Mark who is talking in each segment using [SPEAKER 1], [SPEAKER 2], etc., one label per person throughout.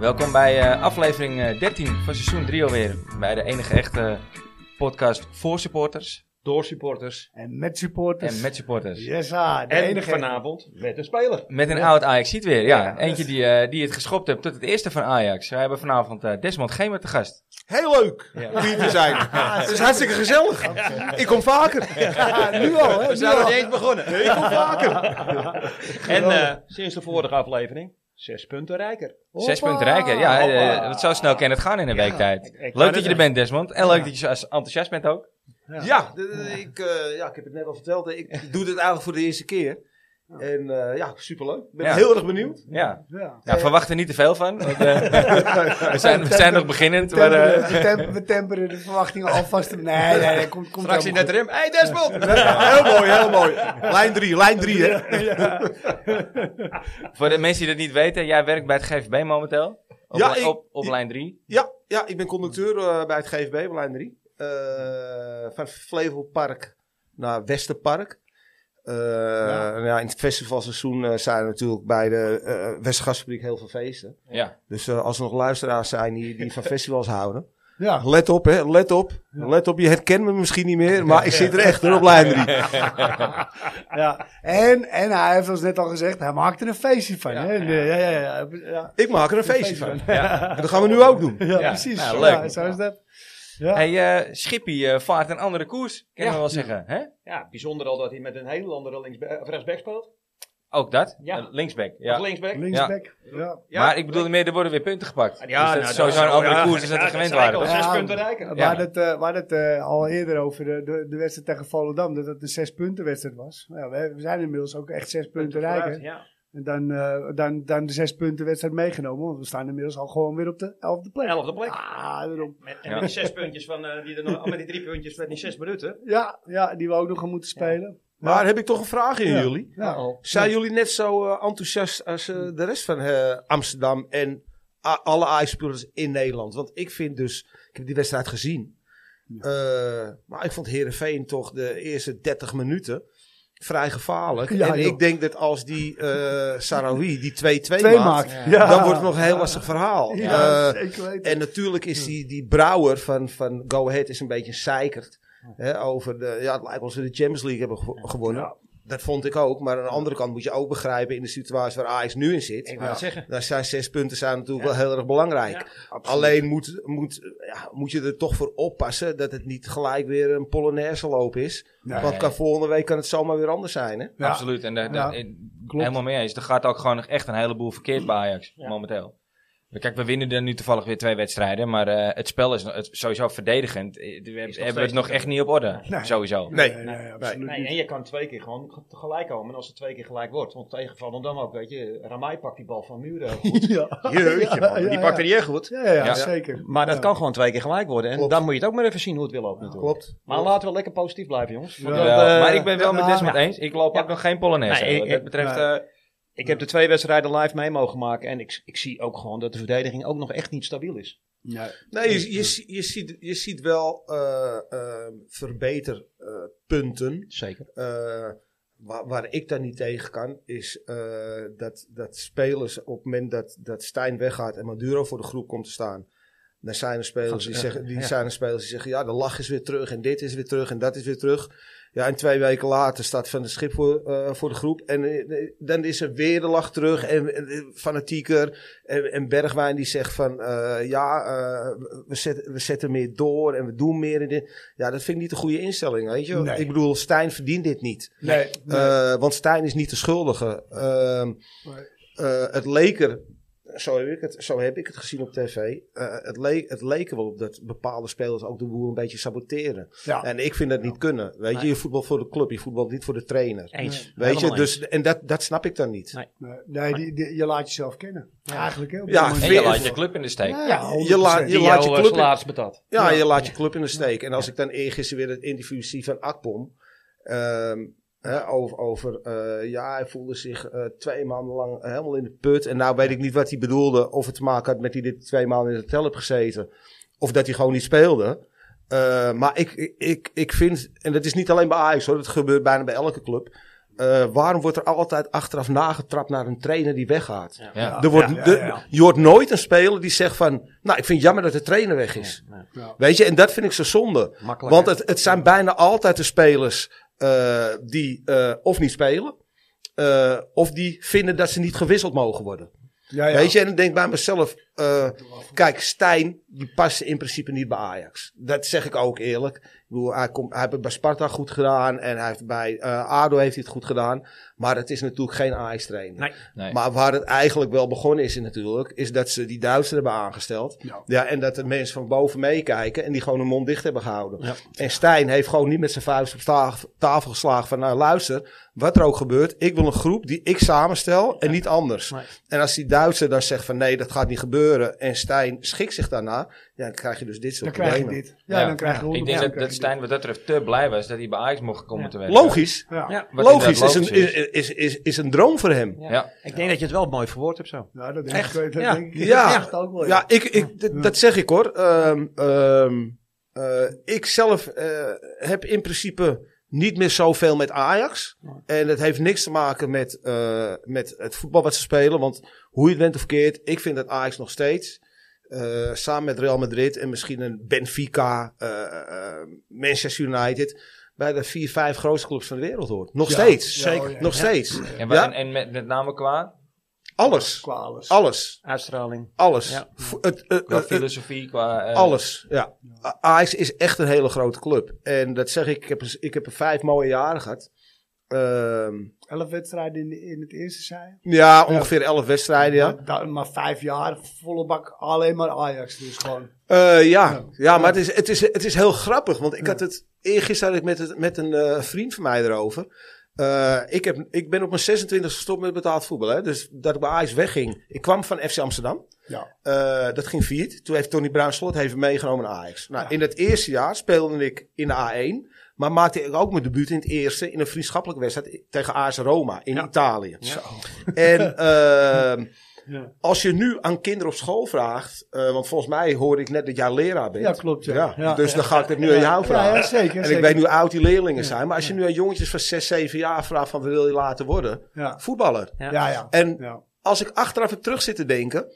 [SPEAKER 1] Welkom bij eh, aflevering eh, 13 van seizoen 3 alweer. Bij de enige echte podcast voor supporters, door supporters
[SPEAKER 2] En met supporters.
[SPEAKER 3] Dus-
[SPEAKER 1] en met supporters.
[SPEAKER 2] Yes, ah, de
[SPEAKER 4] En
[SPEAKER 2] enige.
[SPEAKER 4] vanavond met een speler.
[SPEAKER 1] Met een oud Ajax ziet weer, ja.
[SPEAKER 2] Ja,
[SPEAKER 1] Eentje die, eh, die het geschopt heeft tot het eerste van Ajax. We hebben vanavond eh, Desmond Gemer te gast.
[SPEAKER 3] Heel leuk om hier te zijn. Het is hartstikke gezellig. Ik kom vaker.
[SPEAKER 2] nu al,
[SPEAKER 4] We
[SPEAKER 2] hè? Nu
[SPEAKER 4] zijn nog
[SPEAKER 2] al.
[SPEAKER 4] niet eens begonnen.
[SPEAKER 3] Ik kom vaker.
[SPEAKER 4] En eh, sinds de vorige aflevering, zes punten rijker.
[SPEAKER 1] Zes punten rijker. Ja,
[SPEAKER 4] Hoppa.
[SPEAKER 1] eh, want zo snel kan het gaan in een week tijd.
[SPEAKER 4] ik wou net
[SPEAKER 1] Leuk dat je er
[SPEAKER 4] zeggen.
[SPEAKER 1] bent, Desmond. En leuk dat je zo enthousiast bent ook.
[SPEAKER 3] Ja, de- de- ik, eh, ja, ik heb het net al verteld. Nou, Ik doe dit eigenlijk voor de eerste keer. En eh, ja, superleuk. Ik ben
[SPEAKER 1] Ja.
[SPEAKER 3] heel erg benieuwd.
[SPEAKER 1] Ja.
[SPEAKER 2] Ja.
[SPEAKER 1] ja verwacht er niet te veel van. want, eh, we, zijn, we zijn nog beginnend,
[SPEAKER 2] We
[SPEAKER 1] maar... eh,
[SPEAKER 2] temperen, we, temperen, we temperen de verwachtingen alvast. Nee, nee, nee. Komt, komt
[SPEAKER 4] Straks in
[SPEAKER 2] helemaal
[SPEAKER 4] het rim. Hey Desmond!
[SPEAKER 3] Heel mooi, heel mooi. Lijn 3, lijn 3 hè.
[SPEAKER 1] Voor de mensen die dat niet weten, jij werkt bij het GVB momenteel. Op,
[SPEAKER 3] Ja,
[SPEAKER 1] li-
[SPEAKER 3] ik-
[SPEAKER 1] op, op
[SPEAKER 3] ik-
[SPEAKER 1] lijn 3.
[SPEAKER 3] Ja, ja ik ben conducteur eh, bij het GVB, bij lijn 3. Eh, van Flevolpark naar Westerpark. Eh, nou ja, in het festivalseizoen eh, zijn er natuurlijk bij de eh Westgasfabriek heel veel feesten.
[SPEAKER 1] Ja.
[SPEAKER 3] Dus eh, als er nog luisteraars zijn die, die van festivals houden.
[SPEAKER 2] goed. Ja.
[SPEAKER 3] Let op, hè, let op. Let op, je herkent me misschien niet meer, maar ik zit er echt hoor, op lijn 3.
[SPEAKER 2] Ja. En, en hij heeft ons net al gezegd, hij maakt er een feestje van. hè? Nee, Ja, ja, ja, ja, ja.
[SPEAKER 3] Ik maak er een feestje van. En dat gaan we nu ook doen.
[SPEAKER 2] Ja,
[SPEAKER 1] Ja,
[SPEAKER 2] precies.
[SPEAKER 1] nou, leuk.
[SPEAKER 2] Ja, zo is dat. Ja.
[SPEAKER 1] Hey, eh, Schippie eh, vaart een andere koers, kunnen we wel zeggen. Hè?
[SPEAKER 4] Ja, bijzonder al dat hij met een heel andere linksba- eh, rechtsback speelt.
[SPEAKER 1] Ook dat?
[SPEAKER 4] Ja.
[SPEAKER 1] Eh, Linksback.
[SPEAKER 4] Of
[SPEAKER 1] Ja.
[SPEAKER 4] linksback.
[SPEAKER 2] Linksback. Ja.
[SPEAKER 4] Ja.
[SPEAKER 1] Maar ik bedoelde meer, er worden weer punten gepakt. dus dat
[SPEAKER 4] nou,
[SPEAKER 1] is sowieso een
[SPEAKER 4] ja,
[SPEAKER 1] andere
[SPEAKER 4] ja,
[SPEAKER 1] koers dan dat
[SPEAKER 4] ja,
[SPEAKER 1] we gewend
[SPEAKER 4] zijn
[SPEAKER 1] waren.
[SPEAKER 4] al
[SPEAKER 1] toch?
[SPEAKER 4] zes
[SPEAKER 2] Ja,
[SPEAKER 4] punten rijker.
[SPEAKER 1] Ja.
[SPEAKER 2] Waar dat, eh, waar dat eh, al eerder over de, de, de wedstrijd tegen Volendam, dat het een zes punten wedstrijd was. Ja, we, we zijn inmiddels ook echt zes punten rijker.
[SPEAKER 4] Ja.
[SPEAKER 2] En dan, eh, dan, dan de zes punten wedstrijd meegenomen. Want we staan inmiddels al gewoon weer op de elfde plek.
[SPEAKER 4] Elfde plek.
[SPEAKER 2] Ah, daarom.
[SPEAKER 4] Met, en
[SPEAKER 1] Ja.
[SPEAKER 4] met die zes puntjes van, eh, die er nog, met die drie puntjes met die zes minuten.
[SPEAKER 2] Ja, ja, die we ook nog gaan moeten spelen.
[SPEAKER 3] Maar heb ik toch een vraag in
[SPEAKER 2] Ja.
[SPEAKER 3] jullie?
[SPEAKER 2] Ja.
[SPEAKER 1] Oh.
[SPEAKER 3] Zijn jullie net zo eh, enthousiast als eh, de rest van eh, Amsterdam en a- alle ijsspelers in Nederland? Want ik vind dus, ik heb die wedstrijd gezien. Eh, maar ik vond Herenveen toch de eerste 30 minuten vrij gevaarlijk.
[SPEAKER 2] Ja,
[SPEAKER 3] en
[SPEAKER 2] joh.
[SPEAKER 3] ik denk dat als die eh Sarawi die 2-2
[SPEAKER 2] Twee
[SPEAKER 3] maakt,
[SPEAKER 2] maakt. Ja.
[SPEAKER 3] dan wordt het nog een heel lastig verhaal. Eh,
[SPEAKER 2] Ja, zeker weten.
[SPEAKER 3] En natuurlijk is die, die Brouwer van, van Go Ahead is een beetje zeikerd. Hè, over de, ja, het lijkt alsof we de Champions League hebben gewo- gewonnen. Dat vond ik ook. Maar aan de andere kant moet je ook begrijpen in de situatie waar Ajax nu in zit.
[SPEAKER 4] Ik wou het zeggen.
[SPEAKER 3] Daar zijn zes punten zijn natuurlijk wel heel erg belangrijk. Alleen moet, moet, ja, moet je er toch voor oppassen dat het niet gelijk weer een Polonaise loop is.
[SPEAKER 2] Nee.
[SPEAKER 3] Want kan, volgende week kan het zomaar weer anders zijn. Hè?
[SPEAKER 2] Ja.
[SPEAKER 1] Absoluut. En daar- daar-
[SPEAKER 2] Ja.
[SPEAKER 1] eh,
[SPEAKER 2] Klopt.
[SPEAKER 1] helemaal mee eens. Er gaat ook gewoon nog echt een heleboel verkeerd bij Ajax
[SPEAKER 4] Ja.
[SPEAKER 1] momenteel. Kijk, we winnen er nu toevallig weer twee wedstrijden. Maar eh, het spel is no- het, sowieso verdedigend. Eh, We
[SPEAKER 4] nog
[SPEAKER 1] hebben- hebben we het
[SPEAKER 4] steeds
[SPEAKER 1] nog
[SPEAKER 4] niet
[SPEAKER 1] echt niet op orde.
[SPEAKER 2] Nee.
[SPEAKER 1] Sowieso.
[SPEAKER 2] Nee, nee, absoluut
[SPEAKER 4] Nee,
[SPEAKER 2] niet.
[SPEAKER 4] en je kan twee keer gewoon ge- tegelijk komen. En als het twee keer gelijk wordt, want tegenvallen dan ook, weet je. Ramai pakt die bal van Muren. heel goed.
[SPEAKER 2] Ja.
[SPEAKER 3] Jeetje man,
[SPEAKER 2] ja,
[SPEAKER 3] die pakt
[SPEAKER 2] ja.
[SPEAKER 3] er niet echt goed.
[SPEAKER 2] Ja, ja, ja,
[SPEAKER 1] Ja.
[SPEAKER 2] zeker.
[SPEAKER 4] Maar dat
[SPEAKER 2] Ja.
[SPEAKER 4] kan gewoon twee keer gelijk worden. En
[SPEAKER 3] Klopt.
[SPEAKER 4] dan moet je het ook maar even zien hoe het wil lopen natuurlijk.
[SPEAKER 3] Klopt.
[SPEAKER 4] Maar laten we lekker positief blijven, jongens. Want
[SPEAKER 2] Ja.
[SPEAKER 4] dat,
[SPEAKER 1] Jawel,
[SPEAKER 4] eh,
[SPEAKER 1] maar ik ben wel met
[SPEAKER 2] ja.
[SPEAKER 1] Desmond eens. Ik loop
[SPEAKER 4] Ja.
[SPEAKER 1] ook nog geen Polonaise.
[SPEAKER 4] Nee, ik-
[SPEAKER 1] wat dat
[SPEAKER 4] ik-
[SPEAKER 1] betreft...
[SPEAKER 2] nee.
[SPEAKER 1] eh,
[SPEAKER 4] ik heb de twee wedstrijden live mee mogen maken. En ik, ik zie ook gewoon dat de verdediging ook nog echt niet stabiel is.
[SPEAKER 2] Nee.
[SPEAKER 3] Nee, je, je, zie- je, ziet, je ziet wel eh, eh, verbeterpunten.
[SPEAKER 4] Zeker.
[SPEAKER 3] Eh, waar, waar ik dan niet tegen kan, is eh, dat, dat spelers op het moment dat, dat Stijn weggaat en Maduro voor de groep komt te staan. Dan zijn er
[SPEAKER 4] Gaan
[SPEAKER 3] spelers
[SPEAKER 4] ze
[SPEAKER 3] die
[SPEAKER 4] echt,
[SPEAKER 3] zeggen, die
[SPEAKER 4] ja.
[SPEAKER 3] zijn er spelers die zeggen, ja, de lach is weer terug en dit is weer terug en dat is weer terug. Ja, en twee weken later staat Van de Schip voor, eh, voor de groep. En eh, dan is er weer de lach terug. En, eh, fanatieker. En, en Bergwijn die zegt van, eh, ja, eh, we, zetten, we zetten meer door en we doen meer. En dit. Ja, dat vind ik niet de goede instelling, weet je.
[SPEAKER 2] Nee.
[SPEAKER 3] Ik bedoel, Stijn verdient dit niet.
[SPEAKER 2] Nee. nee.
[SPEAKER 3] Eh, want Stijn is niet de schuldige. Ehm,
[SPEAKER 2] Nee.
[SPEAKER 3] eh, het leek er, zo heb ik het, zo heb ik het gezien op tv, eh, het, leek, het leek er wel op dat bepaalde spelers ook de boel een beetje saboteren.
[SPEAKER 2] Ja.
[SPEAKER 3] En ik vind dat niet kunnen. Weet je, je voetbalt voor de club, je voetbalt niet voor de trainer.
[SPEAKER 4] Eens.
[SPEAKER 3] Weet je,
[SPEAKER 4] Helemaal eens.
[SPEAKER 3] dus, en dat, dat snap ik dan niet.
[SPEAKER 4] Nee.
[SPEAKER 2] Nee, nee, die, die- je laat jezelf kennen. Eigenlijk, hè? op
[SPEAKER 3] Ja,
[SPEAKER 2] die
[SPEAKER 1] En
[SPEAKER 2] manier.
[SPEAKER 1] je
[SPEAKER 3] Vind-
[SPEAKER 1] laat je club in de steek.
[SPEAKER 2] Ja,
[SPEAKER 3] je laat
[SPEAKER 2] 100%.
[SPEAKER 3] je, laat je
[SPEAKER 4] eh,
[SPEAKER 3] club in-
[SPEAKER 4] laatst betaald.
[SPEAKER 3] Ja,
[SPEAKER 2] Ja.
[SPEAKER 3] je laat je club in de steek. En als ik dan eergisteren weer het interview zie van Akpom. ehm, hè, over, over eh, ja, hij voelde zich eh, twee maanden lang helemaal in de put. En nou weet ik niet wat hij bedoelde. Of het te maken had met dat hij dit twee maanden in het hotel heeft gezeten. Of dat hij gewoon niet speelde. Eh, maar ik, ik, ik vind, en dat is niet alleen bij Ajax hoor. Dat gebeurt bijna bij elke club. eh, waarom wordt er altijd achteraf nagetrapt naar een trainer die weggaat?
[SPEAKER 4] Ja.
[SPEAKER 1] Ja.
[SPEAKER 3] Er wordt,
[SPEAKER 2] ja, ja,
[SPEAKER 3] de-
[SPEAKER 2] ja.
[SPEAKER 3] Je hoort nooit een speler die zegt van... Nou, ik vind het jammer dat de trainer weg is. Weet je, en dat vind ik zo zonde.
[SPEAKER 4] Makkelijk.
[SPEAKER 3] Want
[SPEAKER 4] hè?
[SPEAKER 3] het, het zijn bijna altijd de spelers eh, die eh, of niet spelen... eh, of die vinden dat ze niet gewisseld mogen worden.
[SPEAKER 2] Ja, ja.
[SPEAKER 3] Weet je, en ik denk bij mezelf... eh, kijk, Stijn, die past in principe niet bij Ajax. Dat zeg ik ook eerlijk. Ik bedoel, hij, komt, hij heeft het bij Sparta goed gedaan... en hij heeft bij eh, ADO heeft hij het goed gedaan. Maar het is natuurlijk geen Ajax-trainer.
[SPEAKER 4] Nee.
[SPEAKER 1] Nee.
[SPEAKER 3] Maar waar het eigenlijk wel begonnen is natuurlijk, is dat ze die Duitsers hebben aangesteld.
[SPEAKER 2] Ja.
[SPEAKER 3] en dat de mensen van boven meekijken en die gewoon hun mond dicht hebben gehouden.
[SPEAKER 4] Ja.
[SPEAKER 3] En Stijn heeft gewoon niet met zijn vuist op taf- tafel geslagen van, nou luister, wat er ook gebeurt, ik wil een groep die ik samenstel en niet anders.
[SPEAKER 4] Nee.
[SPEAKER 3] En als die Duitser dan zegt van, nee, dat gaat niet gebeuren en Stijn schikt zich daarna, ja, dan krijg je dus dit
[SPEAKER 2] Dan
[SPEAKER 3] soort
[SPEAKER 2] krijg je
[SPEAKER 3] problemen.
[SPEAKER 2] dit. Ja, dan krijg je 100%
[SPEAKER 1] Ik denk dat,
[SPEAKER 2] krijg
[SPEAKER 1] dat
[SPEAKER 2] je
[SPEAKER 1] Stijn wat dat betreft te blij was dat hij bij Ajax mocht komen
[SPEAKER 4] Ja.
[SPEAKER 1] te werken.
[SPEAKER 3] Logisch.
[SPEAKER 2] dit. Ja.
[SPEAKER 4] Ja.
[SPEAKER 1] Wat
[SPEAKER 3] Logisch,
[SPEAKER 1] inderdaad
[SPEAKER 3] is, een,
[SPEAKER 1] logisch is.
[SPEAKER 3] is, is, is, is een droom voor hem.
[SPEAKER 1] Ja.
[SPEAKER 4] Ik denk dat je het wel mooi verwoord hebt zo.
[SPEAKER 2] Nou, dat denk
[SPEAKER 4] Echt?
[SPEAKER 2] ik, dat
[SPEAKER 4] Ja.
[SPEAKER 2] denk ik
[SPEAKER 3] Ja.
[SPEAKER 2] echt ook wel.
[SPEAKER 3] Ja, ik, ik, d- dat zeg ik hoor. Ehm, ehm, eh, ik zelf eh, heb in principe niet meer zoveel met Ajax. En dat heeft niks te maken met, eh, met het voetbal wat ze spelen. Want hoe je het bent of keert, ik vind dat Ajax nog steeds. eh, samen met Real Madrid en misschien een Benfica, eh, eh, Manchester United. Bij de vier, vijf grootste clubs van de wereld hoort. Nog
[SPEAKER 2] Ja,
[SPEAKER 3] steeds.
[SPEAKER 2] ja, oh ja.
[SPEAKER 3] Nog
[SPEAKER 2] Ja.
[SPEAKER 3] steeds.
[SPEAKER 1] En, wa-
[SPEAKER 3] Ja,
[SPEAKER 1] en, en met, met name qua,
[SPEAKER 3] alles.
[SPEAKER 2] Qua alles.
[SPEAKER 3] Alles.
[SPEAKER 4] Uitstraling.
[SPEAKER 3] Alles.
[SPEAKER 4] Ja.
[SPEAKER 3] Vo- het- eh, het-
[SPEAKER 1] qua
[SPEAKER 3] het-
[SPEAKER 1] filosofie, qua... eh,
[SPEAKER 3] Alles, ja. A- Ajax is echt een hele grote club. En dat zeg ik, ik heb, ik heb er vijf mooie jaren gehad. Ehm,
[SPEAKER 2] Elf wedstrijden in, in het eerste seizoen.
[SPEAKER 3] ja, ongeveer elf wedstrijden, ja.
[SPEAKER 2] Da- maar vijf jaar volle bak alleen maar Ajax. Dus gewoon.
[SPEAKER 3] Eh, ja.
[SPEAKER 2] Ja.
[SPEAKER 3] ja, maar het is, het, is, het is heel grappig. Want ik had het, eergisteren had ik met, het, met een eh, vriend van mij erover. Eh, ik, heb, ik ben op mijn 26 gestopt met betaald voetbal. Hè? Dus dat ik bij Ajax wegging. Ik kwam van FC Amsterdam.
[SPEAKER 2] Ja.
[SPEAKER 3] Eh, dat ging failliet. Toen heeft Tony Bruin Slot heeft me meegenomen naar Ajax. Nou,
[SPEAKER 2] Ja.
[SPEAKER 3] In het eerste jaar speelde ik in de A1. Maar maakte ik ook mijn debuut in het eerste in een vriendschappelijke wedstrijd tegen AS Roma in Italië. En ehm,
[SPEAKER 2] Ja.
[SPEAKER 3] als je nu aan kinderen op school vraagt, eh, want volgens mij hoorde ik net dat jij leraar bent.
[SPEAKER 2] Ja, klopt, ja. Ja.
[SPEAKER 3] Dus dan ga ik het nu aan jou vragen.
[SPEAKER 2] Ja, ja, zeker.
[SPEAKER 3] en ik
[SPEAKER 2] zeker.
[SPEAKER 3] weet nu hoe oud die leerlingen zijn, maar als je nu aan jongetjes van 6, 7 jaar vraagt van wat wil je laten worden?
[SPEAKER 2] Ja,
[SPEAKER 3] Voetballer.
[SPEAKER 4] Ja.
[SPEAKER 2] ja. ja.
[SPEAKER 3] En
[SPEAKER 2] Ja.
[SPEAKER 3] als ik achteraf heb terug zit te denken,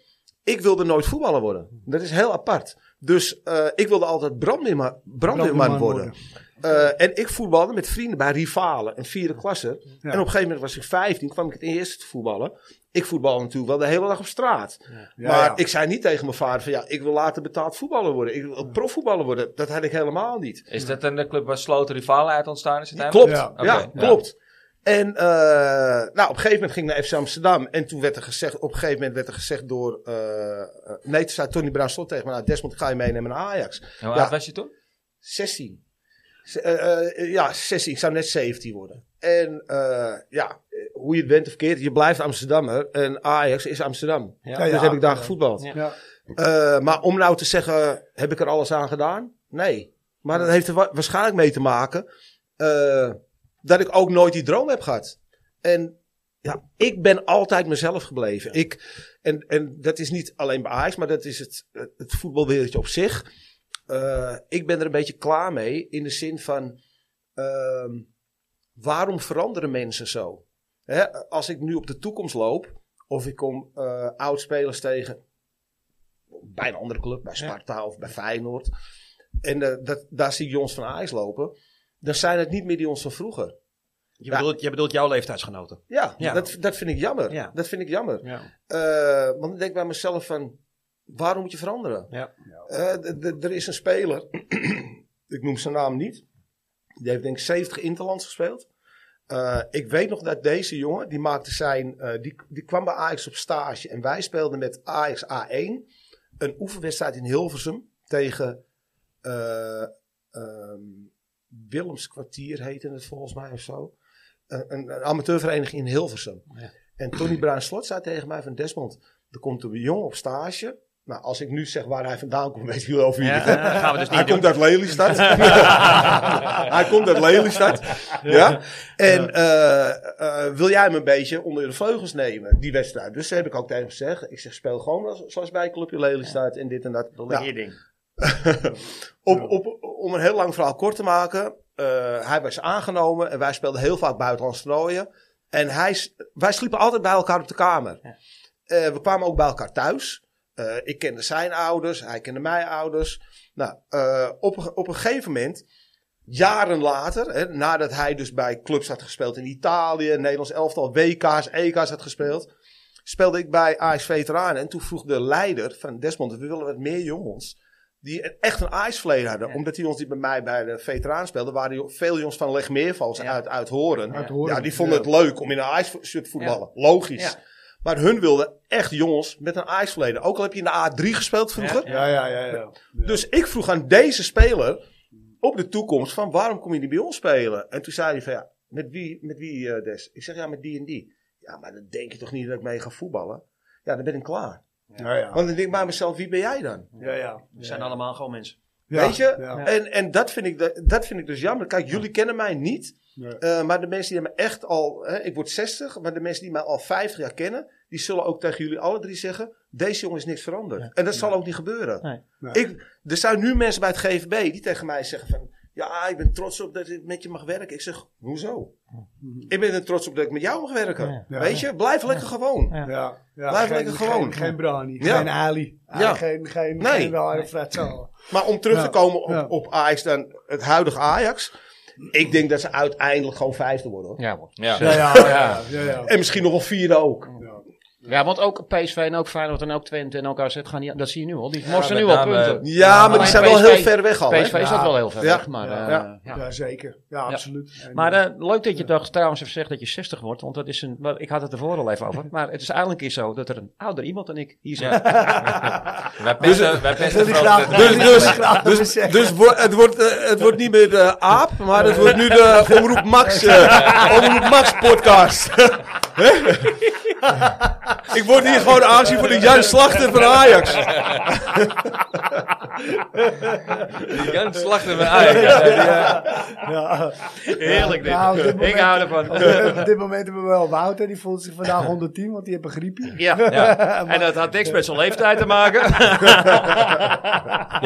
[SPEAKER 3] ik wilde nooit voetballer worden. Dat is heel apart. Dus eh, ik wilde altijd brandweerma- brandweerman
[SPEAKER 2] Brandweerman
[SPEAKER 3] worden. Eh, en ik voetbalde met vrienden bij rivalen, een vierde klasse. En op een gegeven moment was ik 15, kwam ik het eerste te voetballen. Ik voetbalde natuurlijk wel de hele dag op straat.
[SPEAKER 2] Ja,
[SPEAKER 3] maar
[SPEAKER 2] ja.
[SPEAKER 3] ik zei niet tegen mijn vader van ja, ik wil later betaald voetballer worden. Ik wil profvoetballer worden. Dat had ik helemaal niet.
[SPEAKER 1] Is dat dan de club waar sloten rivalen uit ontstaan is?
[SPEAKER 3] Klopt,
[SPEAKER 1] uiteindelijk?
[SPEAKER 3] ja,
[SPEAKER 1] Oké, ja.
[SPEAKER 3] klopt. En eh, nou, op een gegeven moment ging ik naar FC Amsterdam. En toen werd er gezegd, op een gegeven moment werd er gezegd door... eh, eh, nee, toen zei Tony Bruin Slot tegen me, nou Desmond, ik ga je meenemen naar Ajax.
[SPEAKER 1] En Hoe
[SPEAKER 3] Ja.
[SPEAKER 1] oud was je toen?
[SPEAKER 3] 16. Z- eh, eh, ja, 16. Ik zou net 17 worden. En eh, ja, eh, hoe je het bent of keert, je blijft Amsterdammer. En Ajax is Amsterdam.
[SPEAKER 4] Ja.
[SPEAKER 2] Ja, ja.
[SPEAKER 3] dus heb ik daar gevoetbald.
[SPEAKER 4] Ja.
[SPEAKER 2] Ja.
[SPEAKER 3] Eh, maar om nou te zeggen, heb ik er alles aan gedaan? Nee. Maar dat heeft er wa- waarschijnlijk mee te maken eh, dat ik ook nooit die droom heb gehad. En ja, ik ben altijd mezelf gebleven. Ik, en, en dat is niet alleen bij Ajax, maar dat is het, het voetbalwereldje op zich. Eh, ik ben er een beetje klaar mee in de zin van ehm, waarom veranderen mensen zo? Hè, als ik nu op de toekomst loop of ik kom eh oud-spelers tegen bij een andere club, bij Sparta of bij Feyenoord. En eh, dat, daar zie ik jongens van Ajax lopen. Dan zijn het niet meer die jongens van vroeger.
[SPEAKER 4] Je,
[SPEAKER 3] Ja.
[SPEAKER 4] Bedoelt, je bedoelt jouw leeftijdsgenoten.
[SPEAKER 3] Ja,
[SPEAKER 4] Ja.
[SPEAKER 3] Dat, dat vind ik jammer.
[SPEAKER 4] Ja.
[SPEAKER 3] Dat vind ik jammer.
[SPEAKER 4] Ja.
[SPEAKER 3] Eh, want dan denk ik bij mezelf van, waarom moet je veranderen?
[SPEAKER 4] Ja.
[SPEAKER 3] Eh, d- d- er is een speler, ik noem zijn naam niet. Die heeft denk ik 70 interlands gespeeld. Eh, ik weet nog dat deze jongen, die maakte zijn, eh, die, die kwam bij Ajax op stage. En wij speelden met Ajax A1 een oefenwedstrijd in Hilversum tegen eh ehm Willemskwartier heette het volgens mij of zo. Een, een, een amateurvereniging in Hilversum.
[SPEAKER 4] Ja.
[SPEAKER 3] En Tony Bruin Slot zei tegen mij van Desmond, er komt een jongen op stage. Nou, als ik nu zeg waar hij vandaan komt, weet je wel of wie
[SPEAKER 4] Ja,
[SPEAKER 3] het is.
[SPEAKER 4] dat gaan we dus
[SPEAKER 3] Hij
[SPEAKER 4] niet doen.
[SPEAKER 3] komt uit Lelystad. hij komt uit Lelystad. Ja. En eh, eh, wil jij hem een beetje onder de vleugels nemen, die wedstrijd? Dus daar heb ik ook tegen hem gezegd. Ik zeg, speel gewoon als- zoals bij Clubje Lelystad en dit en dat.
[SPEAKER 4] Dat
[SPEAKER 3] Nou,
[SPEAKER 4] je ding.
[SPEAKER 3] op, op, op, om een heel lang verhaal kort te maken. eh, hij was aangenomen en wij speelden heel vaak buitenlandse toernooien. En hij, s- wij sliepen altijd bij elkaar op de kamer. Eh, we kwamen ook bij elkaar thuis. Eh, ik kende zijn ouders, hij kende mijn ouders. Nou, eh, op, een- op een gegeven moment, jaren later, hè, nadat hij dus bij clubs had gespeeld in Italië, Nederlands elftal, WK's, EK's had gespeeld, speelde ik bij AS Veteranen. En toen vroeg de leider van Desmond, we willen wat meer jongens. Die echt een ijsverleden hadden.
[SPEAKER 1] Ja.
[SPEAKER 3] Omdat die ons die bij mij bij de veteraan speelden, waren die veel jongens van Legmeervals
[SPEAKER 1] Ja.
[SPEAKER 3] uit, uit Horen.
[SPEAKER 2] Uit
[SPEAKER 1] Ja.
[SPEAKER 2] Horen.
[SPEAKER 3] Ja, die vonden het leuk om in een ijsshirt te voetballen. Logisch.
[SPEAKER 1] Ja.
[SPEAKER 3] Maar hun wilden echt jongens met een ijsverleden. Ook al heb je in de A3 gespeeld vroeger.
[SPEAKER 2] Ja, ja, ja. ja.
[SPEAKER 3] Dus ik vroeg aan deze speler op de toekomst van waarom kom je niet bij ons spelen? En toen zei hij van ja, met wie, met wie eh, Des? Ik zeg ja, met die en die. Ja, maar dan denk je toch niet dat ik mee ga voetballen? Ja, dan ben ik klaar.
[SPEAKER 2] Ja, ja.
[SPEAKER 3] Want dan denk ik bij mezelf, wie ben jij dan?
[SPEAKER 2] ja, ja.
[SPEAKER 4] We zijn allemaal gewoon mensen.
[SPEAKER 2] Ja,
[SPEAKER 3] Oh. Weet je?
[SPEAKER 2] ja.
[SPEAKER 3] En, en dat, vind ik, da- dat vind ik dus jammer. Kijk, jullie kennen mij niet.
[SPEAKER 2] Nee.
[SPEAKER 3] eh, maar de mensen die me echt al... Hè, ik word 60, maar de mensen die mij al 50 jaar kennen... die zullen ook tegen jullie alle drie zeggen... deze jongen is niks veranderd. En dat zal ook niet gebeuren.
[SPEAKER 4] Nee.
[SPEAKER 2] Nee.
[SPEAKER 3] Ik, er zijn nu mensen bij het GVB die tegen mij zeggen van... ja, ik ben trots op dat ik met je mag werken. Ik zeg, hoezo? Ik ben er trots op dat ik met jou mag werken.
[SPEAKER 2] Ja.
[SPEAKER 3] Weet je? Blijf lekker gewoon.
[SPEAKER 4] Ja.
[SPEAKER 2] Ja, ja.
[SPEAKER 3] Blijf
[SPEAKER 2] geen,
[SPEAKER 3] lekker
[SPEAKER 2] geen-
[SPEAKER 3] gewoon.
[SPEAKER 2] Geen Brani,
[SPEAKER 3] Ja.
[SPEAKER 2] geen Ali,
[SPEAKER 3] Ja.
[SPEAKER 2] geen, geen,
[SPEAKER 3] Nee.
[SPEAKER 2] geen Ware Fratzo.
[SPEAKER 3] Maar om terug
[SPEAKER 2] Ja,
[SPEAKER 3] te komen op,
[SPEAKER 2] ja.
[SPEAKER 3] op Ajax, dan het huidige Ajax. Ik denk dat ze uiteindelijk gewoon vijfde worden. hoor.
[SPEAKER 5] Ja, man.
[SPEAKER 1] Ja.
[SPEAKER 2] Ja, ja, ja. ja, ja.
[SPEAKER 3] En misschien nog wel vierde ook.
[SPEAKER 5] ja, want ook PSV en ook Feyenoord en ook Twente en ook AZ gaan die, dat zie je nu al. Die morsen
[SPEAKER 1] met
[SPEAKER 5] nu al
[SPEAKER 1] name,
[SPEAKER 5] punten.
[SPEAKER 3] Ja, maar die
[SPEAKER 5] Alleen
[SPEAKER 3] zijn wel
[SPEAKER 5] PSV
[SPEAKER 3] heel ver weg al. hè?
[SPEAKER 5] PSV is dat
[SPEAKER 2] Ja.
[SPEAKER 5] wel heel ver
[SPEAKER 3] Ja.
[SPEAKER 5] weg, maar...
[SPEAKER 2] Ja.
[SPEAKER 5] eh,
[SPEAKER 3] Ja.
[SPEAKER 5] ja.
[SPEAKER 2] Ja, zeker. Ja, absoluut. En,
[SPEAKER 5] Maar eh, leuk dat je toch trouwens even zegt dat je 60 wordt, want dat is een, wel, ik had het ervoor al even over. Maar het is eigenlijk een keer zo dat er een ouder iemand dan ik hier zit.
[SPEAKER 1] Wij pesten, wij
[SPEAKER 2] dat
[SPEAKER 1] pesten
[SPEAKER 2] wil ik
[SPEAKER 1] vooral
[SPEAKER 2] graag,
[SPEAKER 1] de-
[SPEAKER 2] dus,
[SPEAKER 3] Dus- dus-
[SPEAKER 2] graag dus,
[SPEAKER 3] Dus, dus wo- het, wordt, eh, het wordt niet meer de AAP, maar het wordt nu de Omroep Max, eh, Omroep Max podcast. Hè? Ik word hier gewoon aanzien voor de Jan Slachter van Ajax.
[SPEAKER 1] Jan Slachter van Ajax. Ja, die, eh,
[SPEAKER 2] Ja.
[SPEAKER 5] Heerlijk dit.
[SPEAKER 2] Nou, op dit
[SPEAKER 5] ik
[SPEAKER 2] moment-
[SPEAKER 5] hou ervan.
[SPEAKER 2] Op dit- Op dit moment hebben we wel Wouter, die voelt zich vandaag 110, want die heeft een griepje.
[SPEAKER 5] Ja. en dat had niks met zijn leeftijd te maken.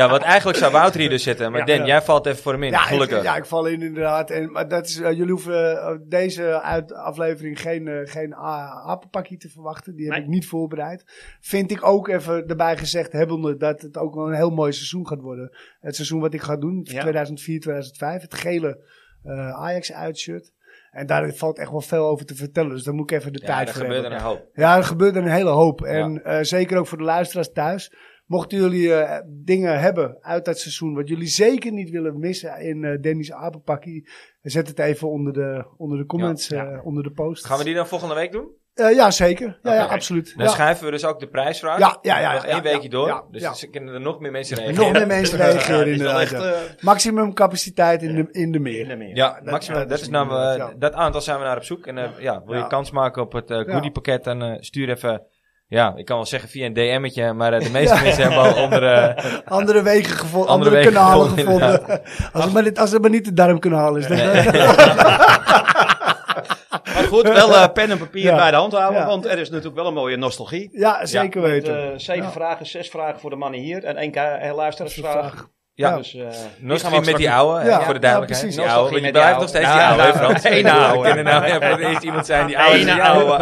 [SPEAKER 1] ja, want eigenlijk zou Wouter hier dus zitten. Maar Den, jij valt even voor hem in.
[SPEAKER 2] Ja,
[SPEAKER 1] Gelukkig.
[SPEAKER 2] Ik, ja, ik val in inderdaad. En, maar dat is, eh, jullie hoeven eh, deze uit, aflevering geen, eh, geen a- apenpakje te verwachten. Die heb
[SPEAKER 5] Nee.
[SPEAKER 2] ik niet voorbereid. Vind ik ook even erbij gezegd hebbende dat het ook wel een heel mooi seizoen gaat worden. Het seizoen wat ik ga doen, 2004, 2005. Het gele eh, Ajax-uitshirt. En daar valt echt wel veel over te vertellen. Dus daar moet ik even de
[SPEAKER 1] Ja,
[SPEAKER 2] tijd
[SPEAKER 1] er
[SPEAKER 2] voor
[SPEAKER 1] gebeurt
[SPEAKER 2] hebben.
[SPEAKER 1] er een hoop.
[SPEAKER 2] Ja, er gebeurde een hele hoop. En eh, zeker ook voor de luisteraars thuis. Mochten jullie eh, dingen hebben uit dat seizoen wat jullie zeker niet willen missen in eh Dennis Apenpakkie, zet het even onder de, onder de comments,
[SPEAKER 5] Ja, ja.
[SPEAKER 2] eh, onder de post.
[SPEAKER 1] Gaan we die dan volgende week doen?
[SPEAKER 2] Eh, ja, zeker. Ja, ja
[SPEAKER 1] Oké.
[SPEAKER 2] absoluut.
[SPEAKER 1] Dan
[SPEAKER 2] ja.
[SPEAKER 1] schrijven we dus ook de prijsvraag.
[SPEAKER 2] Ja, ja, ja,
[SPEAKER 1] Nog
[SPEAKER 2] ja,
[SPEAKER 1] één
[SPEAKER 2] ja,
[SPEAKER 1] weekje door.
[SPEAKER 2] ja,
[SPEAKER 1] dus
[SPEAKER 2] ja.
[SPEAKER 1] er kunnen er nog meer mensen reageren.
[SPEAKER 2] Nog meer mensen reageren inderdaad. ja. Maximum capaciteit in de, in de meer.
[SPEAKER 1] Ja,
[SPEAKER 2] dat-
[SPEAKER 1] maximaal.
[SPEAKER 2] dat
[SPEAKER 1] Dat,
[SPEAKER 2] is
[SPEAKER 1] is nou, eh,
[SPEAKER 2] inderdaad, ja.
[SPEAKER 1] dat aantal zijn we naar op zoek. En eh, ja, wil je
[SPEAKER 2] Ja.
[SPEAKER 1] kans maken op het eh
[SPEAKER 2] Ja.
[SPEAKER 1] goodiepakket, dan eh, stuur even... Ja, ik kan wel zeggen via een DM'tje, maar eh, de meeste mensen hebben al onder... eh,
[SPEAKER 2] Andere wegen gevonden, andere,
[SPEAKER 1] Andere wegen
[SPEAKER 2] kanalen
[SPEAKER 1] gevonden,
[SPEAKER 2] gevonden. Als het, maar dit, als het maar niet de darm kunnen halen is. dan-
[SPEAKER 5] Maar goed, wel eh, pen en papier
[SPEAKER 2] Ja.
[SPEAKER 5] bij de hand houden,
[SPEAKER 2] Ja.
[SPEAKER 5] want er is natuurlijk wel een mooie nostalgie.
[SPEAKER 2] Ja, zeker
[SPEAKER 4] Met
[SPEAKER 2] weten.
[SPEAKER 4] eh, zeven
[SPEAKER 2] Ja.
[SPEAKER 4] vragen, zes vragen voor de mannen hier. En één ka-
[SPEAKER 5] eh,
[SPEAKER 2] Vraag.
[SPEAKER 4] luisteraarsvraag.
[SPEAKER 1] ja,
[SPEAKER 4] Dus, eh, die gaan we ook
[SPEAKER 1] nostalgie met
[SPEAKER 4] straks-
[SPEAKER 1] die oude, hè,
[SPEAKER 2] Ja,
[SPEAKER 1] voor
[SPEAKER 2] ja,
[SPEAKER 1] de duidelijkheid.
[SPEAKER 2] precies.
[SPEAKER 1] die oude, want
[SPEAKER 4] Nostalgie met
[SPEAKER 1] je blijft
[SPEAKER 4] die
[SPEAKER 1] nog steeds
[SPEAKER 5] oude.
[SPEAKER 1] die oude, hè,
[SPEAKER 5] Ja,
[SPEAKER 1] Frans?
[SPEAKER 5] ene
[SPEAKER 1] Ik bedoel,
[SPEAKER 5] oude.
[SPEAKER 1] We kunnen nou ja, voor het eerst iemand zijn die oude is.
[SPEAKER 5] Ene
[SPEAKER 1] Ja.
[SPEAKER 5] ouwe.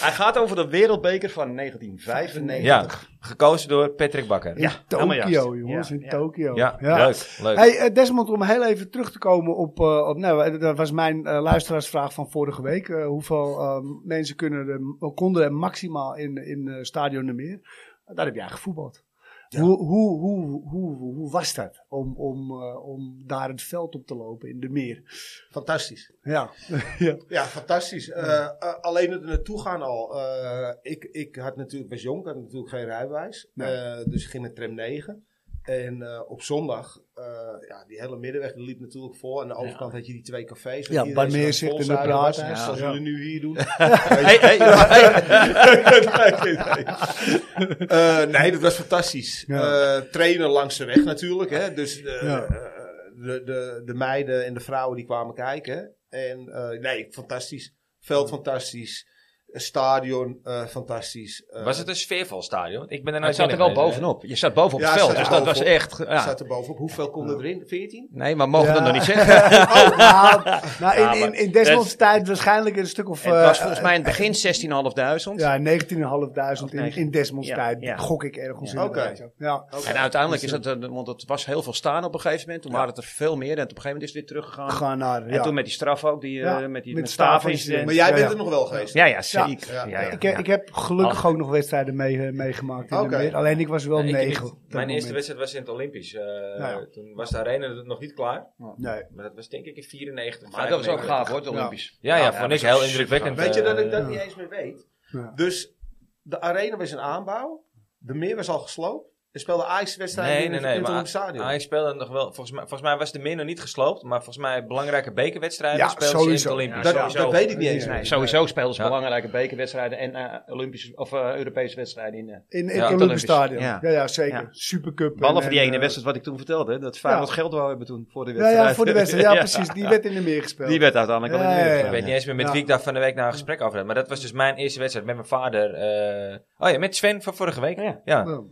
[SPEAKER 4] Hij gaat over de wereldbeker van 1995.
[SPEAKER 1] Ja, gekozen door Patrick Bakker.
[SPEAKER 2] In
[SPEAKER 5] helemaal juist.
[SPEAKER 2] Tokio, jongens.
[SPEAKER 5] Ja,
[SPEAKER 2] in
[SPEAKER 5] ja.
[SPEAKER 2] Tokio.
[SPEAKER 1] Ja, leuk. leuk.
[SPEAKER 2] Hey, eh, Desmond, om heel even terug te komen op. eh, op nou, dat was mijn eh, luisteraarsvraag van vorige week. Eh, hoeveel eh, mensen kunnen er, eh, konden er maximaal in, in eh, Stadion de Meer? Daar heb jij gevoetbald. Hoe, hoe, hoe, hoe, hoe was dat om, om, eh, om daar het veld op te lopen in de meer?
[SPEAKER 3] Fantastisch.
[SPEAKER 2] Ja, ja.
[SPEAKER 3] Ja, fantastisch. Eh, eh, alleen er naartoe gaan al. Eh, ik, ik had natuurlijk, was jong, ik had natuurlijk geen rijbewijs.
[SPEAKER 2] Nee.
[SPEAKER 3] Eh, dus ik ging met tram 9. En eh, op zondag, eh, ja, die hele middenweg die liep natuurlijk vol. Aan de overkant had je die twee cafés.
[SPEAKER 2] Ja, bij meer
[SPEAKER 3] zit
[SPEAKER 2] zit in de praathuis.
[SPEAKER 3] Zoals
[SPEAKER 2] Ja.
[SPEAKER 3] jullie nu hier doen.
[SPEAKER 5] Hey, hey, hey.
[SPEAKER 3] nee, nee, nee. Eh, nee, dat was fantastisch.
[SPEAKER 2] Ja.
[SPEAKER 3] Eh, trainen langs de weg natuurlijk. Hè. Dus eh,
[SPEAKER 2] Ja.
[SPEAKER 3] eh, de, de, de meiden en de vrouwen die kwamen kijken. En eh, nee, fantastisch. Veld fantastisch. Een stadion, eh, fantastisch. Eh,
[SPEAKER 1] Was het een sfeervol stadion? Ik ben er
[SPEAKER 5] Maar
[SPEAKER 1] nou
[SPEAKER 5] het zat er wel bovenop. Je zat bovenop
[SPEAKER 3] Ja,
[SPEAKER 5] het veld.
[SPEAKER 3] het
[SPEAKER 5] Dus
[SPEAKER 3] zat
[SPEAKER 5] dat was
[SPEAKER 3] bovenop.
[SPEAKER 5] echt. Ja.
[SPEAKER 3] Staat er bovenop. Hoeveel konden erin? 14?
[SPEAKER 5] Nee, maar mogen we dat
[SPEAKER 2] Ja.
[SPEAKER 5] nog niet zeggen.
[SPEAKER 2] Oh, nou, nou, in,
[SPEAKER 5] Ja,
[SPEAKER 2] in,
[SPEAKER 5] maar
[SPEAKER 2] in Desmond's
[SPEAKER 5] het-
[SPEAKER 2] tijd waarschijnlijk een stuk of...
[SPEAKER 5] Het was
[SPEAKER 2] eh,
[SPEAKER 5] volgens mij in het begin 16.500.
[SPEAKER 2] ja, 19.500 in, in Desmond's
[SPEAKER 5] Ja,
[SPEAKER 2] tijd.
[SPEAKER 5] ja.
[SPEAKER 2] Gok ik ergens
[SPEAKER 3] Ja.
[SPEAKER 2] in.
[SPEAKER 3] Oké.
[SPEAKER 2] Ja.
[SPEAKER 5] En uiteindelijk is het, eh, want het was heel veel staan op een gegeven moment. Toen
[SPEAKER 3] Ja.
[SPEAKER 5] waren het er veel meer en op een gegeven moment is het weer teruggegaan.
[SPEAKER 2] Gaan naar...
[SPEAKER 5] Oh. En
[SPEAKER 2] ja.
[SPEAKER 5] toen met die straf ook, die, eh,
[SPEAKER 2] Ja,
[SPEAKER 5] met die
[SPEAKER 2] met
[SPEAKER 5] met
[SPEAKER 2] staafincident.
[SPEAKER 5] staafincident.
[SPEAKER 3] Maar jij
[SPEAKER 2] Ja,
[SPEAKER 3] bent
[SPEAKER 2] ja.
[SPEAKER 3] er nog wel geweest.
[SPEAKER 5] Ja, ja, zeker. Ja, ja,
[SPEAKER 2] ik, heb- ik heb gelukkig ook nog wedstrijden mee, eh, meegemaakt. In de
[SPEAKER 3] Oké.
[SPEAKER 2] meer. Alleen ik was wel
[SPEAKER 1] Nee, ik
[SPEAKER 2] negen.
[SPEAKER 1] niet.
[SPEAKER 2] op dat
[SPEAKER 1] Mijn eerste
[SPEAKER 2] moment. Nou
[SPEAKER 1] wedstrijd was in het Olympisch. eh,
[SPEAKER 2] ja.
[SPEAKER 1] Toen was de arena nog niet klaar.
[SPEAKER 2] Nee.
[SPEAKER 1] Maar dat was denk ik in 94.
[SPEAKER 5] Maar dat was ook
[SPEAKER 1] 95.
[SPEAKER 5] gaaf hoor, het
[SPEAKER 2] Ja.
[SPEAKER 5] Olympisch.
[SPEAKER 1] Ja, ja,
[SPEAKER 5] Ja,
[SPEAKER 1] vond
[SPEAKER 5] ja,
[SPEAKER 1] ik
[SPEAKER 5] dat is
[SPEAKER 1] heel indrukwekkend.
[SPEAKER 3] Weet je dat ik dat
[SPEAKER 2] Ja.
[SPEAKER 3] niet eens meer weet?
[SPEAKER 2] Ja.
[SPEAKER 3] Dus de arena was in aanbouw. De meer was al gesloopt. Er speelde Ajax-wedstrijden
[SPEAKER 1] Nee,
[SPEAKER 3] in,
[SPEAKER 1] nee,
[SPEAKER 3] het-
[SPEAKER 1] nee,
[SPEAKER 3] in het
[SPEAKER 1] maar
[SPEAKER 3] Olympisch Stadion.
[SPEAKER 1] Hij speelde nog wel, volgens mij, volgens mij was de min nog niet gesloopt, maar volgens mij belangrijke bekerwedstrijden
[SPEAKER 2] Ja,
[SPEAKER 1] speelden
[SPEAKER 2] sowieso.
[SPEAKER 1] ze in het Olympisch.
[SPEAKER 3] dat,
[SPEAKER 1] sowieso.
[SPEAKER 3] dat weet ik niet eens
[SPEAKER 2] Nee.
[SPEAKER 3] meer.
[SPEAKER 5] Nee, sowieso speelden ze
[SPEAKER 1] Ja.
[SPEAKER 5] belangrijke bekerwedstrijden en eh, Olympische of eh, Europese wedstrijden in. eh,
[SPEAKER 2] In, in
[SPEAKER 1] Ja,
[SPEAKER 2] het Olympisch
[SPEAKER 5] Olympisch.
[SPEAKER 2] Stadion. Ja,
[SPEAKER 5] Ja.
[SPEAKER 2] ja, zeker.
[SPEAKER 5] Ja.
[SPEAKER 2] Supercup.
[SPEAKER 5] Behalve
[SPEAKER 2] en-
[SPEAKER 5] die
[SPEAKER 2] en,
[SPEAKER 5] ene
[SPEAKER 2] eh,
[SPEAKER 5] wedstrijd wat ik toen vertelde, hè, dat Feyenoord
[SPEAKER 2] Ja.
[SPEAKER 5] geld wou hebben toen voor de
[SPEAKER 2] Ja,
[SPEAKER 5] wedstrijd.
[SPEAKER 2] ja, voor de wedstrijd. Ja, precies. Die werd in de meer gespeeld.
[SPEAKER 5] Die werd uiteindelijk wel in
[SPEAKER 2] Ja,
[SPEAKER 5] de
[SPEAKER 2] ja, ja.
[SPEAKER 5] wereld.
[SPEAKER 1] Ik weet niet eens meer met
[SPEAKER 2] Ja.
[SPEAKER 1] wie ik daar van de week naar een gesprek over had. Maar dat was dus mijn eerste wedstrijd met mijn vader. eh, oh ja, met Sven van vorige week. Ja.
[SPEAKER 5] Ja.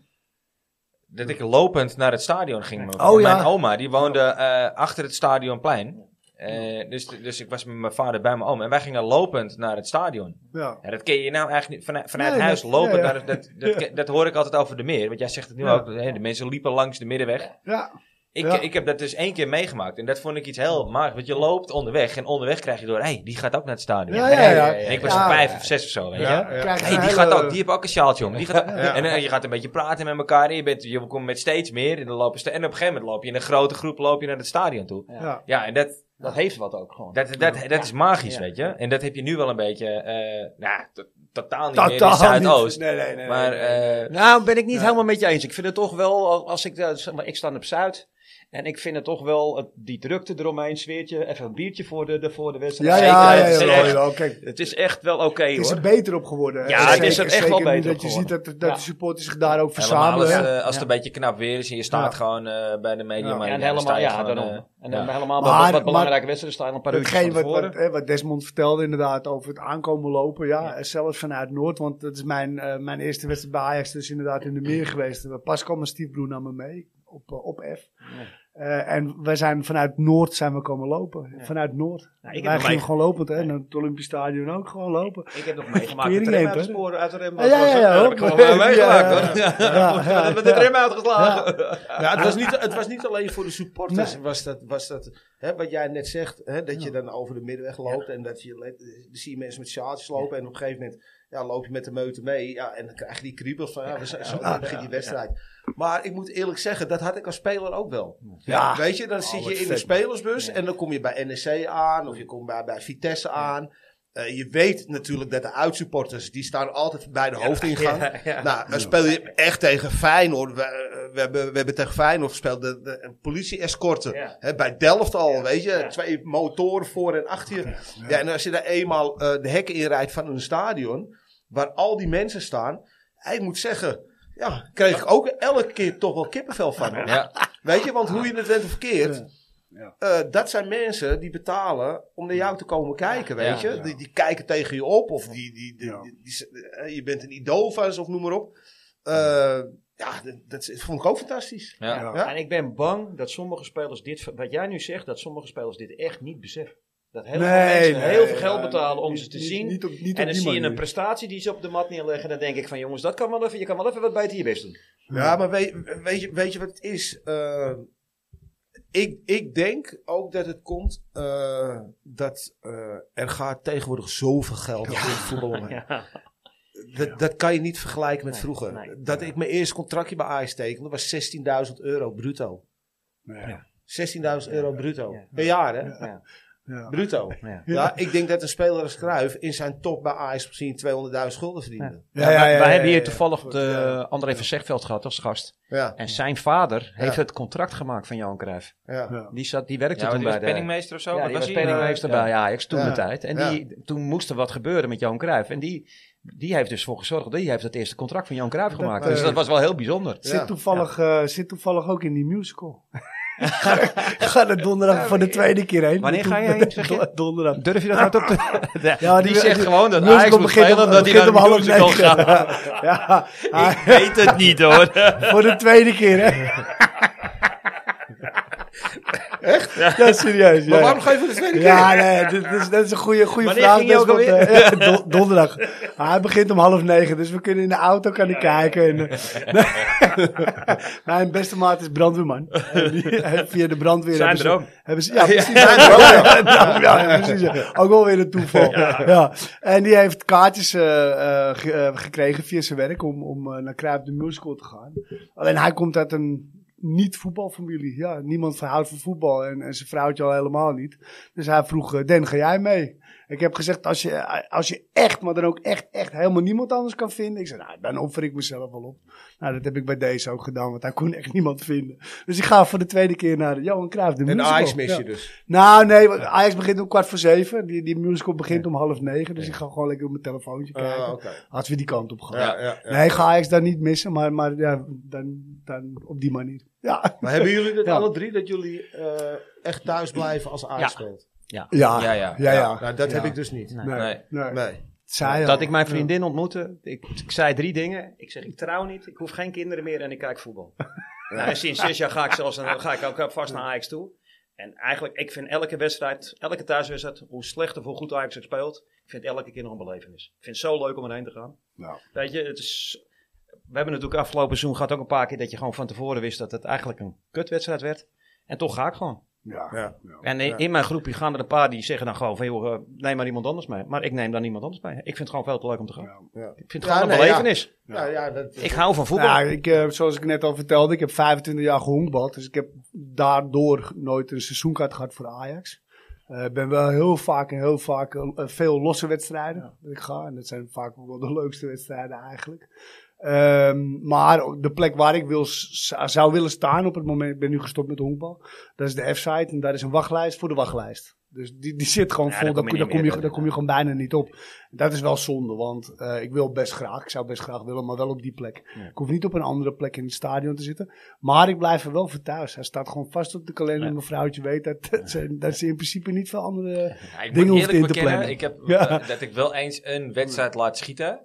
[SPEAKER 1] Dat ik lopend naar het stadion ging. Mijn-
[SPEAKER 2] Oh ja.
[SPEAKER 1] Mijn oma, die woonde eh, achter het stadionplein. Eh, dus, dus ik was met mijn vader bij mijn oom. En wij gingen lopend naar het stadion.
[SPEAKER 2] Ja.
[SPEAKER 1] Ja, dat ken je nou eigenlijk niet vanuit, vanuit
[SPEAKER 2] Nee,
[SPEAKER 1] huis
[SPEAKER 2] dat-
[SPEAKER 1] lopen.
[SPEAKER 2] ja, ja.
[SPEAKER 1] Dat, dat, dat, ken- dat hoor ik altijd over de meer. Want jij zegt het nu
[SPEAKER 2] Ja.
[SPEAKER 1] ook. hè, de mensen liepen langs de middenweg.
[SPEAKER 2] Ja.
[SPEAKER 1] Ik,
[SPEAKER 2] Ja.
[SPEAKER 1] ik heb dat dus één keer meegemaakt. En dat vond ik iets heel magisch. Want je loopt onderweg. En onderweg krijg je door. Hé, hey, die gaat ook naar het stadion.
[SPEAKER 2] Ja, ja, ja.
[SPEAKER 1] En ik was
[SPEAKER 2] Ja.
[SPEAKER 1] vijf of zes of zo. Weet je.
[SPEAKER 3] Ja, ja.
[SPEAKER 2] Krijg je
[SPEAKER 1] Hey,
[SPEAKER 2] een
[SPEAKER 1] die,
[SPEAKER 2] hele-
[SPEAKER 1] gaat ook, die heeft ook een sjaaltje om. Die gaat ook-
[SPEAKER 3] Ja.
[SPEAKER 1] En eh, je gaat een beetje praten met elkaar. En je, bent, je komt met steeds meer. En, dan lopen ste- en op een gegeven moment loop je in een grote groep loop je naar het stadion toe.
[SPEAKER 2] Ja.
[SPEAKER 1] Ja, en dat,
[SPEAKER 5] Dat heeft wat ook gewoon.
[SPEAKER 1] dat, dat, dat is magisch,
[SPEAKER 5] Ja.
[SPEAKER 1] weet je. En dat heb je nu wel een beetje... eh, nou, to- totaal niet meer in
[SPEAKER 2] Totaal niet.
[SPEAKER 1] Zuidoost.
[SPEAKER 2] Nee, nee, nee.
[SPEAKER 1] Maar eh,
[SPEAKER 5] Nou, ben ik niet
[SPEAKER 2] Ja.
[SPEAKER 5] helemaal met je eens. Ik vind het toch wel, al- als ik, daar- zeg maar, ik sta op Zuid. En ik vind het toch wel, het- die drukte eromheen, sfeertje, even een biertje voor de, de, voor de wedstrijd.
[SPEAKER 2] ja, ja, ja,
[SPEAKER 5] Zeker,
[SPEAKER 2] ja,
[SPEAKER 5] het is
[SPEAKER 2] jawel,
[SPEAKER 5] echt-
[SPEAKER 2] jawel. Kijk,
[SPEAKER 5] Het is echt wel oké
[SPEAKER 2] het is
[SPEAKER 5] hoor.
[SPEAKER 2] er beter op geworden.
[SPEAKER 5] Ja,
[SPEAKER 2] En
[SPEAKER 5] het is er echt wel
[SPEAKER 2] zeker
[SPEAKER 5] beter
[SPEAKER 2] Dat
[SPEAKER 5] op
[SPEAKER 2] je ziet
[SPEAKER 5] geworden.
[SPEAKER 2] dat, dat de
[SPEAKER 5] Ja.
[SPEAKER 2] supporters zich daar ook
[SPEAKER 1] helemaal als,
[SPEAKER 2] verzamelen.
[SPEAKER 1] eh, als het een beetje knap weer is en je staat
[SPEAKER 2] Ja.
[SPEAKER 1] gewoon eh, bij de media.
[SPEAKER 2] Ja.
[SPEAKER 1] Maar
[SPEAKER 5] Ja, en
[SPEAKER 1] dan sta
[SPEAKER 5] helemaal,
[SPEAKER 1] je
[SPEAKER 5] ja,
[SPEAKER 1] gewoon,
[SPEAKER 5] daarom.
[SPEAKER 1] eh,
[SPEAKER 5] en dan
[SPEAKER 1] ja.
[SPEAKER 5] helemaal
[SPEAKER 2] Maar-
[SPEAKER 5] wat- wat,
[SPEAKER 2] maar-
[SPEAKER 5] belangrijke wedstrijden staan een paar uurtjes
[SPEAKER 2] Hetgeen
[SPEAKER 5] van
[SPEAKER 2] wat, wat,
[SPEAKER 5] tevoren.
[SPEAKER 2] hè, wat Desmond vertelde inderdaad over het aankomen lopen. Ja, en zelfs vanuit Noord. Want dat is mijn, eh, mijn eerste wedstrijd bij Ajax. Dus inderdaad in de meer geweest. We pas kwam mijn stiefbroer naar me mee. Op, eh, op F. Eh, en wij zijn vanuit Noord zijn we komen lopen. Vanuit Noord.
[SPEAKER 5] Nou, ik heb
[SPEAKER 2] wij
[SPEAKER 5] nog
[SPEAKER 2] gingen
[SPEAKER 5] mee-
[SPEAKER 2] gewoon lopend. Hè, naar het Olympisch Stadion ook gewoon lopen.
[SPEAKER 5] Ik heb nog meegemaakt.
[SPEAKER 2] Tering
[SPEAKER 5] De tram
[SPEAKER 2] heet,
[SPEAKER 5] uit de
[SPEAKER 2] hè?
[SPEAKER 5] sporen, uit de rem.
[SPEAKER 2] Ja, ja, ja,
[SPEAKER 5] Dat heb ik
[SPEAKER 2] hoor.
[SPEAKER 5] gewoon wel meegemaakt
[SPEAKER 2] Ja,
[SPEAKER 5] hoor.
[SPEAKER 2] ja, ja, ja,
[SPEAKER 5] Met de
[SPEAKER 2] ja.
[SPEAKER 5] tram uitgeslagen.
[SPEAKER 3] Ja, het, was niet, het was niet alleen voor de supporters. Was dat, was dat, hè, wat jij net zegt, hè, dat je dan over de middenweg loopt en dat je, le- dan zie je mensen met sjaaltjes lopen en op een gegeven moment ja, loop je met de meute mee ja, en dan krijg je die kriebels van ja, we zijn, zo begint die wedstrijd. Maar ik moet eerlijk zeggen, dat had ik als speler ook wel.
[SPEAKER 2] Ja. Oh,
[SPEAKER 3] Weet je, dan zit
[SPEAKER 2] wat
[SPEAKER 3] je in de
[SPEAKER 2] vet.
[SPEAKER 3] spelersbus en dan kom je bij NEC aan of je komt bij, bij Vitesse aan. Eh, je weet natuurlijk dat de uitsupporters, die staan altijd bij de hoofdingang. Nou, dan speel je echt tegen Feyenoord. We, eh, we, hebben, we hebben tegen Feyenoord gespeeld. De, de een politie-escorten.
[SPEAKER 5] Ja.
[SPEAKER 3] Hè, Bij Delft al, weet je. Twee motoren voor en achter je. Ja, en als je daar eenmaal eh, de hekken in rijdt van een stadion... waar al die mensen staan... ja, Ik moet zeggen... Ja, kreeg ik ook elke keer toch wel kippenvel van. hoor.
[SPEAKER 1] Ja.
[SPEAKER 3] Weet je, want hoe je het went of verkeerd... eh, dat zijn mensen die betalen om naar jou te komen kijken, weet
[SPEAKER 1] Ja.
[SPEAKER 3] je. Die, die kijken tegen je op of die, die, die-
[SPEAKER 2] Ja.
[SPEAKER 3] die- die- eh, je bent een idool van ze of noem maar op. Eh, ja, dat, dat vond ik ook fantastisch.
[SPEAKER 1] Ja.
[SPEAKER 2] Ja.
[SPEAKER 3] Ja.
[SPEAKER 5] En ik ben bang dat sommige spelers dit, wat jij nu zegt, dat sommige spelers dit echt niet beseffen. Dat heel veel mensen heel veel geld betalen om
[SPEAKER 2] Niet-
[SPEAKER 5] ze te
[SPEAKER 2] niet-
[SPEAKER 5] zien.
[SPEAKER 2] Niet op, niet
[SPEAKER 5] en
[SPEAKER 2] op
[SPEAKER 5] dan
[SPEAKER 2] die
[SPEAKER 5] zie je een
[SPEAKER 2] manier.
[SPEAKER 5] prestatie die ze op de mat neerleggen. Dan denk ik van jongens, dat kan wel even, je kan wel even wat beter je best doen.
[SPEAKER 3] Ja, maar weet, weet, je, weet je wat het is? Eh, ik, ik denk ook dat het komt eh, dat eh, er gaat tegenwoordig zoveel geld in voetbal omheen. Dat, dat kan je niet vergelijken met
[SPEAKER 5] Nee,
[SPEAKER 3] vroeger.
[SPEAKER 5] nee.
[SPEAKER 3] Dat ik mijn eerste contractje bij Ajax tekende was 16.000 euro bruto.
[SPEAKER 2] Ja.
[SPEAKER 3] 16.000 euro bruto.
[SPEAKER 5] Ja.
[SPEAKER 3] Per jaar, hè?
[SPEAKER 5] Ja.
[SPEAKER 2] Ja.
[SPEAKER 3] Bruto.
[SPEAKER 5] Ja.
[SPEAKER 3] Ja, ik denk dat een speler als Cruijff in zijn top bij Ajax misschien 200.000 gulden verdiende.
[SPEAKER 2] Ja, ja, ja, ja,
[SPEAKER 5] wij hebben
[SPEAKER 2] ja,
[SPEAKER 5] hier
[SPEAKER 2] ja.
[SPEAKER 5] toevallig de
[SPEAKER 2] Ja.
[SPEAKER 5] André van Zegveld gehad als gast.
[SPEAKER 3] Ja,
[SPEAKER 5] En zijn vader heeft
[SPEAKER 3] Ja.
[SPEAKER 5] het contract gemaakt van Johan Cruijff.
[SPEAKER 3] ja.
[SPEAKER 2] Ja.
[SPEAKER 5] Die, zat, die werkte
[SPEAKER 1] Ja,
[SPEAKER 5] toen
[SPEAKER 1] want die was
[SPEAKER 5] bij de,
[SPEAKER 1] penningmeester of zo?
[SPEAKER 5] Ja,
[SPEAKER 1] Wat
[SPEAKER 5] die was
[SPEAKER 1] hij? eh,
[SPEAKER 5] penningmeester
[SPEAKER 1] Ja.
[SPEAKER 5] bij Ajax toen
[SPEAKER 3] Ja.
[SPEAKER 5] de tijd. En
[SPEAKER 3] Ja.
[SPEAKER 5] die, toen moest er wat gebeuren met Johan Cruijff. En die, die heeft dus voor gezorgd. Die heeft het eerste contract van Johan Cruijff gemaakt.
[SPEAKER 2] eh,
[SPEAKER 5] dus dat was wel heel bijzonder.
[SPEAKER 3] Ja.
[SPEAKER 2] Zit, toevallig, eh, zit toevallig ook in die musical. ga er donderdag voor de tweede keer heen.
[SPEAKER 5] Wanneer ga je heen, zeg je?
[SPEAKER 2] Donderdag.
[SPEAKER 5] Durf je dat hard op te...
[SPEAKER 2] Ja,
[SPEAKER 1] die
[SPEAKER 2] die-
[SPEAKER 1] zegt
[SPEAKER 2] die-
[SPEAKER 1] gewoon dat
[SPEAKER 2] musical
[SPEAKER 1] Ajax moet
[SPEAKER 2] begint om-
[SPEAKER 1] spelen dat hij naar
[SPEAKER 2] begint
[SPEAKER 1] de
[SPEAKER 2] om half
[SPEAKER 1] musical
[SPEAKER 2] negen.
[SPEAKER 1] gaat.
[SPEAKER 2] ja,
[SPEAKER 1] Ik weet het niet hoor.
[SPEAKER 2] voor de tweede keer, hè? Echt? Ja, serieus. Ja,
[SPEAKER 3] Maar waarom ga je voor de tweede keer?
[SPEAKER 2] ja nee, dit, dit is, dat is een goede, goede
[SPEAKER 5] Wanneer
[SPEAKER 2] vraag.
[SPEAKER 5] ging je
[SPEAKER 2] best,
[SPEAKER 5] ook
[SPEAKER 2] want, eh, ja, don- donderdag. Ah, hij begint om half negen, dus we kunnen in de auto kunnen kijken. En, eh, Mijn beste maat is brandweerman. En die- en via de brandweer
[SPEAKER 1] Zijn
[SPEAKER 2] hebben ze-
[SPEAKER 1] droom.
[SPEAKER 2] hebben ze, ja, precies. zijn droom, ja. Ja, ja, precies. ja. Ook wel weer een toeval. Ja. En die heeft kaartjes eh, eh, ge- eh, gekregen via zijn werk om, om eh, naar Cruijff de Musical te gaan. Alleen hij komt uit een niet-voetbalfamilie. Ja, niemand houdt van voetbal en, en zijn vrouwtje al helemaal niet. Dus hij vroeg, eh, Den, ga jij mee? Ik heb gezegd, als je, eh, als je echt, maar dan ook echt, echt helemaal niemand anders kan vinden. Ik zei, nou, dan offer ik mezelf wel op. Nou, dat heb ik bij deze ook gedaan, want hij kon echt niemand vinden. Dus ik ga voor de tweede keer naar de Johan Cruijff, de
[SPEAKER 3] En
[SPEAKER 2] musical.
[SPEAKER 3] Ajax mis
[SPEAKER 2] Ja.
[SPEAKER 3] je dus.
[SPEAKER 2] Nou, nee, want Ajax begint om kwart voor zeven. Die, die musical begint om half negen. Dus ik ga gewoon lekker op mijn telefoontje kijken.
[SPEAKER 3] Ah, oké.
[SPEAKER 2] Had we die kant op gegaan.
[SPEAKER 3] Ja, ja, ja.
[SPEAKER 2] Nee, ga Ajax daar niet missen, maar, maar ja, dan, dan op die manier. Ja,
[SPEAKER 3] Maar hebben jullie dat
[SPEAKER 2] Ja.
[SPEAKER 3] alle drie, dat jullie eh, echt thuis blijven als Ajax
[SPEAKER 5] Ja.
[SPEAKER 3] speelt?
[SPEAKER 2] ja,
[SPEAKER 1] Ja,
[SPEAKER 2] ja.
[SPEAKER 1] ja.
[SPEAKER 2] ja, ja.
[SPEAKER 3] E Nou, dat heb
[SPEAKER 2] Ja.
[SPEAKER 3] ik dus niet.
[SPEAKER 5] Nee.
[SPEAKER 2] Nee,
[SPEAKER 1] Nee.
[SPEAKER 2] nee.
[SPEAKER 3] Nee.
[SPEAKER 2] Saai,
[SPEAKER 5] Dat
[SPEAKER 2] hoor.
[SPEAKER 5] ik mijn vriendin ontmoette. Ik, ik zei drie dingen. Ik zeg, ik trouw niet, ik hoef geen kinderen meer en ik kijk voetbal. Nou, en sinds zes jaar ga ik, zelfs, naar- ga ik ook eh, vast naar Ajax toe. En eigenlijk, ik vind elke wedstrijd, elke thuiswedstrijd, hoe slecht of hoe goed Ajax ook speelt, ik vind elke keer nog een belevenis. Ik vind het zo leuk om erheen te gaan.
[SPEAKER 2] Ja.
[SPEAKER 5] Weet je, het is, we hebben natuurlijk afgelopen seizoen gehad ook een paar keer dat je gewoon van tevoren wist dat het eigenlijk een kutwedstrijd werd. En toch ga ik gewoon.
[SPEAKER 2] Ja.
[SPEAKER 3] Ja.
[SPEAKER 5] En in, in mijn groepje gaan er een paar die zeggen dan gewoon van, joh, eh, neem maar iemand anders mee. Maar ik neem dan iemand anders mee. Ik vind het gewoon veel te leuk om te gaan.
[SPEAKER 3] Ja.
[SPEAKER 5] Ik vind het
[SPEAKER 3] Ja,
[SPEAKER 5] gewoon een
[SPEAKER 3] nee, ja.
[SPEAKER 5] belevenis.
[SPEAKER 3] Ja, ja, dat,
[SPEAKER 5] Ik hou van voetbal.
[SPEAKER 2] Nou, ik, eh, zoals ik net al vertelde, ik heb 25 jaar gehonkbald. Dus ik heb daardoor nooit een seizoenkaart gehad voor Ajax. Eh, Ik ben wel heel vaak en heel vaak eh, veel losse wedstrijden. dat Ik ga, en dat zijn vaak ook wel de leukste wedstrijden eigenlijk. Ehm, maar de plek waar ik wil, s- zou willen staan op het moment, ik ben nu gestopt met honkbal. Dat is de F-site en daar is een wachtlijst voor de wachtlijst. Dus die, die zit gewoon
[SPEAKER 5] Ja,
[SPEAKER 2] vol,
[SPEAKER 5] daar
[SPEAKER 2] daar
[SPEAKER 5] kom je
[SPEAKER 2] kom,
[SPEAKER 5] niet
[SPEAKER 2] daar kom,
[SPEAKER 5] meer
[SPEAKER 2] je,
[SPEAKER 5] door.
[SPEAKER 2] daar kom je gewoon bijna niet op. Dat is wel zonde, want eh, ik wil best graag, ik zou best graag willen, maar wel op die plek. Ik hoef niet op een andere plek in het stadion te zitten. Maar ik blijf er wel voor thuis. Hij staat gewoon vast op de kalender. Mijn vrouwtje weet dat, dat, ze, dat ze in principe niet veel andere
[SPEAKER 1] Ja, ik moet
[SPEAKER 2] dingen
[SPEAKER 1] eerlijk
[SPEAKER 2] hoeft in te
[SPEAKER 1] bekennen
[SPEAKER 2] plannen.
[SPEAKER 1] ik heb,
[SPEAKER 2] Ja.
[SPEAKER 1] eh, dat ik wel eens een wedstrijd laat schieten.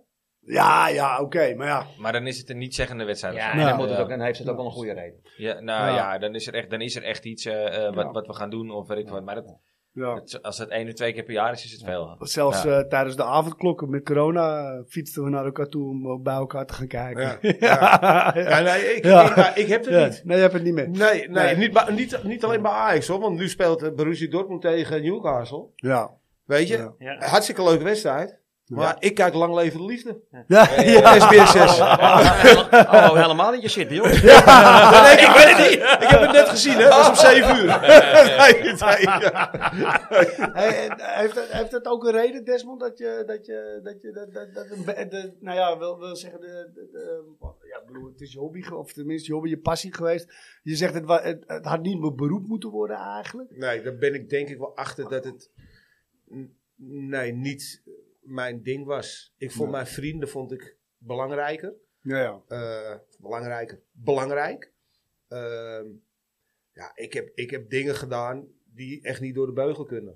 [SPEAKER 2] Ja, ja, oké, maar ja.
[SPEAKER 1] Maar dan is het een niet-zeggende wedstrijd.
[SPEAKER 5] ja,
[SPEAKER 1] of
[SPEAKER 5] en
[SPEAKER 1] zo.
[SPEAKER 5] dan,
[SPEAKER 2] Nou,
[SPEAKER 5] moet het
[SPEAKER 1] ja.
[SPEAKER 5] ook, dan heeft het ook wel een goede reden.
[SPEAKER 1] Ja, nou ja,
[SPEAKER 2] Ja.
[SPEAKER 1] dan, is er echt, dan is er echt iets eh, eh, wat,
[SPEAKER 2] Ja.
[SPEAKER 1] wat we gaan doen of weet ik wat. Maar dat,
[SPEAKER 2] ja.
[SPEAKER 1] dat- als het één of twee keer per jaar is, is het veel.
[SPEAKER 2] Zelfs
[SPEAKER 1] Ja.
[SPEAKER 2] eh, tijdens de avondklokken met corona eh, fietsten we naar elkaar toe om eh, bij elkaar te gaan kijken.
[SPEAKER 3] Ja,
[SPEAKER 2] Ja,
[SPEAKER 3] ja, nee, ik,
[SPEAKER 2] Ja.
[SPEAKER 3] Ik, maar ik heb het
[SPEAKER 2] Ja,
[SPEAKER 3] niet.
[SPEAKER 2] Nee, je hebt het niet meer.
[SPEAKER 3] Nee, nee,
[SPEAKER 2] Nee.
[SPEAKER 3] Niet, ba- niet, niet alleen bij Ajax hoor. Want nu speelt eh, Borussia Dortmund tegen Newcastle.
[SPEAKER 2] Ja.
[SPEAKER 3] Weet je?
[SPEAKER 2] Ja.
[SPEAKER 5] Ja.
[SPEAKER 3] Hartstikke leuke wedstrijd. Maar ik kijk lang leven de liefde. Eh,
[SPEAKER 2] Ja, ja.
[SPEAKER 3] SBS 6.
[SPEAKER 5] Oh, helemaal niet. Je zit bij ons.
[SPEAKER 3] ik, weet het niet. ik heb het net gezien, hè? Het was om 7 uur. Nee, nee, ja.
[SPEAKER 2] Hey, en eh, heeft, dat, heeft dat ook een reden, Desmond, dat je dat je dat je dat, dat, dat een be- de, nou ja, wil, wil zeggen, de, de- de- ja, ik bedoel, het is je hobby, ge- of tenminste je hobby, je passie geweest. Je zegt het, wa- het, het had niet mijn beroep moeten worden eigenlijk.
[SPEAKER 3] Nee, daar ben ik denk ik wel achter dat het. n- Nee, niet mijn ding was. Ik vond
[SPEAKER 2] Nee.
[SPEAKER 3] mijn vrienden vond ik belangrijker.
[SPEAKER 2] Ja, ja.
[SPEAKER 3] eh belangrijker. Belangrijk. Ehm, ja, ik heb, ik heb dingen gedaan die echt niet door de beugel kunnen.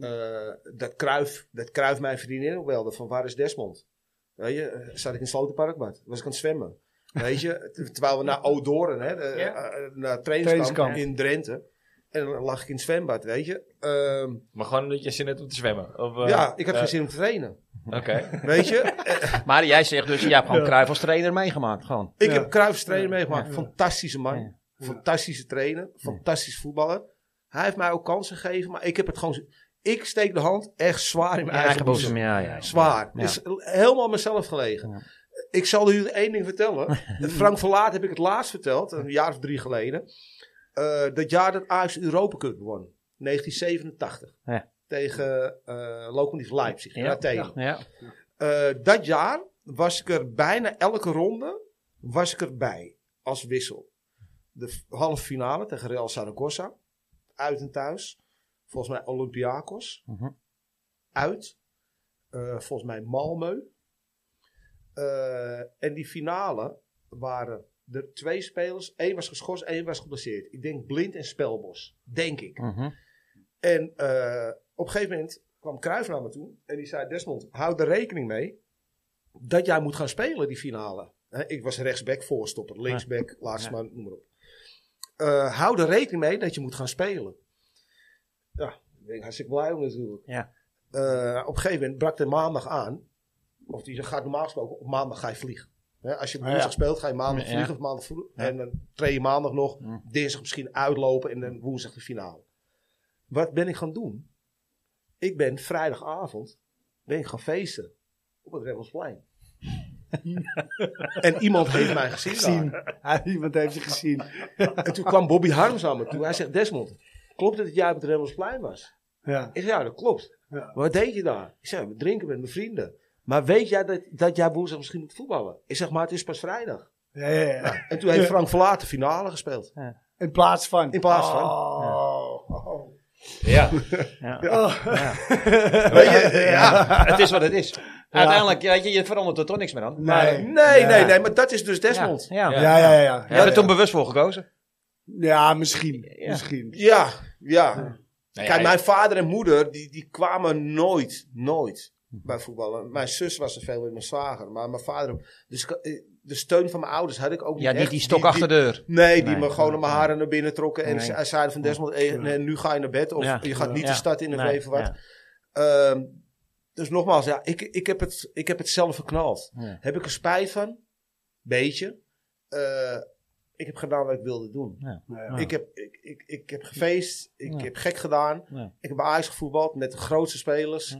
[SPEAKER 3] Eh, dat kruif, dat kruif mijn vriendin ook wel. Van waar is Desmond? Weet je, eh, zat ik in Slotenparkbad. Was ik aan het zwemmen. Weet je, ter- terwijl we naar Odoren, hè, de-
[SPEAKER 5] Ja.
[SPEAKER 3] eh, naar trainingskamp,
[SPEAKER 2] Trainingskamp.
[SPEAKER 3] in Drenthe. En dan lag ik in het zwembad, weet je. Ehm,
[SPEAKER 1] Maar gewoon omdat je zin hebt om te zwemmen. Of, eh,
[SPEAKER 3] ja, ik had
[SPEAKER 1] eh,
[SPEAKER 3] geen zin om te trainen.
[SPEAKER 1] Oké.
[SPEAKER 3] Weet je,
[SPEAKER 5] Maar jij zegt dus, jij hebt gewoon Cruijff als trainer meegemaakt. Gewoon.
[SPEAKER 3] Ik
[SPEAKER 2] Ja.
[SPEAKER 3] heb Cruijff's trainer meegemaakt. Fantastische man. Fantastische trainer. Fantastisch voetballer. Hij heeft mij ook kansen gegeven. Maar ik heb het gewoon... z- Ik steek de hand echt zwaar in mijn eigen boezem.
[SPEAKER 5] Ja, ja.
[SPEAKER 3] Zwaar.
[SPEAKER 5] Ja.
[SPEAKER 3] Dus helemaal aan mezelf gelegen.
[SPEAKER 5] Ja.
[SPEAKER 3] Ik zal u één ding vertellen. Frank Verlaat heb ik het laatst verteld. Een jaar of drie geleden. Eh, dat jaar dat Ajax de Europa Cup won. 1987.
[SPEAKER 5] Ja.
[SPEAKER 3] Tegen eh Lokomotiv Leipzig.
[SPEAKER 5] Ja.
[SPEAKER 3] Ja. Athene.
[SPEAKER 5] Ja.
[SPEAKER 3] Eh, dat jaar was ik er bijna elke ronde was ik erbij als wissel. De f- halve finale tegen Real Zaragoza. Uit en thuis. Volgens mij Olympiakos.
[SPEAKER 5] Mhm.
[SPEAKER 3] Uit. Eh, volgens mij Malmö. Eh, en die finale waren er twee spelers, één was geschorst, één was geblesseerd. Ik denk Blind en Spelbos, denk ik.
[SPEAKER 5] Mhm.
[SPEAKER 3] En eh, op een gegeven moment kwam Cruijff naar me toe en die zei: Desmond, hou er rekening mee dat jij moet gaan spelen die finale. Hè, ik was rechtsback, voorstopper, linksback, laatste man, noem maar op. Eh, hou er rekening mee dat je moet gaan spelen. Ja, daar ben ik hartstikke blij om natuurlijk.
[SPEAKER 5] Ja.
[SPEAKER 3] Eh, op een gegeven moment brak de maandag aan. Of die gaat normaal gesproken, op maandag ga je vliegen. Hè, als je op
[SPEAKER 1] ja.
[SPEAKER 3] woensdag speelt, ga je maandag
[SPEAKER 1] Ja.
[SPEAKER 3] vliegen of maandag vlo- En dan train je maandag nog, dinsdag misschien uitlopen en dan woensdag de finale. Wat ben ik gaan doen? Ik ben vrijdagavond ben ik gaan feesten op het Rebelsplein. en iemand heeft mij gezien. daar.
[SPEAKER 2] Gezien. Hij- Iemand heeft ze gezien.
[SPEAKER 3] En toen kwam Bobby Harms aan me toe. Hij zegt, Desmond, klopt het dat jij op het Remmelsplein was?
[SPEAKER 2] Ja.
[SPEAKER 3] Ik zeg, ja, dat klopt.
[SPEAKER 2] Ja.
[SPEAKER 3] Maar wat deed je daar? Ik zeg, we drinken met mijn vrienden. Maar weet jij dat, dat jij woensdag misschien moet voetballen? Ik zeg, maar het is pas vrijdag.
[SPEAKER 2] Ja, ja, ja.
[SPEAKER 3] En toen heeft Frank Verlaat de finale gespeeld.
[SPEAKER 2] In plaats van.
[SPEAKER 3] In plaats van.
[SPEAKER 2] Oh. Oh.
[SPEAKER 1] Ja.
[SPEAKER 3] Weet je?
[SPEAKER 5] het is wat het is. Uiteindelijk, ja, je, je verandert er toch niks meer aan.
[SPEAKER 2] Nee.
[SPEAKER 3] Nee, nee,
[SPEAKER 2] Ja.
[SPEAKER 3] nee, maar dat is dus Desmond. Ja,
[SPEAKER 5] Ja.
[SPEAKER 2] Ja, ja, ja.
[SPEAKER 5] Je
[SPEAKER 2] Ja,
[SPEAKER 5] hebt er toen bewust voor gekozen.
[SPEAKER 2] ja misschien.
[SPEAKER 5] Ja.
[SPEAKER 2] Misschien.
[SPEAKER 3] ja.
[SPEAKER 1] Nee,
[SPEAKER 3] Kijk,
[SPEAKER 1] hij-
[SPEAKER 3] mijn vader en moeder, die, die kwamen nooit, nooit bij voetballen. Mijn zus was er veel in mijn zwager. Maar mijn vader, dus ik- eh, de steun van mijn ouders had ik ook niet
[SPEAKER 5] Ja, niet
[SPEAKER 3] echt.
[SPEAKER 5] die stok achter de deur.
[SPEAKER 3] Nee, die
[SPEAKER 5] Nee,
[SPEAKER 3] me gewoon
[SPEAKER 5] nee,
[SPEAKER 3] aan mijn haren naar binnen trokken. En
[SPEAKER 5] Nee.
[SPEAKER 3] ze- zeiden van Desmond, eh, nee, nu ga je naar bed. Of
[SPEAKER 5] Ja.
[SPEAKER 3] je gaat niet
[SPEAKER 5] Ja.
[SPEAKER 3] de stad in of
[SPEAKER 5] Nee,
[SPEAKER 3] even wat.
[SPEAKER 5] ja.
[SPEAKER 3] Ehm, dus nogmaals, ja, ik, ik, heb het, ik heb het zelf verknald.
[SPEAKER 5] Ja.
[SPEAKER 3] Heb ik er spijt van? Beetje. Eh, ik heb gedaan wat ik wilde doen.
[SPEAKER 2] Ja.
[SPEAKER 3] Ik, heb, ik, ik, ik heb gefeest. Ik heb gek gedaan.
[SPEAKER 5] Ja.
[SPEAKER 3] Ik heb bij Ajax gevoetbald met de grootste spelers.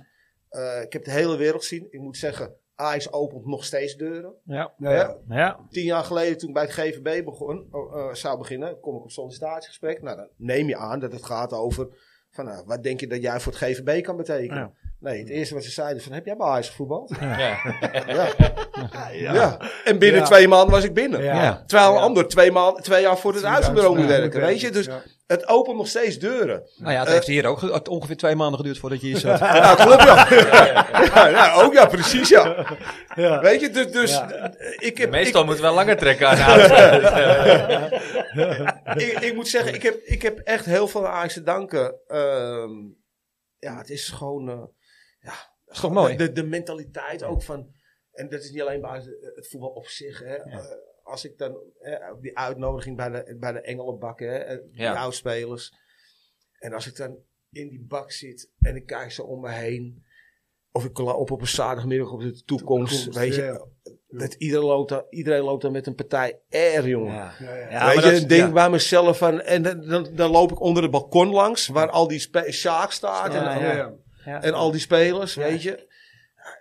[SPEAKER 3] Eh, ik heb de hele wereld gezien. Ik moet zeggen, Ajax opent nog steeds deuren.
[SPEAKER 5] Ja.
[SPEAKER 2] Ja, ja.
[SPEAKER 3] Hè?
[SPEAKER 5] Ja.
[SPEAKER 3] tien jaar geleden toen ik bij het GVB begon, eh, eh, zou beginnen, kom ik op sollicitatiegesprek. Nou, dan neem je aan dat het gaat over van, nou, wat denk je dat jij voor het GVB kan betekenen?
[SPEAKER 5] Ja.
[SPEAKER 3] Nee, het eerste wat ze zeiden van, heb jij bij Ajax voetbal?
[SPEAKER 1] Ja.
[SPEAKER 3] Ja. Ja. En binnen
[SPEAKER 2] Ja.
[SPEAKER 3] twee maanden was ik binnen.
[SPEAKER 2] Ja.
[SPEAKER 5] Ja.
[SPEAKER 3] Terwijl een ander twee, maanden, twee jaar voor het uitzendbureau moet
[SPEAKER 2] Ja,
[SPEAKER 3] werken, weet je? Dus
[SPEAKER 2] ja.
[SPEAKER 3] het opent nog steeds deuren.
[SPEAKER 5] Nou ja, het heeft hier ook ge- ongeveer twee maanden geduurd voordat je hier zat.
[SPEAKER 3] Ja, klopt ja. Ja, nou, ook ja, precies ja.
[SPEAKER 2] Ja.
[SPEAKER 3] Weet je, dus, dus
[SPEAKER 2] Ja.
[SPEAKER 3] ik heb... ik-
[SPEAKER 1] Meestal moeten we wel langer trekken aan de ouders.
[SPEAKER 3] ik, ik moet zeggen, ik heb, ik heb echt heel veel aan Ajax te danken. Ehm, ja, het is gewoon... eh, ja,
[SPEAKER 5] is toch mooi?
[SPEAKER 3] De, de mentaliteit ook van... En dat is niet alleen bij Ajax, eh, het voetbal op zich. Hè. Eh, als ik dan eh, op die uitnodiging bij de, bij de Engelenbak, hè, eh, die
[SPEAKER 1] Ja.
[SPEAKER 3] oudspelers. En als ik dan in die bak zit en ik kijk zo om me heen. Of ik la- op op een zaterdagmiddag op de toekomst.
[SPEAKER 2] Toekomst,
[SPEAKER 3] weet je,
[SPEAKER 2] ja.
[SPEAKER 3] dat iedereen loopt, daar- iedereen loopt dan met een partij R, jongen.
[SPEAKER 2] Ja, ja.
[SPEAKER 5] Ja,
[SPEAKER 3] Weet
[SPEAKER 5] maar
[SPEAKER 3] je,
[SPEAKER 5] dat-
[SPEAKER 3] ik denk
[SPEAKER 5] ja.
[SPEAKER 3] bij mezelf van, en dan, dan, dan loop ik onder het balkon langs, waar al die spe- Sjaak staat en, eh,
[SPEAKER 5] Ja,
[SPEAKER 2] Ah, Ja, ja.
[SPEAKER 3] en al die spelers, weet je. Ja,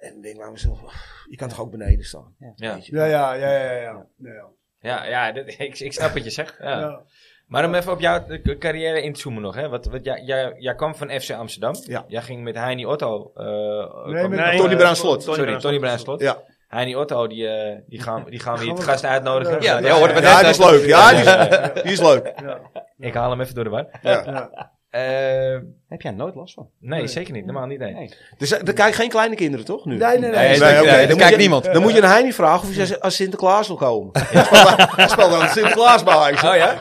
[SPEAKER 3] En ik denk bij mezelf, ach, je kan toch ook beneden staan.
[SPEAKER 1] Ja,
[SPEAKER 3] Weet je.
[SPEAKER 2] Ja, ja, ja, ja, ja. ja.
[SPEAKER 1] ja, ja dit- ik, ik snap wat je zegt. Ja.
[SPEAKER 2] Ja.
[SPEAKER 1] Maar om even op jouw eh, carrière in te zoomen nog. Hè? Wat, wat, jij, jij, jij kwam van FC Amsterdam.
[SPEAKER 3] Ja.
[SPEAKER 1] Jij ging met Heini Otto. eh, kwam-
[SPEAKER 2] met-
[SPEAKER 3] Tony
[SPEAKER 5] eh,
[SPEAKER 3] Bruin Slot.
[SPEAKER 5] Tony
[SPEAKER 1] sorry,
[SPEAKER 5] Bruin
[SPEAKER 1] Tony Bruinslot.
[SPEAKER 3] Ja,
[SPEAKER 1] Heini Otto, die, eh, die gaan, die gaan we hier
[SPEAKER 2] Gaan
[SPEAKER 1] te
[SPEAKER 2] we-
[SPEAKER 1] gast uitnodigen.
[SPEAKER 2] Ja,
[SPEAKER 1] die hoorden we
[SPEAKER 3] ja
[SPEAKER 1] net,
[SPEAKER 3] die is
[SPEAKER 1] eh,
[SPEAKER 3] leuk. Ja, dus, die is,
[SPEAKER 1] eh,
[SPEAKER 3] die is leuk.
[SPEAKER 2] Ja.
[SPEAKER 1] ik haal hem even door de war.
[SPEAKER 3] Ja.
[SPEAKER 2] Ja.
[SPEAKER 1] Eh,
[SPEAKER 5] Heb jij nooit last van?
[SPEAKER 1] nee, zeker niet. Normaal niet. Nee.
[SPEAKER 5] Nee.
[SPEAKER 3] Dus eh, er kijken geen kleine kinderen, toch? Nu?
[SPEAKER 2] Nee, nee,
[SPEAKER 5] Nee,
[SPEAKER 2] nee.
[SPEAKER 5] dat-
[SPEAKER 3] oké,
[SPEAKER 5] nee,
[SPEAKER 3] dan
[SPEAKER 5] dat
[SPEAKER 3] moet
[SPEAKER 5] kijkt
[SPEAKER 3] je-
[SPEAKER 5] niemand.
[SPEAKER 3] Dan moet je aan Heini vragen of hij als Sinterklaas wil komen. Hij speelt dan Sinterklaas bij Ajax.
[SPEAKER 1] Oh ja?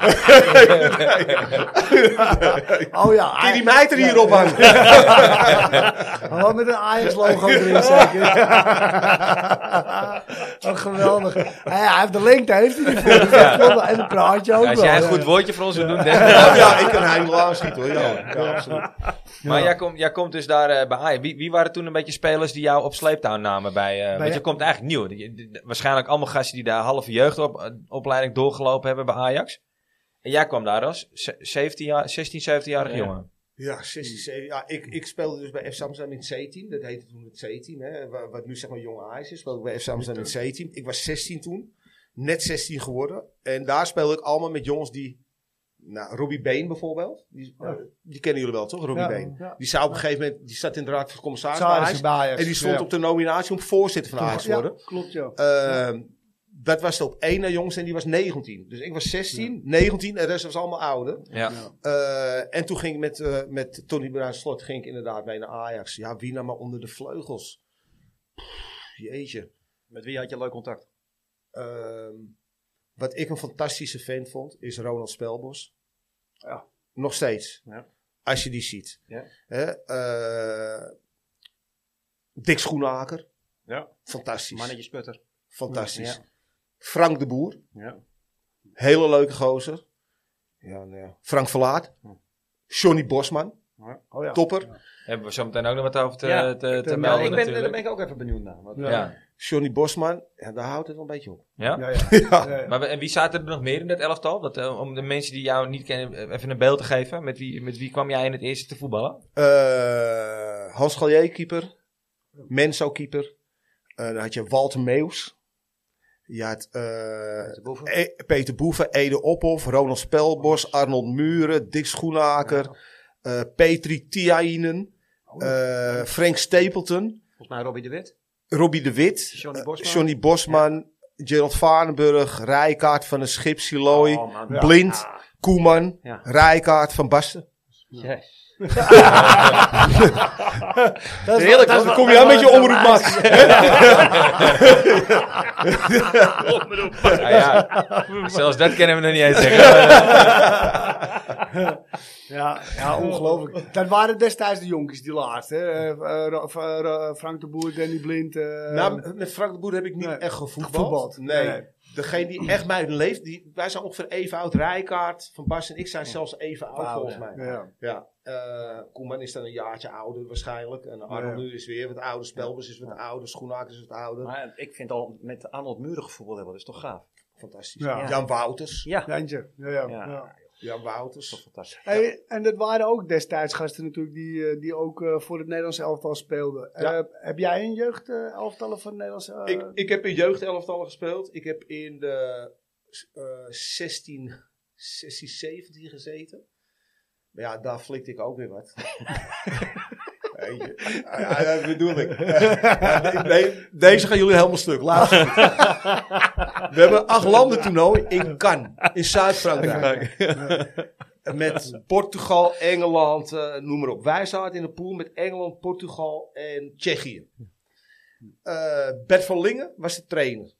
[SPEAKER 2] Oh ja,
[SPEAKER 3] Kun je die
[SPEAKER 2] Ajax-
[SPEAKER 3] meid er hier op hangen?
[SPEAKER 2] Oh, met een Ajax-logo erin zeker. Oh, geweldig. Hij, hij heeft de lengte, heeft hij die voor. Dus dat klopt wel. En een praatje ook
[SPEAKER 1] Ja, Als
[SPEAKER 2] wel,
[SPEAKER 1] jij een
[SPEAKER 2] ja.
[SPEAKER 1] goed woordje voor ons wil doen, Dennis.
[SPEAKER 3] Ja, ik kan Heini Laas niet hoor. Ja, ja, absoluut.
[SPEAKER 1] Maar jij, komt jij komt dus daar eh, bij Ajax. Wie, wie waren toen een beetje spelers die jou op sleeptouw namen? Bij, eh want je
[SPEAKER 2] ja-
[SPEAKER 1] komt eigenlijk nieuw. Je- de- de- waarschijnlijk allemaal gasten die daar halve jeugdopleiding doorgelopen hebben bij Ajax. En jij kwam daar als ze- 17 jaar, 16, 17-jarige
[SPEAKER 5] Ja.
[SPEAKER 1] jongen.
[SPEAKER 3] Ja,
[SPEAKER 2] Hmm.
[SPEAKER 3] 16, 17. Ja, ik, ik speelde dus bij FC Amsterdam in het C-team. Dat heette toen het C-team. Hè, wa- wat nu zeg maar jong Ajax is. Speelde ik bij FC Amsterdam in het C-team. Ik was 16 toen. Net 16 geworden. En daar speelde ik allemaal met jongens die... Nou, Robbie Been bijvoorbeeld. Die, eh, die kennen jullie wel, toch? Robbie
[SPEAKER 2] Ja,
[SPEAKER 3] Been.
[SPEAKER 2] ja.
[SPEAKER 3] Die zou op een gegeven moment... Die zat in de raad van commissaris bij
[SPEAKER 2] Sarris
[SPEAKER 3] Ajax.
[SPEAKER 2] is bij Ajax.
[SPEAKER 3] En die stond
[SPEAKER 2] Ja.
[SPEAKER 3] op de nominatie om voorzitter van Ajax te worden.
[SPEAKER 2] Ja, klopt, ja.
[SPEAKER 3] Ehm, dat was de op één na jongens en die was 19. Dus ik was 16, 19 en de rest was allemaal ouder.
[SPEAKER 1] Ja.
[SPEAKER 3] Eh, en toen ging ik met, eh, met Tony Bruin Slot ging ik inderdaad mee naar Ajax. Ja, wie nou maar onder de vleugels? Pff, jeetje.
[SPEAKER 5] Met wie had je leuk contact?
[SPEAKER 3] Ehm, Wat ik een fantastische fan vond, is Ronald Spelbos.
[SPEAKER 2] Ja.
[SPEAKER 3] Nog steeds.
[SPEAKER 5] Ja.
[SPEAKER 3] Als je die ziet.
[SPEAKER 5] Ja.
[SPEAKER 3] Hè, eh, Dick Schoenhaker.
[SPEAKER 5] Ja.
[SPEAKER 3] Fantastisch.
[SPEAKER 5] Mannetje sputter.
[SPEAKER 3] Fantastisch.
[SPEAKER 5] Ja.
[SPEAKER 3] Frank de Boer.
[SPEAKER 5] Ja.
[SPEAKER 3] Hele leuke gozer.
[SPEAKER 5] Ja, ja.
[SPEAKER 3] Frank Verlaat.
[SPEAKER 5] Ja.
[SPEAKER 3] Johnny Bosman.
[SPEAKER 2] Oh ja.
[SPEAKER 3] Topper.
[SPEAKER 1] Hebben we zo meteen ook nog wat over te,
[SPEAKER 5] Ja,
[SPEAKER 1] te, te
[SPEAKER 2] ik
[SPEAKER 5] Ja,
[SPEAKER 1] melden
[SPEAKER 5] ik ben, daar
[SPEAKER 1] natuurlijk.
[SPEAKER 5] ben ik ook even benieuwd naar. Want, eh,
[SPEAKER 2] Ja.
[SPEAKER 1] ja.
[SPEAKER 3] Johnny Bosman. Ja, daar houdt het wel een beetje op.
[SPEAKER 1] Ja?
[SPEAKER 2] Ja, ja. ja, ja.
[SPEAKER 1] Maar we- en wie zaten er nog meer in dat elftal? Dat, eh, om de mensen die jou niet kennen eh, even een beeld te geven. Met wie, met wie kwam jij in het eerste te voetballen?
[SPEAKER 3] Eh, Hans Gallier keeper. Menso keeper. Eh, dan had je Walter Meeuws. Je had eh,
[SPEAKER 5] De boeven.
[SPEAKER 3] E- Peter Boeven, Ede Ophof, Ronald Spelbos, Arnold Muren, Dick Schoenaker, eh Petri Tiainen, eh, Frank Stapleton,
[SPEAKER 5] Volgens mij Robbie de Wit.
[SPEAKER 3] Robbie de Wit,
[SPEAKER 5] Johnny
[SPEAKER 3] eh,
[SPEAKER 5] Bosman.
[SPEAKER 3] Johnny Bosman, Gerald Varenburg, Rijkaard van de Schip, Siloy,
[SPEAKER 5] Oh, man.
[SPEAKER 2] Ja.
[SPEAKER 3] Blind,
[SPEAKER 5] Ah,
[SPEAKER 3] Koeman,
[SPEAKER 5] Ja.
[SPEAKER 3] Rijkaard van Basten.
[SPEAKER 5] yes.
[SPEAKER 2] Dat is
[SPEAKER 3] Heerlijk,
[SPEAKER 2] wel-
[SPEAKER 3] hoor.
[SPEAKER 2] dat
[SPEAKER 3] dan
[SPEAKER 2] is
[SPEAKER 3] kom je
[SPEAKER 2] wel-
[SPEAKER 3] aan met je
[SPEAKER 2] dat is wel-
[SPEAKER 3] omroep, Max.
[SPEAKER 1] Ah, ja. Zelfs dat kennen we nog niet eens zeggen.
[SPEAKER 2] Ja, ja, ongelooflijk. Dat waren destijds de jonkies, die laatste. hè. Eh, eh, Ro- F- eh, Ro- Frank de Boer, Danny Blind. eh,
[SPEAKER 3] Nou, met Frank de Boer heb ik niet
[SPEAKER 2] Nee.
[SPEAKER 3] echt gevoetbald.
[SPEAKER 2] Gevoetbald.
[SPEAKER 3] Nee.
[SPEAKER 2] Nee.
[SPEAKER 3] Degene die echt bij hun leeft, die, wij zijn ongeveer even oud. Rijkaard, Van Bas en ik zijn zelfs even oud,
[SPEAKER 2] Wauw,
[SPEAKER 3] volgens
[SPEAKER 2] ja.
[SPEAKER 3] mij.
[SPEAKER 2] Ja.
[SPEAKER 3] Ja, eh, Koeman is dan een jaartje ouder waarschijnlijk. En Arnold
[SPEAKER 2] Ja.
[SPEAKER 3] is weer wat ouder. Spelbus is wat ouder. Schoenakers is wat ouder.
[SPEAKER 5] Maar ik vind al met Arnold Muren gevoel hebben, dat is toch gaaf?
[SPEAKER 3] Fantastisch.
[SPEAKER 2] Ja.
[SPEAKER 3] Jan Wouters.
[SPEAKER 5] Ja,
[SPEAKER 2] Jantje. Ja, ja,
[SPEAKER 5] Ja.
[SPEAKER 2] ja.
[SPEAKER 3] Jan
[SPEAKER 5] toch
[SPEAKER 3] Wouters.
[SPEAKER 5] fantastisch.
[SPEAKER 2] Hey, en dat waren ook destijds gasten natuurlijk die, eh, die ook eh, voor het Nederlandse elftal speelden.
[SPEAKER 3] Ja.
[SPEAKER 2] Eh, heb jij een jeugd eh, elftallen van het Nederlands? eh,
[SPEAKER 3] Ik, ik heb in jeugdelftallen gespeeld. Ik heb in de eh 16, 16, 17 gezeten. Maar ja, daar flikte ik ook weer wat. Weet je. Ah, ja, dat bedoel ik. Ja, nee, deze gaan jullie helemaal stuk. Laat het. We hebben acht landen toernooi in Cannes, in Zuid-Frankrijk. Met Portugal, Engeland, eh, noem maar op. Wij zaten in de pool met Engeland, Portugal en Tsjechië. Eh, Bert van Lingen was de trainer.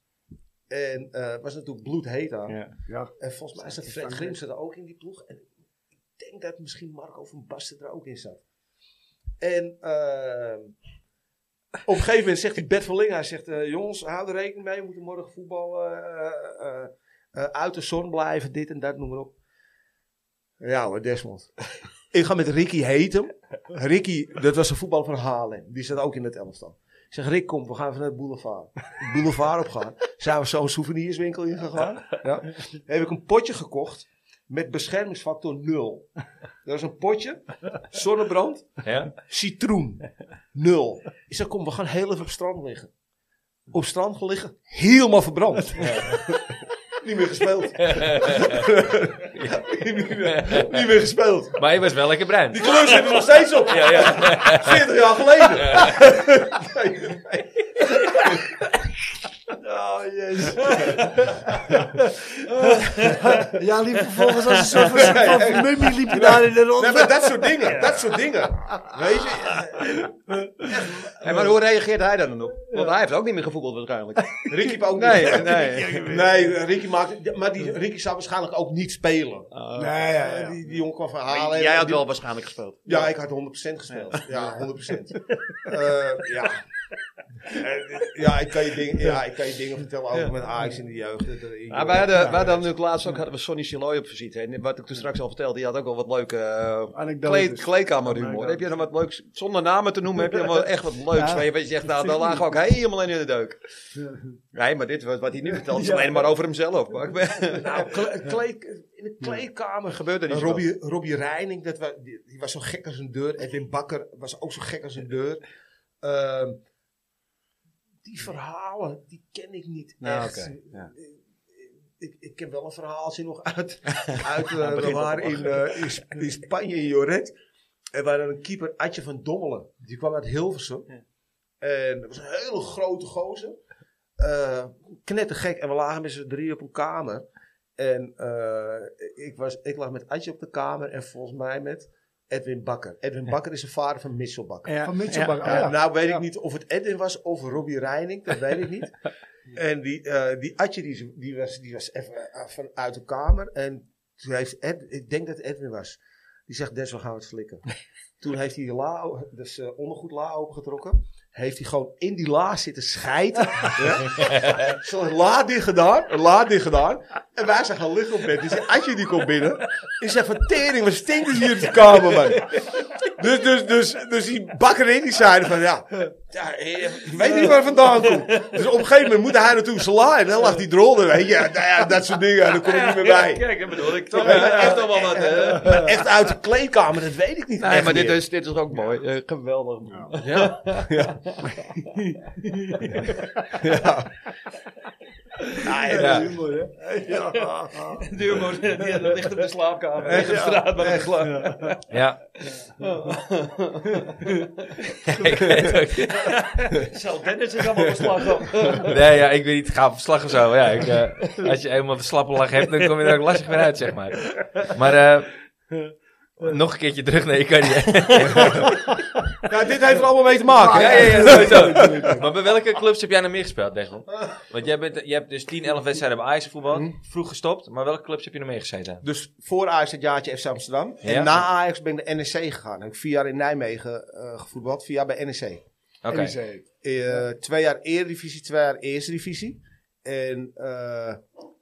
[SPEAKER 3] En eh, was natuurlijk bloedheet aan.
[SPEAKER 2] ja.
[SPEAKER 3] En volgens mij zat Fred Grim zat er ook in die ploeg. En ik denk dat misschien Marco van Basten er ook in zat. En ehm, op een gegeven moment zegt die Bert van Lingen, hij zegt, eh, jongens, hou er rekening mee, we moeten morgen voetballen, eh, eh, eh, uit de zon blijven, dit en dat, noem maar op. Ja hoor, Desmond. ik ga met Ricky Hetem. Ricky, dat was een voetballer van Haarlem, die zat ook in het elftal. Ik zeg, Rick, kom, we gaan even naar de boulevard. De boulevard op gaan. Zijn we zo'n souvenirswinkel ingegaan? Ja. Heb ik een potje gekocht met beschermingsfactor 0. Dat is een potje, zonnebrand,
[SPEAKER 1] Ja?
[SPEAKER 3] citroen. Nul. Ik zei, kom, we gaan heel even op strand liggen. Op strand gaan liggen, helemaal verbrand. niet meer gespeeld. niet, meer, niet meer gespeeld.
[SPEAKER 1] Maar je was wel lekker bruin.
[SPEAKER 3] Die kleur zit er nog steeds op.
[SPEAKER 1] Ja, ja.
[SPEAKER 3] 40 jaar geleden. oh, jezus.
[SPEAKER 2] ja, liep vervolgens als een soort van- soort van mummy liep je daar in de
[SPEAKER 3] Nee,
[SPEAKER 2] ronde.
[SPEAKER 3] maar dat soort dingen. Dat soort dingen. Weet je,
[SPEAKER 5] Hey,
[SPEAKER 2] Eh,
[SPEAKER 5] maar hoe reageert hij daar dan op? Want hij heeft ook niet meer gevoetbald waarschijnlijk.
[SPEAKER 3] Ricky heeft ook
[SPEAKER 5] Nee,
[SPEAKER 3] niet.
[SPEAKER 5] nee.
[SPEAKER 3] Nee, Ricky maakt, maar die, Ricky zou waarschijnlijk ook niet spelen.
[SPEAKER 2] Nee, ja, ja.
[SPEAKER 3] Die, die jongen kwam van
[SPEAKER 5] Eh, Maar
[SPEAKER 3] Haarlem.
[SPEAKER 5] jij had
[SPEAKER 3] Die-
[SPEAKER 5] wel waarschijnlijk gespeeld.
[SPEAKER 3] Ja, ik had 100% gespeeld. Ja, 100%. Eh, ja. Eh, Ja ik, kan je dingen, ja, ik kan je dingen vertellen over met Ajax in de jeugd. Dat er-
[SPEAKER 5] Ja, Ah, wij hadden, wij hadden natuurlijk laatst ook hadden we Sonny Siloy op visite. En wat ik toen straks al vertelde, die had ook wel wat leuke eh,
[SPEAKER 2] Anekdotes.
[SPEAKER 5] kleed, kleedkamerhumor. Heb je dan wat leuks, zonder namen te noemen, heb je dan wel echt wat leuks.
[SPEAKER 2] Oh Ja.
[SPEAKER 5] Waar je weet, je zegt, nou, daar lagen we ook helemaal in de deuk. Nee, maar dit, wat wat hij nu vertelt, is alleen maar over hemzelf. Maar ik ben-
[SPEAKER 3] Nou, kle- kleed- in de kleedkamer
[SPEAKER 5] gebeurde niet zoveel.
[SPEAKER 3] Robbie, Robbie Reining, dat wa- die, die was zo gek als een deur. Edwin Bakker was ook zo gek als een deur. Ehm, die verhalen, die ken ik niet
[SPEAKER 5] Nou,
[SPEAKER 3] echt. Eh,
[SPEAKER 5] oké, ja.
[SPEAKER 3] Ik, ik ken wel een verhaaltje nog uit. uit eh, we
[SPEAKER 5] Nou, begint
[SPEAKER 3] waren
[SPEAKER 5] al te
[SPEAKER 3] in, eh, in, Sp- in Spanje, in Joret. En we hadden een keeper, Adje van Dommelen. Die kwam uit Hilversum. En dat was een hele grote gozer. Eh knettergek. En we lagen met z'n drie op een kamer. En eh, ik, was, ik lag met Adje op de kamer en volgens mij met Edwin Bakker. Edwin Bakker is de vader van Mitchell Bakker.
[SPEAKER 2] Van Mitchellbach.
[SPEAKER 3] Eh,
[SPEAKER 2] oh, ja.
[SPEAKER 3] nou weet
[SPEAKER 2] Ja.
[SPEAKER 3] ik niet of het Edwin was of Robbie Reining, dat weet ik niet. En die, eh, die Atje die, ze- die was, die was even eh, van uit de kamer. En toen heeft Ed, ik denk dat het Edwin was. Die zegt, Des, we gaan het flikken. toen heeft hij die la, o- dus eh, ondergoed la opengetrokken. Heeft hij gewoon in die la zitten schijten. ja. Zo la dicht gedaan, een la dicht gedaan. En wij zijn gaan liggen op bed. Dus die Atje die komt binnen. Die zegt van, tering, wat stinkt het hier in de kamer, man. Dus, dus, dus, dus die bakker in die zeiden van ja, ja, eh, ik weet niet waar het vandaan komt. Dus op een gegeven moment moet hij naartoe slaan. En dan lag die drol er, weet je. Nou ja, dat soort dingen, daar kom ik niet meer bij.
[SPEAKER 5] Kijk, dat bedoel ik. Toch, echt allemaal wat. eh.
[SPEAKER 3] Maar echt uit de kleedkamer, dat weet ik niet.
[SPEAKER 1] Nee,
[SPEAKER 3] echt
[SPEAKER 1] maar dit
[SPEAKER 3] meer.
[SPEAKER 1] is, dit is ook mooi. Eh, geweldig.
[SPEAKER 3] Ja, ja.
[SPEAKER 1] Ja.
[SPEAKER 2] Humor, hè? Ja.
[SPEAKER 5] Deurmoed, die dat ligt op de slaapkamer. Ligt op de straat bij de glas.
[SPEAKER 1] Ja. ik weet het ook niet.
[SPEAKER 5] Zal Dennis zich allemaal beslag op.
[SPEAKER 1] Nee, ja, ik weet niet. Ga op verslag of zo. Ja, ik, eh, als je eenmaal de slappe lach hebt, dan kom je er ook lastig weer uit, zeg maar. Maar eh, nog een keertje terug naar je carrière.
[SPEAKER 3] Ja, dit heeft er allemaal mee te maken.
[SPEAKER 1] Ah, ja, ja, ja, sowieso. Maar bij welke clubs heb jij nou meer gespeeld, Declan? Want jij, bent, je hebt dus 10, 11 wedstrijden bij Ajax voetbal.
[SPEAKER 3] Hm?
[SPEAKER 1] Vroeg gestopt, maar welke clubs heb je nog meer gezeten?
[SPEAKER 3] Dus voor Ajax het jaartje FC Amsterdam. En
[SPEAKER 1] Ja.
[SPEAKER 3] na Ajax ben ik naar NEC gegaan. Heb ik vier jaar in Nijmegen eh gevoetbald, vier jaar bij NEC.
[SPEAKER 1] Oké.
[SPEAKER 2] NEC.
[SPEAKER 3] Eh, twee jaar Eredivisie, twee jaar Eerste Divisie. En eh,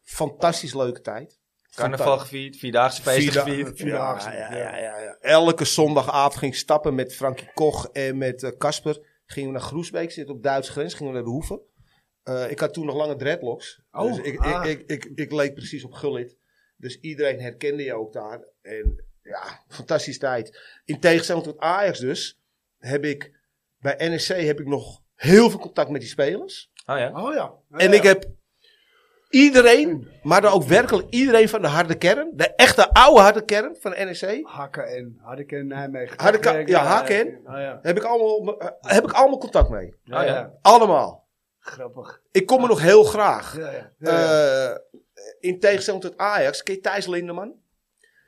[SPEAKER 3] fantastisch leuke tijd.
[SPEAKER 1] Carnaval gevierd, Vierdaagse feest
[SPEAKER 3] Vierda-
[SPEAKER 1] gevierd.
[SPEAKER 3] Ja,
[SPEAKER 2] Vierdaagse,
[SPEAKER 3] ja,
[SPEAKER 2] ja.
[SPEAKER 3] ja, ja, ja. Elke zondagavond ging ik stappen met Frankie Koch en met eh, Casper. gingen we naar Groesbeek, zit op Duitse grens, gingen we naar de Hoeve. Eh, ik had toen nog lange dreadlocks.
[SPEAKER 2] Oh,
[SPEAKER 3] dus ik,
[SPEAKER 2] ah.
[SPEAKER 3] ik, ik, ik, ik leek precies op Gullit. Dus iedereen herkende je ook daar. En ja, fantastische tijd. In tegenstelling tot Ajax dus, heb ik bij NSC heb ik nog heel veel contact met die spelers.
[SPEAKER 1] Oh ja.
[SPEAKER 2] Oh ja.
[SPEAKER 3] En ik heb iedereen, maar dan ook werkelijk iedereen van de harde kern, de echte oude harde kern van E NEC,
[SPEAKER 2] Hakken en Harken in Nijmegen.
[SPEAKER 3] Harken-
[SPEAKER 2] Kerk-
[SPEAKER 3] ja, Hakken en. Oh,
[SPEAKER 2] Ah, ja.
[SPEAKER 3] heb ik allemaal, eh, heb ik allemaal contact mee.
[SPEAKER 2] Ja,
[SPEAKER 1] Oh, ja.
[SPEAKER 2] ja.
[SPEAKER 3] Allemaal.
[SPEAKER 2] Grappig.
[SPEAKER 3] Ik kom er nog heel graag.
[SPEAKER 2] Ja, ja. Ja, ja.
[SPEAKER 3] Eh, in tegenstelling tot Ajax, ken je Thijs Lindeman?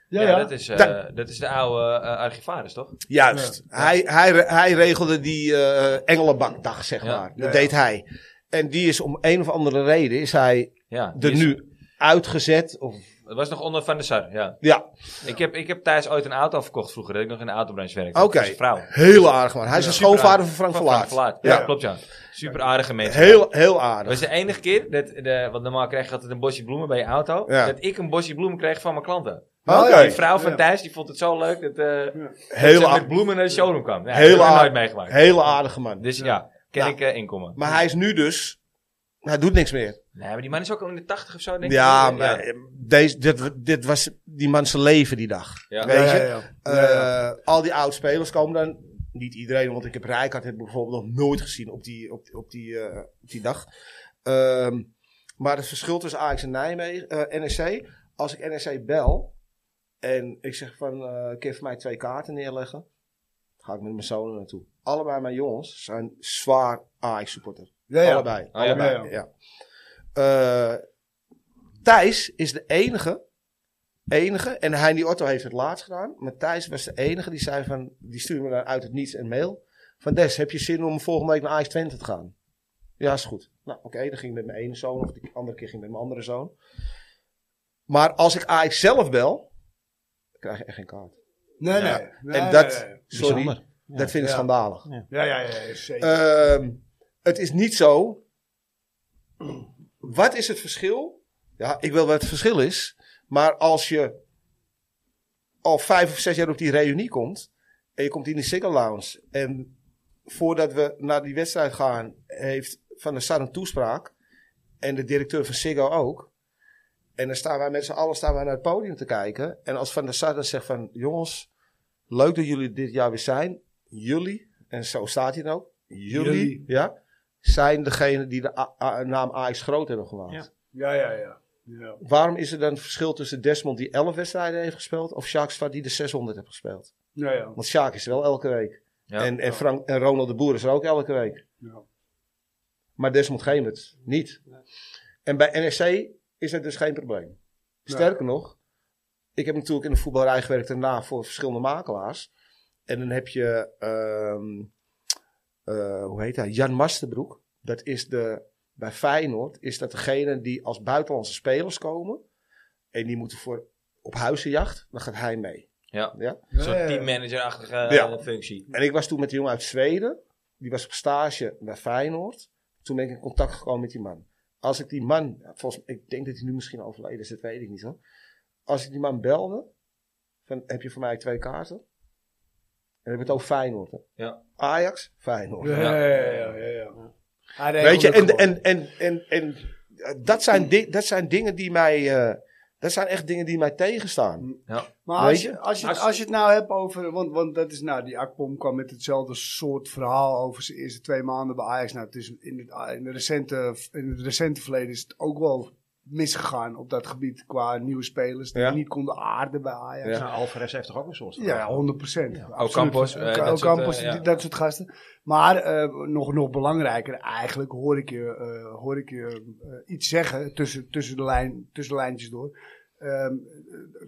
[SPEAKER 1] Ja,
[SPEAKER 2] Ja, ja.
[SPEAKER 1] Dat, is, eh,
[SPEAKER 3] Da-
[SPEAKER 1] dat is de oude eh, archivaris, toch?
[SPEAKER 3] Juist. Hij, hij, re- hij regelde die eh Engelenbakdag, zeg
[SPEAKER 1] Ja.
[SPEAKER 3] maar.
[SPEAKER 2] Ja,
[SPEAKER 3] Dat
[SPEAKER 2] ja.
[SPEAKER 3] deed hij. En die is om een of andere reden, is hij
[SPEAKER 1] Ja, die
[SPEAKER 3] er
[SPEAKER 1] is-
[SPEAKER 3] nu uitgezet. Of,
[SPEAKER 1] Het was nog onder Van der Sar, ja.
[SPEAKER 3] ja,
[SPEAKER 1] Ik, heb, ik heb thuis ooit een auto verkocht vroeger, dat ik nog in de autobranche werkte.
[SPEAKER 3] oké.
[SPEAKER 1] Dat is een vrouw.
[SPEAKER 3] Heel aardig man. Hij is de
[SPEAKER 1] Super
[SPEAKER 3] schoonvader
[SPEAKER 1] aardig.
[SPEAKER 3] van Frank
[SPEAKER 1] Van Frank
[SPEAKER 3] Verlaat.
[SPEAKER 1] Verlaat. Ja,
[SPEAKER 2] Ja.
[SPEAKER 1] klopt ja. Super aardige mensen.
[SPEAKER 3] Heel, heel
[SPEAKER 1] Dat
[SPEAKER 3] aardig.
[SPEAKER 1] was de enige keer, dat de, want normaal krijg je altijd een bosje bloemen bij je auto,
[SPEAKER 3] Ja.
[SPEAKER 1] dat ik een bosje bloemen kreeg van mijn klanten.
[SPEAKER 3] Oké.
[SPEAKER 1] Die vrouw van
[SPEAKER 2] Ja.
[SPEAKER 1] Thijs, die vond het zo leuk dat, eh
[SPEAKER 3] Heel,
[SPEAKER 1] ze met
[SPEAKER 3] aardig,
[SPEAKER 1] bloemen naar de showroom kwam. Ja, dat heb
[SPEAKER 3] Heel
[SPEAKER 1] ik nooit
[SPEAKER 3] aardig.
[SPEAKER 1] meegemaakt.
[SPEAKER 3] heel aardige man.
[SPEAKER 1] Dus ja, ken
[SPEAKER 3] Nou.
[SPEAKER 1] ik eh, inkomen.
[SPEAKER 3] Maar hij is nu dus... Hij doet niks meer.
[SPEAKER 1] Nee, maar die man is ook al in de tachtig of zo, denk
[SPEAKER 3] Ja,
[SPEAKER 1] ik.
[SPEAKER 3] maar eh, Deze, dit, dit was die man zijn leven die dag.
[SPEAKER 1] Ja.
[SPEAKER 3] Weet je?
[SPEAKER 2] Ja, ja, ja. Ja, ja.
[SPEAKER 3] Eh, al die oud-spelers komen dan. Niet iedereen, want ik heb Rijkaard heb ik bijvoorbeeld nog nooit gezien op die, op, op die, eh, op die dag. Ehm, maar het verschil tussen Ajax en Nijmegen, eh, NEC. Als ik NEC bel en ik zeg van, eh kun je voor mij twee kaarten neerleggen? Dan ga ik met mijn zoon er naartoe. Allebei mijn jongens zijn zwaar Ajax supporter.
[SPEAKER 2] Ja, ja.
[SPEAKER 3] Allebei.
[SPEAKER 1] Oh, ja.
[SPEAKER 3] allebei,
[SPEAKER 2] Ja, ja.
[SPEAKER 3] ja. Eh, Thijs is de enige, enige, en Heini Otto heeft het laatst gedaan, maar Thijs was de enige die zei van, die stuurde me dan uit het niets een mail, van Des, heb je zin om volgende week naar Ajax Twente te gaan? Ja, is goed. Nou, oké, dan ging ik met mijn ene zoon, of de andere keer ging ik met mijn andere zoon. Maar als ik Ajax zelf bel, dan krijg je echt geen kaart.
[SPEAKER 2] Nee,
[SPEAKER 3] Ja.
[SPEAKER 2] nee. Nee,
[SPEAKER 3] en dat,
[SPEAKER 2] nee, nee.
[SPEAKER 3] sorry,
[SPEAKER 4] Bijzonder.
[SPEAKER 3] dat vind ik
[SPEAKER 2] Ja.
[SPEAKER 3] schandalig.
[SPEAKER 2] Ja, ja, ja, ja, zeker.
[SPEAKER 3] Ehm, het is niet zo. Wat is het verschil? Ja, ik wil wat het verschil is. Maar als je al vijf of zes jaar op die reunie komt. En je komt in die single lounge. En voordat we naar die wedstrijd gaan, heeft Van der Sar een toespraak. En de directeur van Siggo ook. En dan staan wij met z'n allen staan wij naar het podium te kijken. En als Van der Sar dan zegt van... Jongens, leuk dat jullie dit jaar weer zijn. Jullie, en zo staat hij dan ook. Jullie,
[SPEAKER 2] Jullie.
[SPEAKER 3] ja. Zijn degene die de A- A- naam Ajax groot hebben gemaakt.
[SPEAKER 5] Ja.
[SPEAKER 2] Ja, ja, ja. Ja,
[SPEAKER 3] Waarom is er dan een verschil tussen Desmond die 11 wedstrijden heeft gespeeld. Of Jacques Svat die de 600 heeft gespeeld.
[SPEAKER 2] ja. ja.
[SPEAKER 3] Want Sjaak is er wel elke week.
[SPEAKER 1] Ja.
[SPEAKER 3] En, en, Frank, en Ronald de Boer is er ook elke week.
[SPEAKER 2] Ja.
[SPEAKER 3] Maar Desmond Gemert E niet. En bij NSC is dat dus geen probleem. Sterker nog, ik heb natuurlijk in de voetbalrij gewerkt daarna voor verschillende makelaars. En dan heb je, ehm, eh, hoe heet hij? Jan Masterbroek. Dat is de, bij Feyenoord is dat degene die als buitenlandse spelers komen. En die moeten voor, op huizenjacht, dan gaat hij mee.
[SPEAKER 1] Ja.
[SPEAKER 3] Ja.
[SPEAKER 1] Een soort teammanager-achtige eh,
[SPEAKER 3] Ja.
[SPEAKER 1] functie.
[SPEAKER 3] En ik was toen met die jongen uit Zweden. Die was op stage bij Feyenoord. Toen ben ik in contact gekomen met die man. Als ik die man, volgens, ik denk dat hij nu misschien overleden is, dat weet ik niet hoor. Als ik die man belde, van, heb je voor mij twee kaarten? En dan heb ik het over Feyenoord. hè.
[SPEAKER 1] Ja.
[SPEAKER 3] Ajax, Feyenoord.
[SPEAKER 2] Ja, ja, ja. ja, ja. Hij
[SPEAKER 3] Weet je, en,
[SPEAKER 2] regelde het
[SPEAKER 3] en, en, en, en eh, dat, zijn di- dat zijn dingen die mij, eh, dat zijn echt dingen die mij tegenstaan.
[SPEAKER 2] Maar
[SPEAKER 3] Weet
[SPEAKER 2] als
[SPEAKER 3] je?
[SPEAKER 2] je, als, je,
[SPEAKER 5] Als-
[SPEAKER 2] als je het nou hebt over. Want, want dat is nou, die Akpom kwam met hetzelfde soort verhaal over zijn eerste twee maanden bij Ajax. Nou, het is in, het, in, de recente, in het recente verleden is het ook wel misgegaan op dat gebied qua nieuwe spelers die
[SPEAKER 3] Ja.
[SPEAKER 2] niet konden aarden bij Ajax.
[SPEAKER 3] Ja.
[SPEAKER 2] Ja.
[SPEAKER 4] Nou, Alvarez heeft toch ook een soort van-
[SPEAKER 2] 100 procent.
[SPEAKER 1] Ocampos, eh, dat soort, eh, ja.
[SPEAKER 2] dat soort gasten. Maar eh, nog, nog belangrijker, eigenlijk hoor ik je, eh, hoor ik je eh, iets zeggen tussen, tussen, de lijn, tussen de lijntjes door. Ehm,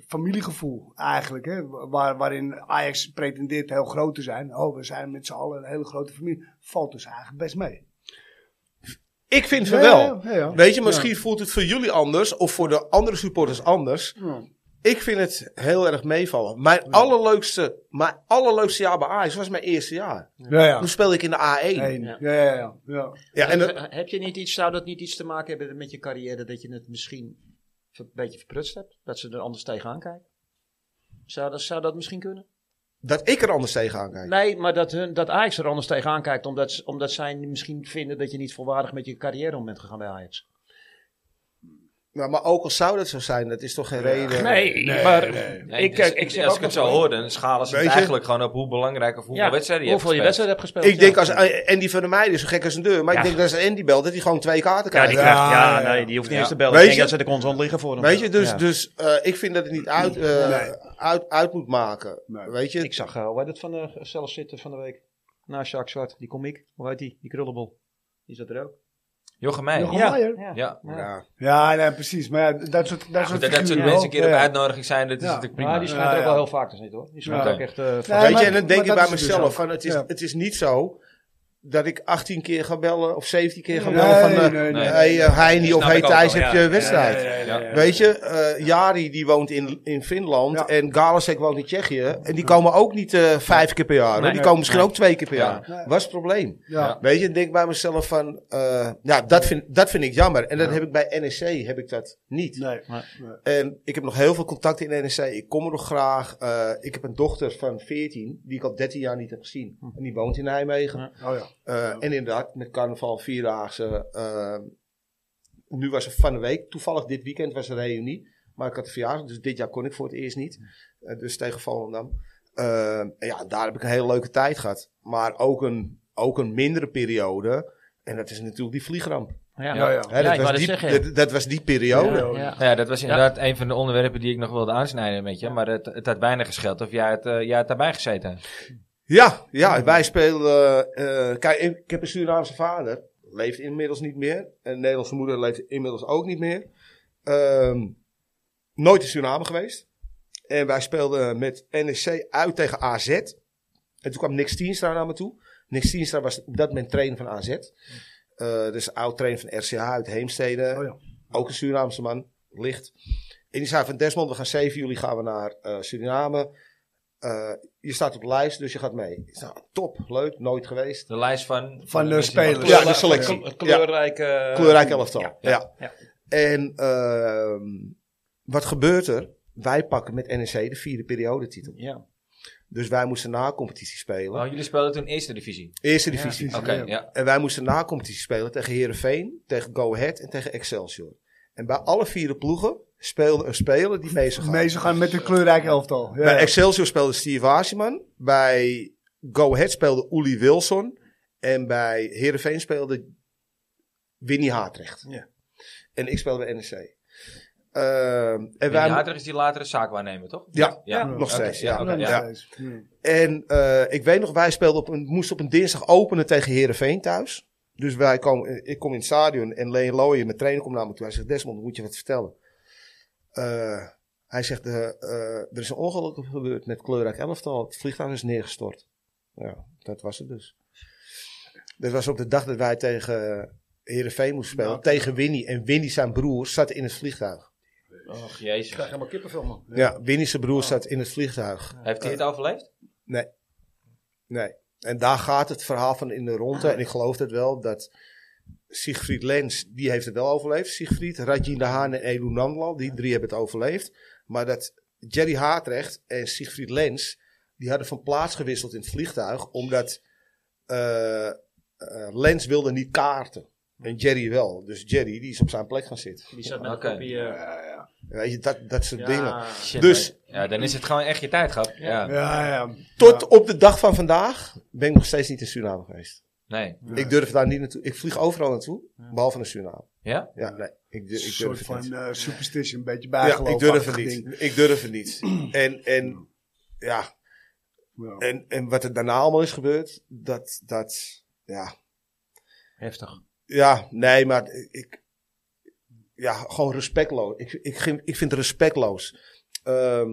[SPEAKER 2] familiegevoel eigenlijk. Hè? Waar, waarin Ajax pretendeert heel groot te zijn. Oh, we zijn met z'n allen een hele grote familie. Valt dus eigenlijk best mee.
[SPEAKER 3] Ik vind van wel.
[SPEAKER 2] Ja, ja, ja.
[SPEAKER 3] Weet je, misschien voelt het voor jullie anders of voor de andere supporters anders.
[SPEAKER 2] Ja.
[SPEAKER 3] Ik vind het heel erg meevallen. Mijn, allerleukste, mijn allerleukste jaar bij Ajax was mijn eerste jaar.
[SPEAKER 2] Ja, ja.
[SPEAKER 3] Toen speelde ik in de A1.
[SPEAKER 2] Eén. Ja, ja, ja. ja.
[SPEAKER 3] Ja, en dat-
[SPEAKER 4] Heb- heb je niet iets, zou dat niet iets te maken hebben met je carrière dat je het misschien een beetje verprutst hebt? Dat ze er anders tegenaan kijken? Zou dat, zou dat misschien kunnen?
[SPEAKER 3] dat ik er anders tegenaan kijk.
[SPEAKER 4] Nee, maar dat, hun, dat Ajax er anders tegenaan kijkt omdat, ze- omdat zij misschien vinden dat je niet volwaardig met je carrière om bent gegaan bij Ajax.
[SPEAKER 3] Nou, maar ook al zou dat zo zijn, dat is toch geen reden.
[SPEAKER 5] Nee, maar
[SPEAKER 1] Nee,
[SPEAKER 5] eh, ik,
[SPEAKER 1] dus-
[SPEAKER 5] kijk, ik zeg
[SPEAKER 1] als
[SPEAKER 5] ook
[SPEAKER 1] ik het
[SPEAKER 5] nog
[SPEAKER 1] zo hoor, dan schalen ze het
[SPEAKER 3] Weet je?
[SPEAKER 1] eigenlijk gewoon op hoe belangrijk of hoeveel wedstrijden je
[SPEAKER 4] hoeveel je
[SPEAKER 1] hebt
[SPEAKER 4] wedstrijden hebt gespeeld.
[SPEAKER 3] Ik denk
[SPEAKER 4] ja.
[SPEAKER 3] als Andy van der Meijden, zo gek als een deur. Maar ik denk dat als Andy belt, dat hij gewoon twee kaarten
[SPEAKER 5] Ja,
[SPEAKER 3] krijgt.
[SPEAKER 5] die krijgt, ja,
[SPEAKER 2] Ja, ja.
[SPEAKER 5] Nee, die hoeft niet
[SPEAKER 1] Ja.
[SPEAKER 5] eens te bellen.
[SPEAKER 3] Weet
[SPEAKER 5] ik denk
[SPEAKER 3] je-
[SPEAKER 5] dat ze de constant liggen voor hem.
[SPEAKER 3] Weet je, dus,
[SPEAKER 5] Ja.
[SPEAKER 3] dus eh, ik vind dat het niet uit, eh,
[SPEAKER 2] Nee.
[SPEAKER 3] uit, uit moet maken.
[SPEAKER 2] Nee.
[SPEAKER 3] Weet je?
[SPEAKER 4] Ik zag, eh, hoe heet het van eh, zelf zitten van de week? Na Jacques Zwart, die komiek. Hoe heet die? Die krullenbol. Die zat er ook.
[SPEAKER 1] Jochem Meijer.
[SPEAKER 2] Jochem
[SPEAKER 5] Ja.
[SPEAKER 2] Meijer.
[SPEAKER 4] Ja.
[SPEAKER 1] Ja.
[SPEAKER 3] Ja.
[SPEAKER 2] Ja, nee, precies. Maar ja, dat soort, dat
[SPEAKER 1] Goed,
[SPEAKER 2] soort
[SPEAKER 1] dat, dat soort
[SPEAKER 2] figuren
[SPEAKER 1] mensen een
[SPEAKER 2] ook.
[SPEAKER 1] keer op
[SPEAKER 2] Ja.
[SPEAKER 1] uitnodiging zijn, dat is
[SPEAKER 2] Ja.
[SPEAKER 1] natuurlijk prima.
[SPEAKER 4] Maar die schijnt
[SPEAKER 2] Ja,
[SPEAKER 4] er ook
[SPEAKER 2] ja.
[SPEAKER 4] wel heel vaak te zitten hoor. Die schijnt
[SPEAKER 1] Ja.
[SPEAKER 4] ook echt eh, van-
[SPEAKER 2] Ja,
[SPEAKER 3] Weet
[SPEAKER 2] maar-
[SPEAKER 3] je, en dan denk ik
[SPEAKER 2] maar
[SPEAKER 3] bij
[SPEAKER 2] dat is dus
[SPEAKER 3] mezelf:
[SPEAKER 2] ook.
[SPEAKER 3] van, het, is,
[SPEAKER 2] Ja.
[SPEAKER 3] het is niet zo dat ik 18 keer ga bellen of 17 keer ga
[SPEAKER 2] Nee,
[SPEAKER 3] bellen. van, eh,
[SPEAKER 2] nee, nee.
[SPEAKER 1] nee.
[SPEAKER 3] hey, eh, Heini of
[SPEAKER 1] Snap
[SPEAKER 3] hey
[SPEAKER 1] ik ook
[SPEAKER 3] Thijs,
[SPEAKER 1] wel,
[SPEAKER 3] heb
[SPEAKER 5] ja.
[SPEAKER 3] je wedstrijd?
[SPEAKER 2] Ja, ja, ja, ja, ja.
[SPEAKER 3] Weet je, eh Jari die woont in, in Finland
[SPEAKER 2] Ja.
[SPEAKER 3] en Galasek woont in Tsjechië. En die komen ook niet eh, vijf keer per jaar. hoor.
[SPEAKER 5] Nee.
[SPEAKER 3] die komen misschien ook twee keer per
[SPEAKER 1] Ja.
[SPEAKER 3] jaar.
[SPEAKER 2] Nee.
[SPEAKER 3] Was het probleem.
[SPEAKER 2] Ja.
[SPEAKER 3] Weet je, ik denk bij mezelf van, eh, ja, dat vind, dat vind ik jammer. En dat heb ik bij NEC heb ik dat niet.
[SPEAKER 2] Nee.
[SPEAKER 3] En ik heb nog heel veel contacten in NEC. Ik kom er nog graag. Eh, ik heb een dochter van 14, die ik al 13 jaar niet heb gezien. En die woont in Nijmegen.
[SPEAKER 2] Oh ja.
[SPEAKER 3] Eh, En inderdaad, met carnaval, vierdaagse. eh, nu was er van de week, toevallig dit weekend was er een reunie. Maar ik had de verjaardag, dus dit jaar kon ik voor het eerst niet. Eh, dus tegen Volendam. Eh, en ja, daar heb ik een hele leuke tijd gehad. Maar ook een, ook een mindere periode. En dat is natuurlijk die vliegramp.
[SPEAKER 4] Ja,
[SPEAKER 1] Ja,
[SPEAKER 2] ja.
[SPEAKER 3] Hè,
[SPEAKER 4] Ja,
[SPEAKER 3] dat,
[SPEAKER 4] ik
[SPEAKER 3] was
[SPEAKER 4] wou dat
[SPEAKER 3] die,
[SPEAKER 4] zeggen, ja.
[SPEAKER 3] dat, dat was die periode.
[SPEAKER 2] Ja.
[SPEAKER 4] Ja.
[SPEAKER 1] Ja, dat was inderdaad een van de onderwerpen die ik nog wilde aansnijden met je. Maar het, het had weinig gescheld of jij had, eh, jij had daarbij gezeten.
[SPEAKER 3] Ja, ja wij speelden. eh, kijk, ik, ik heb een Surinaamse vader. Leeft inmiddels niet meer. En een Nederlandse moeder leeft inmiddels ook niet meer. Ehm, nooit in Suriname geweest. En wij speelden met NEC uit tegen AZ. En toen kwam Nick Stienstra naar me toe. Nick Stienstra was op dat moment trainer van AZ. Eh, dus oud trainer van RCH uit Heemstede.
[SPEAKER 2] Oh ja.
[SPEAKER 3] Ook een Surinaamse man. Licht. En die zei van Desmond, we gaan 7 juli gaan we naar eh, Suriname. Eh, je staat op de lijst, dus je gaat mee. Ik zei, nou, top, leuk, nooit geweest.
[SPEAKER 1] De lijst van...
[SPEAKER 2] Van de spelers.
[SPEAKER 3] Ja, de selectie.
[SPEAKER 5] Kle- Kleurrijke... eh,
[SPEAKER 3] Kleurrijk elftal. Ja.
[SPEAKER 5] ja.
[SPEAKER 3] En ehm, wat gebeurt er? Wij pakken met NEC de vierde periodetitel.
[SPEAKER 4] Ja.
[SPEAKER 3] Dus wij moesten na competitie spelen.
[SPEAKER 1] Oh, jullie speelden toen eerste divisie.
[SPEAKER 3] Eerste divisie.
[SPEAKER 1] Oké, ja.
[SPEAKER 3] En wij moesten na competitie spelen tegen Herenveen, tegen Go Ahead en tegen Excelsior. En bij alle vier de ploegen speelde een speler die mee zou gaan.
[SPEAKER 2] Mee ze gaan met een kleurrijk elftal. Ja,
[SPEAKER 3] Bij
[SPEAKER 2] ja.
[SPEAKER 3] Excelsior speelde Steve Haseman. Bij Go Ahead speelde Uli Wilson. En bij Heerenveen speelde Winnie Haatrecht.
[SPEAKER 5] Ja.
[SPEAKER 3] En ik speelde bij NEC. Ehm, en
[SPEAKER 1] En
[SPEAKER 3] wij,
[SPEAKER 1] later is die latere zaakwaarnemer, toch?
[SPEAKER 3] Ja.
[SPEAKER 1] ja.
[SPEAKER 3] nog steeds, ja.
[SPEAKER 1] oké,
[SPEAKER 2] nog
[SPEAKER 1] ja.
[SPEAKER 2] steeds. Ja.
[SPEAKER 3] en eh, ik weet nog, wij speelden op een, moesten op een dinsdag openen tegen Heerenveen thuis. Dus wij komen, ik kom in het stadion en Leen Looijen, mijn trainer, komt naar me toe. Hij zegt, Desmond, moet je wat vertellen. Eh, Hij zegt, eh, eh, er is een ongeluk gebeurd met kleurrijk elftal. Het vliegtuig is neergestort. Ja, dat was het dus. Dat was op de dag dat wij tegen Herenveen moesten spelen.
[SPEAKER 2] Nou.
[SPEAKER 3] Tegen Winnie. En Winnie zijn broer zat in het vliegtuig.
[SPEAKER 1] Och,
[SPEAKER 2] Ik krijg
[SPEAKER 1] jezus.
[SPEAKER 2] helemaal kippenvel, man.
[SPEAKER 3] Ja, Winnie zijn broer zat in het vliegtuig.
[SPEAKER 1] Heeft hij het overleefd?
[SPEAKER 3] Nee. En daar gaat het verhaal van in de ronde. En ik geloof dat wel dat Siegfried Lens, die heeft het wel overleefd. Siegfried, Rajin de Haan en Edu Nandlal, die drie hebben het overleefd. Maar dat Jerry Haatrecht en Siegfried Lens, die hadden van plaats gewisseld in het vliegtuig. Omdat eh, eh, Lens wilde niet kaarten. En Jerry wel. Dus Jerry, die is op zijn plek gaan zitten.
[SPEAKER 5] Die zat met
[SPEAKER 1] Oké.
[SPEAKER 5] een kopie... eh,
[SPEAKER 3] Weet je, dat, dat soort
[SPEAKER 5] ja,
[SPEAKER 3] dingen.
[SPEAKER 1] Shit,
[SPEAKER 3] Dus-
[SPEAKER 1] man. Ja, dan is het gewoon echt je tijd gehad. Ja.
[SPEAKER 2] Ja, ja.
[SPEAKER 3] Tot op de dag van vandaag ben ik nog steeds niet in Suriname geweest.
[SPEAKER 1] Nee.
[SPEAKER 3] Ik durf daar niet naartoe. Ik vlieg overal naartoe, behalve naar Suriname.
[SPEAKER 1] Ja?
[SPEAKER 3] Ja, nee. Ik,
[SPEAKER 2] Een
[SPEAKER 3] durf- ik
[SPEAKER 2] soort
[SPEAKER 3] durf
[SPEAKER 2] van
[SPEAKER 3] het niet.
[SPEAKER 2] eh, superstition, een beetje
[SPEAKER 3] Ja,
[SPEAKER 2] bijgeloof.
[SPEAKER 3] ik durf het niet. Ik durf het niet. En, en ja, en, en wat er daarna allemaal is gebeurd, dat, dat, ja.
[SPEAKER 4] Heftig.
[SPEAKER 3] Ja, nee, maar ik, ja, gewoon respectloos. Ik, ik, vind- ik vind het respectloos. Ehm,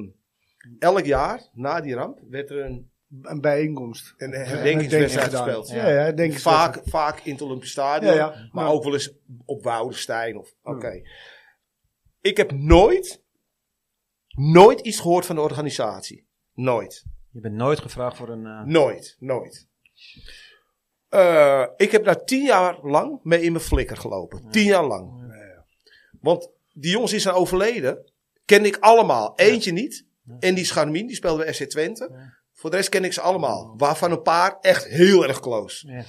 [SPEAKER 3] elk jaar, na die ramp, werd er een,
[SPEAKER 2] Een bijeenkomst.
[SPEAKER 3] een
[SPEAKER 2] Denk
[SPEAKER 3] herdenkingswedstrijd
[SPEAKER 2] gedaan.
[SPEAKER 3] gespeeld.
[SPEAKER 2] Ja, ja, denk ik.
[SPEAKER 3] Vaak, vaak in het Olympisch Stadion.
[SPEAKER 2] Ja, ja.
[SPEAKER 3] Maar
[SPEAKER 2] Ja.
[SPEAKER 3] ook wel eens op Woudenstein. Of,
[SPEAKER 2] Ja.
[SPEAKER 3] oké. Ik heb nooit, nooit iets gehoord van de organisatie. Nooit.
[SPEAKER 5] Je bent nooit gevraagd voor een... eh,
[SPEAKER 3] Nooit. Nooit. Eh, ik heb daar tien jaar lang mee in mijn flikker gelopen. Tien jaar lang. Want die jongens die zijn overleden, ken ik allemaal. Eentje niet. En die Scharmin, die speelde bij FC Twente. Voor de rest ken ik ze allemaal. Waarvan een paar echt heel erg close.
[SPEAKER 5] ja.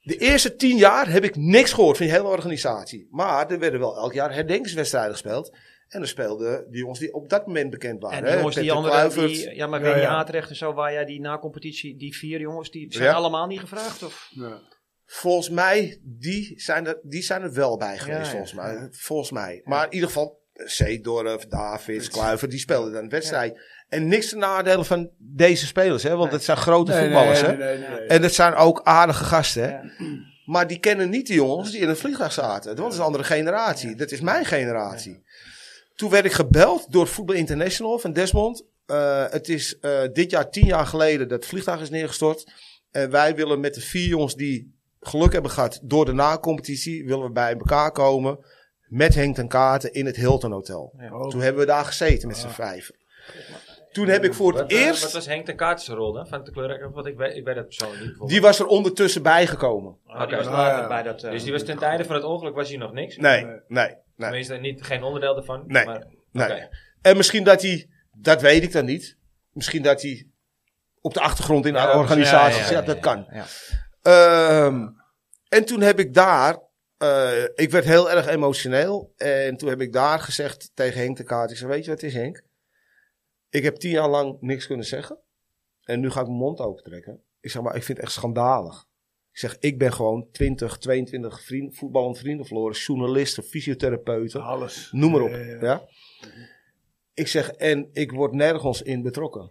[SPEAKER 3] De eerste tien jaar heb ik niks gehoord van die hele organisatie. Maar er werden wel elk jaar herdenkingswedstrijden gespeeld. En er speelden die jongens die op dat moment bekend waren.
[SPEAKER 5] En die
[SPEAKER 3] hè.
[SPEAKER 5] jongens, die
[SPEAKER 3] Peter
[SPEAKER 5] andere,
[SPEAKER 3] Kluivert.
[SPEAKER 5] die, ja, maar
[SPEAKER 2] Ja,
[SPEAKER 5] ben je
[SPEAKER 2] ja.
[SPEAKER 5] Haatrecht en zo, waar jij die na-competitie, die vier jongens, die zijn
[SPEAKER 3] Ja.
[SPEAKER 5] allemaal niet gevraagd? Of?
[SPEAKER 2] Ja.
[SPEAKER 3] Volgens mij, die zijn, er, die zijn er wel bij geweest,
[SPEAKER 5] Ja, ja.
[SPEAKER 3] volgens mij. Volgens mij. Maar in ieder geval, Zeedorf, Davids, Kluivert, die speelden dan een wedstrijd. En niks te nadelen van deze spelers, hè? want het zijn grote voetballers. hè? En dat zijn ook aardige gasten. hè. Maar die kennen niet de jongens die in het vliegtuig zaten. Dat is een andere generatie. Dat is mijn generatie. Toen werd ik gebeld door Voetbal International van Desmond. Eh, het is eh, dit jaar tien jaar geleden dat het vliegtuig is neergestort. En wij willen met de vier jongens die geluk hebben gehad door de na-competitie... willen we bij elkaar komen met Henk ten Kaarten in het Hilton Hotel. Toen hebben we daar gezeten met z'n vijven. Toen heb ik voor het
[SPEAKER 1] Wat, eh,
[SPEAKER 3] eerst...
[SPEAKER 1] wat was Henk de Kaartse rol dan? Van de kleurrijk? Want ik weet, ik weet dat persoonlijk niet. bijvoorbeeld.
[SPEAKER 3] die was er ondertussen bijgekomen.
[SPEAKER 1] Ah, die
[SPEAKER 5] Oké.
[SPEAKER 1] was
[SPEAKER 2] later
[SPEAKER 5] bij dat... eh,
[SPEAKER 1] Dus die was ten tijde van het ongeluk was hij nog niks?
[SPEAKER 3] Nee, nee, nee.
[SPEAKER 1] Tenminste, niet, geen onderdeel daarvan.
[SPEAKER 3] Nee,
[SPEAKER 1] Maar,
[SPEAKER 3] nee.
[SPEAKER 1] Oké.
[SPEAKER 3] En misschien dat hij, dat weet ik dan niet. Misschien dat hij op de achtergrond in
[SPEAKER 1] Ja,
[SPEAKER 3] haar organisatie
[SPEAKER 1] ja, ja,
[SPEAKER 3] zit.
[SPEAKER 1] ja,
[SPEAKER 3] dat
[SPEAKER 1] ja,
[SPEAKER 3] kan.
[SPEAKER 5] ja.
[SPEAKER 3] Ehm, en toen heb ik daar, eh, ik werd heel erg emotioneel. En toen heb ik daar gezegd tegen Henk de Kaart. Ik zei, weet je wat het is Henk? Ik heb tien jaar lang niks kunnen zeggen. En nu ga ik mijn mond open trekken. Ik zeg maar, ik vind het echt schandalig. Ik zeg, ik ben gewoon 20, 22 vriend, voetballend vrienden verloren. Journalisten, fysiotherapeuten.
[SPEAKER 2] Alles.
[SPEAKER 3] Noem maar op.
[SPEAKER 2] Ja,
[SPEAKER 3] Ja,
[SPEAKER 2] ja, ja.
[SPEAKER 3] Ik zeg, en ik word nergens in betrokken.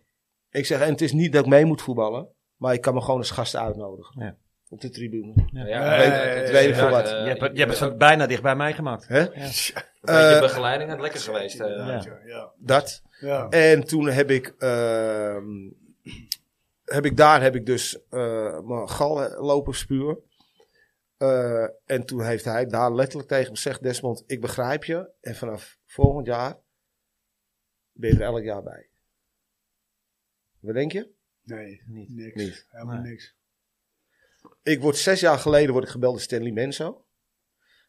[SPEAKER 3] Ik zeg, en het is niet dat ik mee moet voetballen, maar ik kan me gewoon als gast uitnodigen.
[SPEAKER 5] Ja.
[SPEAKER 3] Op de tribune.
[SPEAKER 1] Ja,
[SPEAKER 2] weet-
[SPEAKER 1] het is
[SPEAKER 3] weet ik
[SPEAKER 1] inderdaad,
[SPEAKER 3] voor wat.
[SPEAKER 1] eh,
[SPEAKER 5] je hebt, het- je
[SPEAKER 1] je
[SPEAKER 5] hebt het van bijna dicht bij mij gemaakt.
[SPEAKER 3] Hè?
[SPEAKER 1] een beetje
[SPEAKER 3] Eh,
[SPEAKER 1] begeleiding had lekker geweest. eh.
[SPEAKER 5] Ja.
[SPEAKER 2] Ja.
[SPEAKER 3] dat.
[SPEAKER 2] Ja.
[SPEAKER 3] En toen heb ik, ehm, heb ik daar heb ik dus eh, mijn gal lopen spuwen. Eh, en toen heeft hij daar letterlijk tegen me gezegd, Desmond, ik begrijp je. En vanaf volgend jaar ben je er elk jaar bij. Wat denk je?
[SPEAKER 2] Nee,
[SPEAKER 5] Niet.
[SPEAKER 2] niks.
[SPEAKER 3] Niet.
[SPEAKER 2] Helemaal
[SPEAKER 5] Nee.
[SPEAKER 2] niks.
[SPEAKER 3] Ik word zes jaar geleden word ik gebeld door Stanley Menso.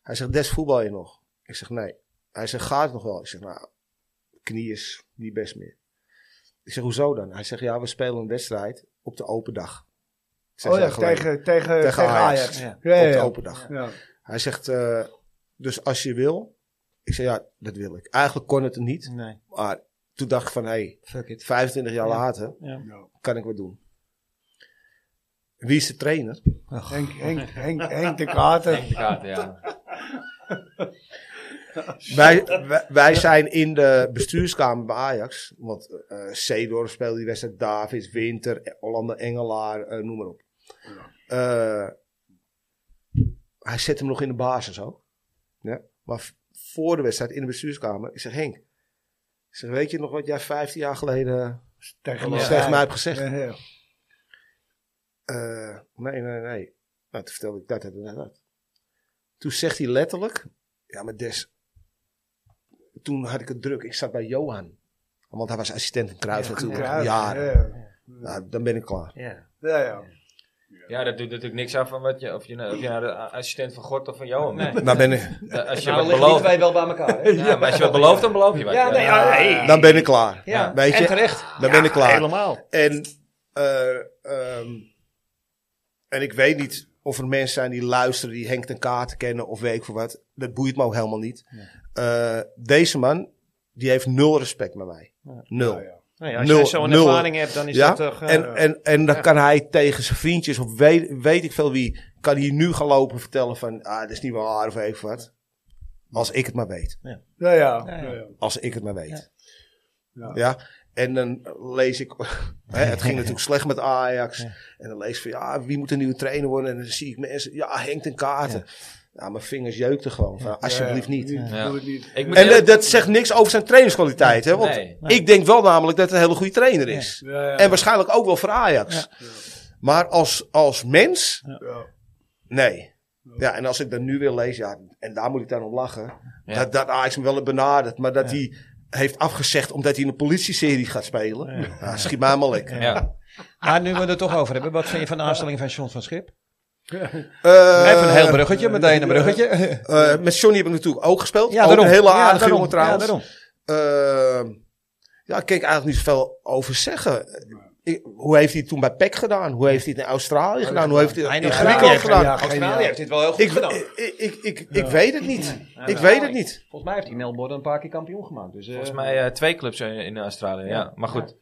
[SPEAKER 3] Hij zegt, Des, voetbal je nog? Ik zeg, nee. Hij zegt, gaat het nog wel? Ik zeg, nou, knie is niet best meer. Ik zeg, hoezo dan? Hij zegt, ja, we spelen een wedstrijd op de open dag. Zes
[SPEAKER 2] Oh ja,
[SPEAKER 3] jaar geleden.
[SPEAKER 2] tegen, tegen, tegen,
[SPEAKER 3] Tegen
[SPEAKER 2] Ajax.
[SPEAKER 3] Ajax.
[SPEAKER 2] Ja,
[SPEAKER 5] Ja.
[SPEAKER 2] ja,
[SPEAKER 3] Op de
[SPEAKER 2] ja.
[SPEAKER 3] open dag.
[SPEAKER 2] ja.
[SPEAKER 3] Hij zegt, eh, dus als je wil. Ik zeg, ja, dat wil ik. Eigenlijk kon het niet.
[SPEAKER 5] Nee,
[SPEAKER 3] Maar toen dacht ik van, hé, hey,
[SPEAKER 5] fuck it.
[SPEAKER 3] 25 jaar
[SPEAKER 5] Ja.
[SPEAKER 3] later
[SPEAKER 2] Ja.
[SPEAKER 3] kan ik wat doen. Wie is de trainer?
[SPEAKER 2] Henk, Henk, Henk, Henk de Kaarten.
[SPEAKER 1] Henk de Kaarten, ja.
[SPEAKER 3] Wij, wij, wij zijn in de bestuurskamer bij Ajax. Want eh Seedorf speelde die wedstrijd. Davids, Winter, eh, Hollander, Engelaar, eh, noem maar op. Eh, hij zet hem nog in de basis ook. Ja? Maar v- voor de wedstrijd in de bestuurskamer. Ik zeg Henk, Ik zeg, weet je nog wat jij 15 jaar geleden
[SPEAKER 2] Tegen
[SPEAKER 3] eh,
[SPEAKER 2] mij.
[SPEAKER 3] tegen mij hebt gezegd?
[SPEAKER 2] Ja, ja.
[SPEAKER 3] Eh, nee, nee, nee. Nou, toen vertelde ik dat en dat, en dat. Toen zegt hij letterlijk, ja, maar Des, toen had ik het druk. Ik zat bij Johan. Want hij was assistent in Kruijff natuurlijk.
[SPEAKER 2] Ja,
[SPEAKER 3] Ja,
[SPEAKER 2] ja.
[SPEAKER 3] Nou, dan ben ik klaar.
[SPEAKER 5] Ja.
[SPEAKER 2] Ja, ja.
[SPEAKER 1] Ja, dat doet natuurlijk niks af van wat je, of je, nou- of je nou de a- assistent van God of van Johan bent.
[SPEAKER 3] Dan ben ik,
[SPEAKER 1] Eh, Als je
[SPEAKER 5] Nou,
[SPEAKER 1] wat
[SPEAKER 5] liggen die
[SPEAKER 1] belooft,
[SPEAKER 5] twee wel bij elkaar. Hè?
[SPEAKER 1] ja, maar als je wat belooft, dan beloof je wat.
[SPEAKER 5] Ja, nee, ja, hey.
[SPEAKER 3] dan ben ik klaar.
[SPEAKER 5] Ja,
[SPEAKER 3] Weet
[SPEAKER 5] en
[SPEAKER 3] je,
[SPEAKER 5] terecht.
[SPEAKER 3] dan ben ik klaar.
[SPEAKER 5] Helemaal.
[SPEAKER 3] En, eh, ehm, en ik weet niet of er mensen zijn die luisteren, die Henk ten Kaarten kennen of weet ik veel wat. Dat boeit me ook helemaal niet. Eh, deze man, die heeft nul respect met mij. Nul.
[SPEAKER 2] Ja, ja.
[SPEAKER 5] Nou ja, als
[SPEAKER 3] Nul,
[SPEAKER 5] jij zo'n
[SPEAKER 3] nul.
[SPEAKER 5] ervaring hebt, dan is
[SPEAKER 3] Ja,
[SPEAKER 5] dat toch... eh,
[SPEAKER 3] en, en, en dan kan hij tegen zijn vriendjes of weet, weet ik veel wie, kan hij nu gaan lopen vertellen van, ah, dat is niet waar of even wat. Als ik het maar weet.
[SPEAKER 2] Ja, ja. Ja, ja.
[SPEAKER 3] Als ik het maar weet.
[SPEAKER 2] Ja.
[SPEAKER 3] Ja. En dan lees ik, hè, het ging natuurlijk slecht met Ajax. En dan lees ik van, ja, wie moet een nieuwe trainer worden? En dan zie ik mensen, ja, Henk ten Kaarten. Ja, mijn vingers jeukten gewoon. Van, alsjeblieft niet.
[SPEAKER 1] Ja.
[SPEAKER 2] Doe het niet.
[SPEAKER 1] Ik moet
[SPEAKER 3] En eh,
[SPEAKER 1] eerlijk-
[SPEAKER 3] dat, dat zegt niks over zijn trainingskwaliteit. Hè? Want
[SPEAKER 1] Nee.
[SPEAKER 3] ik denk wel namelijk dat hij een hele goede trainer is.
[SPEAKER 2] Ja, ja.
[SPEAKER 3] En waarschijnlijk ook wel voor Ajax. Maar als, als mens,
[SPEAKER 2] Ja.
[SPEAKER 3] nee. Ja, en als ik dat nu weer lees, ja, en daar moet ik dan om lachen.
[SPEAKER 1] Ja.
[SPEAKER 3] Dat, dat Ajax hem wel heeft benaderd, maar dat hij heeft afgezegd omdat hij in een politieserie gaat spelen. Ja. schiet mij maar lek.
[SPEAKER 1] Ja.
[SPEAKER 5] Maar Ah, nu we het er toch over hebben, wat vind je van de aanstelling van John van Schip?
[SPEAKER 3] Eh,
[SPEAKER 5] Even een heel bruggetje, meteen een bruggetje.
[SPEAKER 3] eh, met Johnny heb ik natuurlijk ook gespeeld. ook een hele
[SPEAKER 5] Ja,
[SPEAKER 3] aardige
[SPEAKER 5] daarom.
[SPEAKER 3] jongen trouwens.
[SPEAKER 5] Ja, daarom.
[SPEAKER 3] Ehm, ja, daar kan ik eigenlijk niet zoveel over zeggen. Ik- hoe heeft hij het toen bij PEC gedaan? Hoe heeft hij het in Australië gedaan? Hoe heeft hij het in
[SPEAKER 5] Eindelijk
[SPEAKER 3] Griekenland
[SPEAKER 2] gedaan.
[SPEAKER 3] gedaan?
[SPEAKER 2] Ja,
[SPEAKER 5] Australië heeft dit wel heel goed
[SPEAKER 3] Ik,
[SPEAKER 5] gedaan.
[SPEAKER 3] ik, ik, ik, ik weet het niet. Ik weet het niet.
[SPEAKER 5] Volgens mij heeft hij Melbourne een paar keer kampioen gemaakt. Dus, eh,
[SPEAKER 1] Volgens mij eh, twee clubs in, in Australië, ja. Maar goed.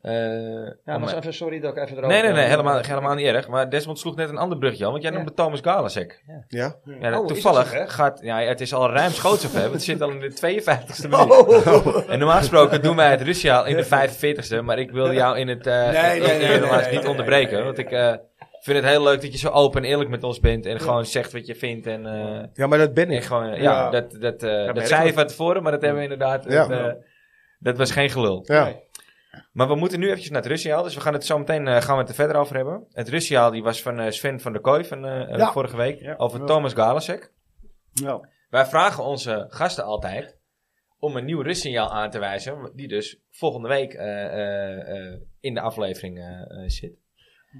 [SPEAKER 1] Eh,
[SPEAKER 5] Ja,
[SPEAKER 1] om-
[SPEAKER 5] Oh, maar even, sorry dat ik even erover...
[SPEAKER 1] nee, nee, nee, helemaal, helemaal niet erg. Maar Desmond sloeg net een ander brugje al, want jij
[SPEAKER 5] Ja.
[SPEAKER 1] noemde Thomas Galasek.
[SPEAKER 3] Ja?
[SPEAKER 1] Ja,
[SPEAKER 5] Oh, is
[SPEAKER 1] toevallig
[SPEAKER 5] dat zo, hè?
[SPEAKER 1] gaat, ja, het is al ruim schootsover, want het zit al in de 52e minuut.
[SPEAKER 3] Oh.
[SPEAKER 1] En normaal gesproken doen wij het Russiaal in de 45e, maar ik wilde jou in het eh
[SPEAKER 2] nee, nee, nee,
[SPEAKER 1] helaas
[SPEAKER 2] nee,
[SPEAKER 1] niet
[SPEAKER 2] nee,
[SPEAKER 1] onderbreken.
[SPEAKER 2] nee, nee,
[SPEAKER 1] want ik eh, vind het heel leuk dat je zo open en eerlijk met ons bent en gewoon zegt wat je vindt. En, eh,
[SPEAKER 3] ja, maar dat ben
[SPEAKER 1] en
[SPEAKER 3] ik.
[SPEAKER 1] gewoon, eh, ja,
[SPEAKER 2] Ja.
[SPEAKER 1] dat, dat, eh, dat
[SPEAKER 5] merk
[SPEAKER 1] zei je
[SPEAKER 5] ik.
[SPEAKER 1] van tevoren, maar dat hebben we inderdaad.
[SPEAKER 3] Ja.
[SPEAKER 1] Dat, eh, dat was geen gelul.
[SPEAKER 3] Ja.
[SPEAKER 1] Maar we moeten nu eventjes naar het Russiaal, dus we gaan het zo meteen eh, gaan we het er verder over hebben. Het Russiaal die was van eh, Sven van der Kooi van eh, eh,
[SPEAKER 2] Ja.
[SPEAKER 1] vorige week,
[SPEAKER 2] Ja.
[SPEAKER 1] over
[SPEAKER 2] Ja.
[SPEAKER 1] Thomas Galasek.
[SPEAKER 2] Ja.
[SPEAKER 1] Wij vragen onze gasten altijd om een nieuw rustsignaal aan te wijzen, die dus volgende week eh, eh, eh, in de aflevering eh, eh, zit.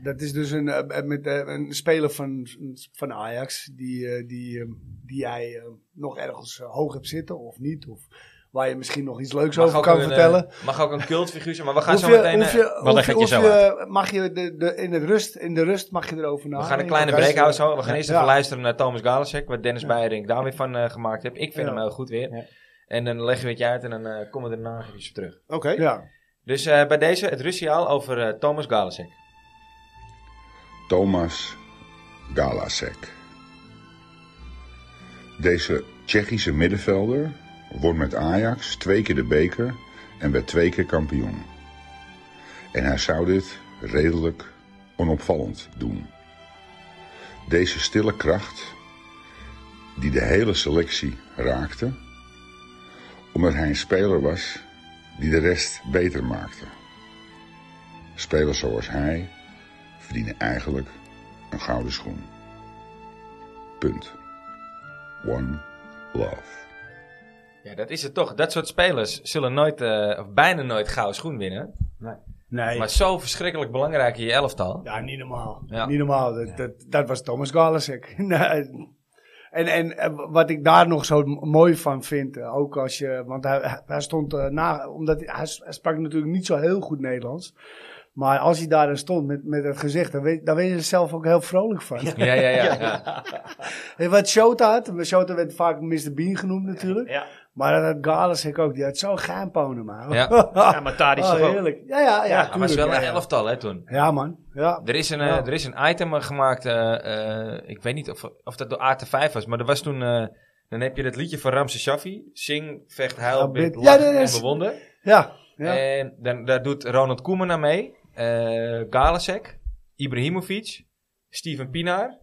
[SPEAKER 2] Dat is dus een, eh, met, eh, een speler van, van Ajax die, eh, die, eh, die jij eh, nog ergens eh, hoog hebt zitten of niet. Of waar je misschien nog iets leuks over kan
[SPEAKER 1] een, eh,
[SPEAKER 2] vertellen.
[SPEAKER 1] mag ook een cultfiguur zijn, maar we gaan
[SPEAKER 2] Hoef
[SPEAKER 1] zo
[SPEAKER 2] je-
[SPEAKER 1] meteen... eh,
[SPEAKER 2] hoef je-
[SPEAKER 5] leg
[SPEAKER 2] hoef je-
[SPEAKER 5] het je
[SPEAKER 2] hoef
[SPEAKER 5] zo
[SPEAKER 2] je- eh, Mag je de, de, in, het rust, in de rust mag je erover na.
[SPEAKER 1] Nou, we gaan een kleine break houden zo. We gaan eerst
[SPEAKER 2] Ja.
[SPEAKER 1] even luisteren naar Thomas Galasek, wat Dennis Beierink daar weer van eh, gemaakt heeft. Ik vind
[SPEAKER 2] Ja.
[SPEAKER 1] hem heel goed weer.
[SPEAKER 5] Ja.
[SPEAKER 1] En dan leggen we het je uit en dan eh, komen we daarna nog eens op terug.
[SPEAKER 3] Oké.
[SPEAKER 2] Ja.
[SPEAKER 1] Dus eh, bij deze het Russiaal over eh, Thomas Galasek.
[SPEAKER 6] Thomas Galasek. Deze Tsjechische middenvelder won met Ajax twee keer de beker en werd twee keer kampioen. En hij zou dit redelijk onopvallend doen. Deze stille kracht, die de hele selectie raakte, omdat hij een speler was die de rest beter maakte. Spelers zoals hij verdienen eigenlijk een gouden schoen. Punt. One love.
[SPEAKER 1] Ja, dat is het toch. Dat soort spelers zullen nooit, eh, of bijna nooit, gouden schoen winnen.
[SPEAKER 2] Nee.
[SPEAKER 1] Maar zo verschrikkelijk belangrijk in je elftal.
[SPEAKER 2] Ja, niet normaal.
[SPEAKER 1] Ja.
[SPEAKER 2] Niet normaal. Dat, dat, dat was Thomas Galasek. Nee. en, en eh, wat ik daar nog zo m- mooi van vind, eh, ook als je, want hij, hij stond eh, na, omdat hij, hij s- hij sprak natuurlijk niet zo heel goed Nederlands. Maar als hij daar dan stond met, met dat gezicht, dan weet, dan weet je er zelf ook heel vrolijk van.
[SPEAKER 1] Ja, ja, ja. ja.
[SPEAKER 2] En Wat Shota had, maar Shota werd vaak Mr. Bean genoemd natuurlijk.
[SPEAKER 5] Ja.
[SPEAKER 2] Maar dat had Galasek ook, die had zo'n geinponen, man.
[SPEAKER 1] Ja.
[SPEAKER 5] Ja, maar daar is
[SPEAKER 2] Oh,
[SPEAKER 5] toch ook...
[SPEAKER 2] heerlijk. Ja, ja, ja.
[SPEAKER 1] maar het is wel
[SPEAKER 2] tuurlijk,
[SPEAKER 1] een
[SPEAKER 2] ja, ja.
[SPEAKER 1] elftal, hè, toen.
[SPEAKER 2] Ja, man. Ja.
[SPEAKER 1] Er is een, eh,
[SPEAKER 2] Ja.
[SPEAKER 1] er is een item gemaakt, eh, eh, ik weet niet of, of dat door AT5 was, maar er was toen... eh, dan heb je dat liedje van Ramse Shaffi. Zing, vecht,
[SPEAKER 2] Ja,
[SPEAKER 1] huil, bid,
[SPEAKER 2] bid.
[SPEAKER 1] lach
[SPEAKER 2] Ja, dat
[SPEAKER 1] en
[SPEAKER 2] is-
[SPEAKER 1] bewonder.
[SPEAKER 2] Ja. ja.
[SPEAKER 1] En dan, daar doet Ronald Koeman aan mee. eh Galasek, Ibrahimovic, Steven Pinaar.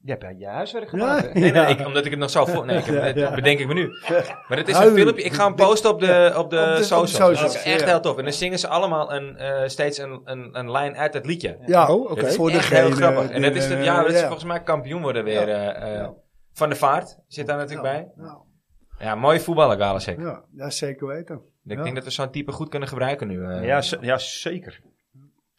[SPEAKER 4] Je hebt je huiswerk gedaan.
[SPEAKER 2] Ja,
[SPEAKER 4] hè?
[SPEAKER 1] Nee, nee,
[SPEAKER 2] ja.
[SPEAKER 1] ik, omdat ik het nog zo voor... Nee, ik heb,
[SPEAKER 2] Ja,
[SPEAKER 1] het
[SPEAKER 2] ja.
[SPEAKER 1] bedenk ik me nu. Maar het is
[SPEAKER 2] Huil.
[SPEAKER 1] een filmpje. Ik ga hem posten op de, op de,
[SPEAKER 2] op de- op de
[SPEAKER 1] socials.
[SPEAKER 2] socials,
[SPEAKER 1] Dat is echt
[SPEAKER 2] ja.
[SPEAKER 1] heel tof. En dan zingen ze allemaal een, eh, steeds een, een, een lijn uit het liedje.
[SPEAKER 2] Ja,
[SPEAKER 3] Oh, oké.
[SPEAKER 1] Dat is
[SPEAKER 2] Voor
[SPEAKER 1] echt
[SPEAKER 2] degene
[SPEAKER 1] heel grappig.
[SPEAKER 2] die,
[SPEAKER 1] En dat is het jaar dat
[SPEAKER 2] eh,
[SPEAKER 1] ze
[SPEAKER 2] ja.
[SPEAKER 1] volgens mij kampioen worden weer. eh, eh, Van de Vaart zit daar natuurlijk bij.
[SPEAKER 2] Nou,
[SPEAKER 1] Ja, mooie voetballer Galasek.
[SPEAKER 2] ja, ja, zeker weten.
[SPEAKER 1] Ik
[SPEAKER 2] Ja.
[SPEAKER 1] denk dat we zo'n type goed kunnen gebruiken nu. eh.
[SPEAKER 5] Ja, ze- ja, zeker.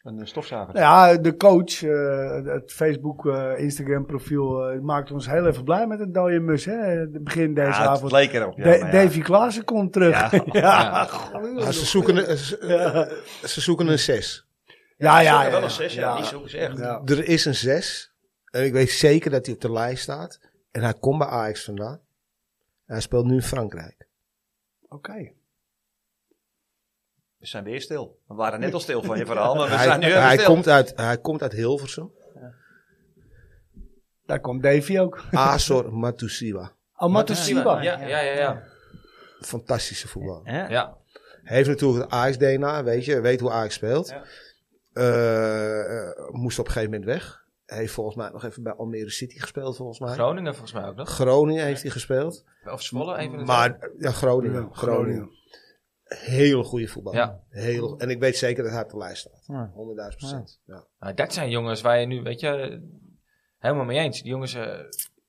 [SPEAKER 5] Een eh, stofzuiger.
[SPEAKER 2] Nou Ja, de coach, eh, het Facebook, eh, Instagram profiel, eh, maakt ons heel even blij met het dode mus. Hè, begin deze
[SPEAKER 5] Ja, het
[SPEAKER 2] avond.
[SPEAKER 5] leek erop. Ja,
[SPEAKER 2] Da-
[SPEAKER 5] maar ja.
[SPEAKER 2] Davy Klaassen komt terug. Ja,
[SPEAKER 5] Ja.
[SPEAKER 1] Ja.
[SPEAKER 3] Maar ze, zoeken, een- ze, ze zoeken een zes.
[SPEAKER 2] ja, ja. ja,
[SPEAKER 5] Wel een zes, ja.
[SPEAKER 2] ja.
[SPEAKER 5] Die zoeken ze echt.
[SPEAKER 2] Ja.
[SPEAKER 3] Er is een zes. En ik weet zeker dat hij op de lijst staat. En hij komt bij Ajax vandaan. Hij speelt nu in Frankrijk.
[SPEAKER 2] Oké.
[SPEAKER 5] We zijn weer stil. We waren net al stil van je verhaal, maar we
[SPEAKER 3] Hij,
[SPEAKER 5] zijn nu even
[SPEAKER 3] hij,
[SPEAKER 5] stil.
[SPEAKER 3] komt, uit, hij komt uit Hilversum.
[SPEAKER 2] Daar komt Davy ook.
[SPEAKER 3] Azor Matusiwa.
[SPEAKER 2] Amatosiba.
[SPEAKER 1] Ja, ja, ja. ja.
[SPEAKER 3] Fantastische voetballer.
[SPEAKER 1] ja.
[SPEAKER 3] Hij heeft natuurlijk het Ajax-DNA, weet je. Weet hoe Ajax speelt.
[SPEAKER 5] Ja.
[SPEAKER 3] Eh, eh, moest op een gegeven moment weg. Hij heeft volgens mij nog even bij Almere City gespeeld, volgens mij.
[SPEAKER 1] Groningen volgens mij ook nog.
[SPEAKER 3] Groningen heeft hij gespeeld.
[SPEAKER 1] Of Zwolle, even een
[SPEAKER 3] Maar, ja, Groningen.
[SPEAKER 2] Ja,
[SPEAKER 3] Groningen. Heel goede voetbal.
[SPEAKER 1] Ja.
[SPEAKER 3] Heel, en ik weet zeker dat hij op de lijst staat.
[SPEAKER 5] Ja.
[SPEAKER 3] 100.000 procent. Ja.
[SPEAKER 1] Nou, dat zijn jongens waar je nu, weet je, helemaal mee eens. Die jongens eh,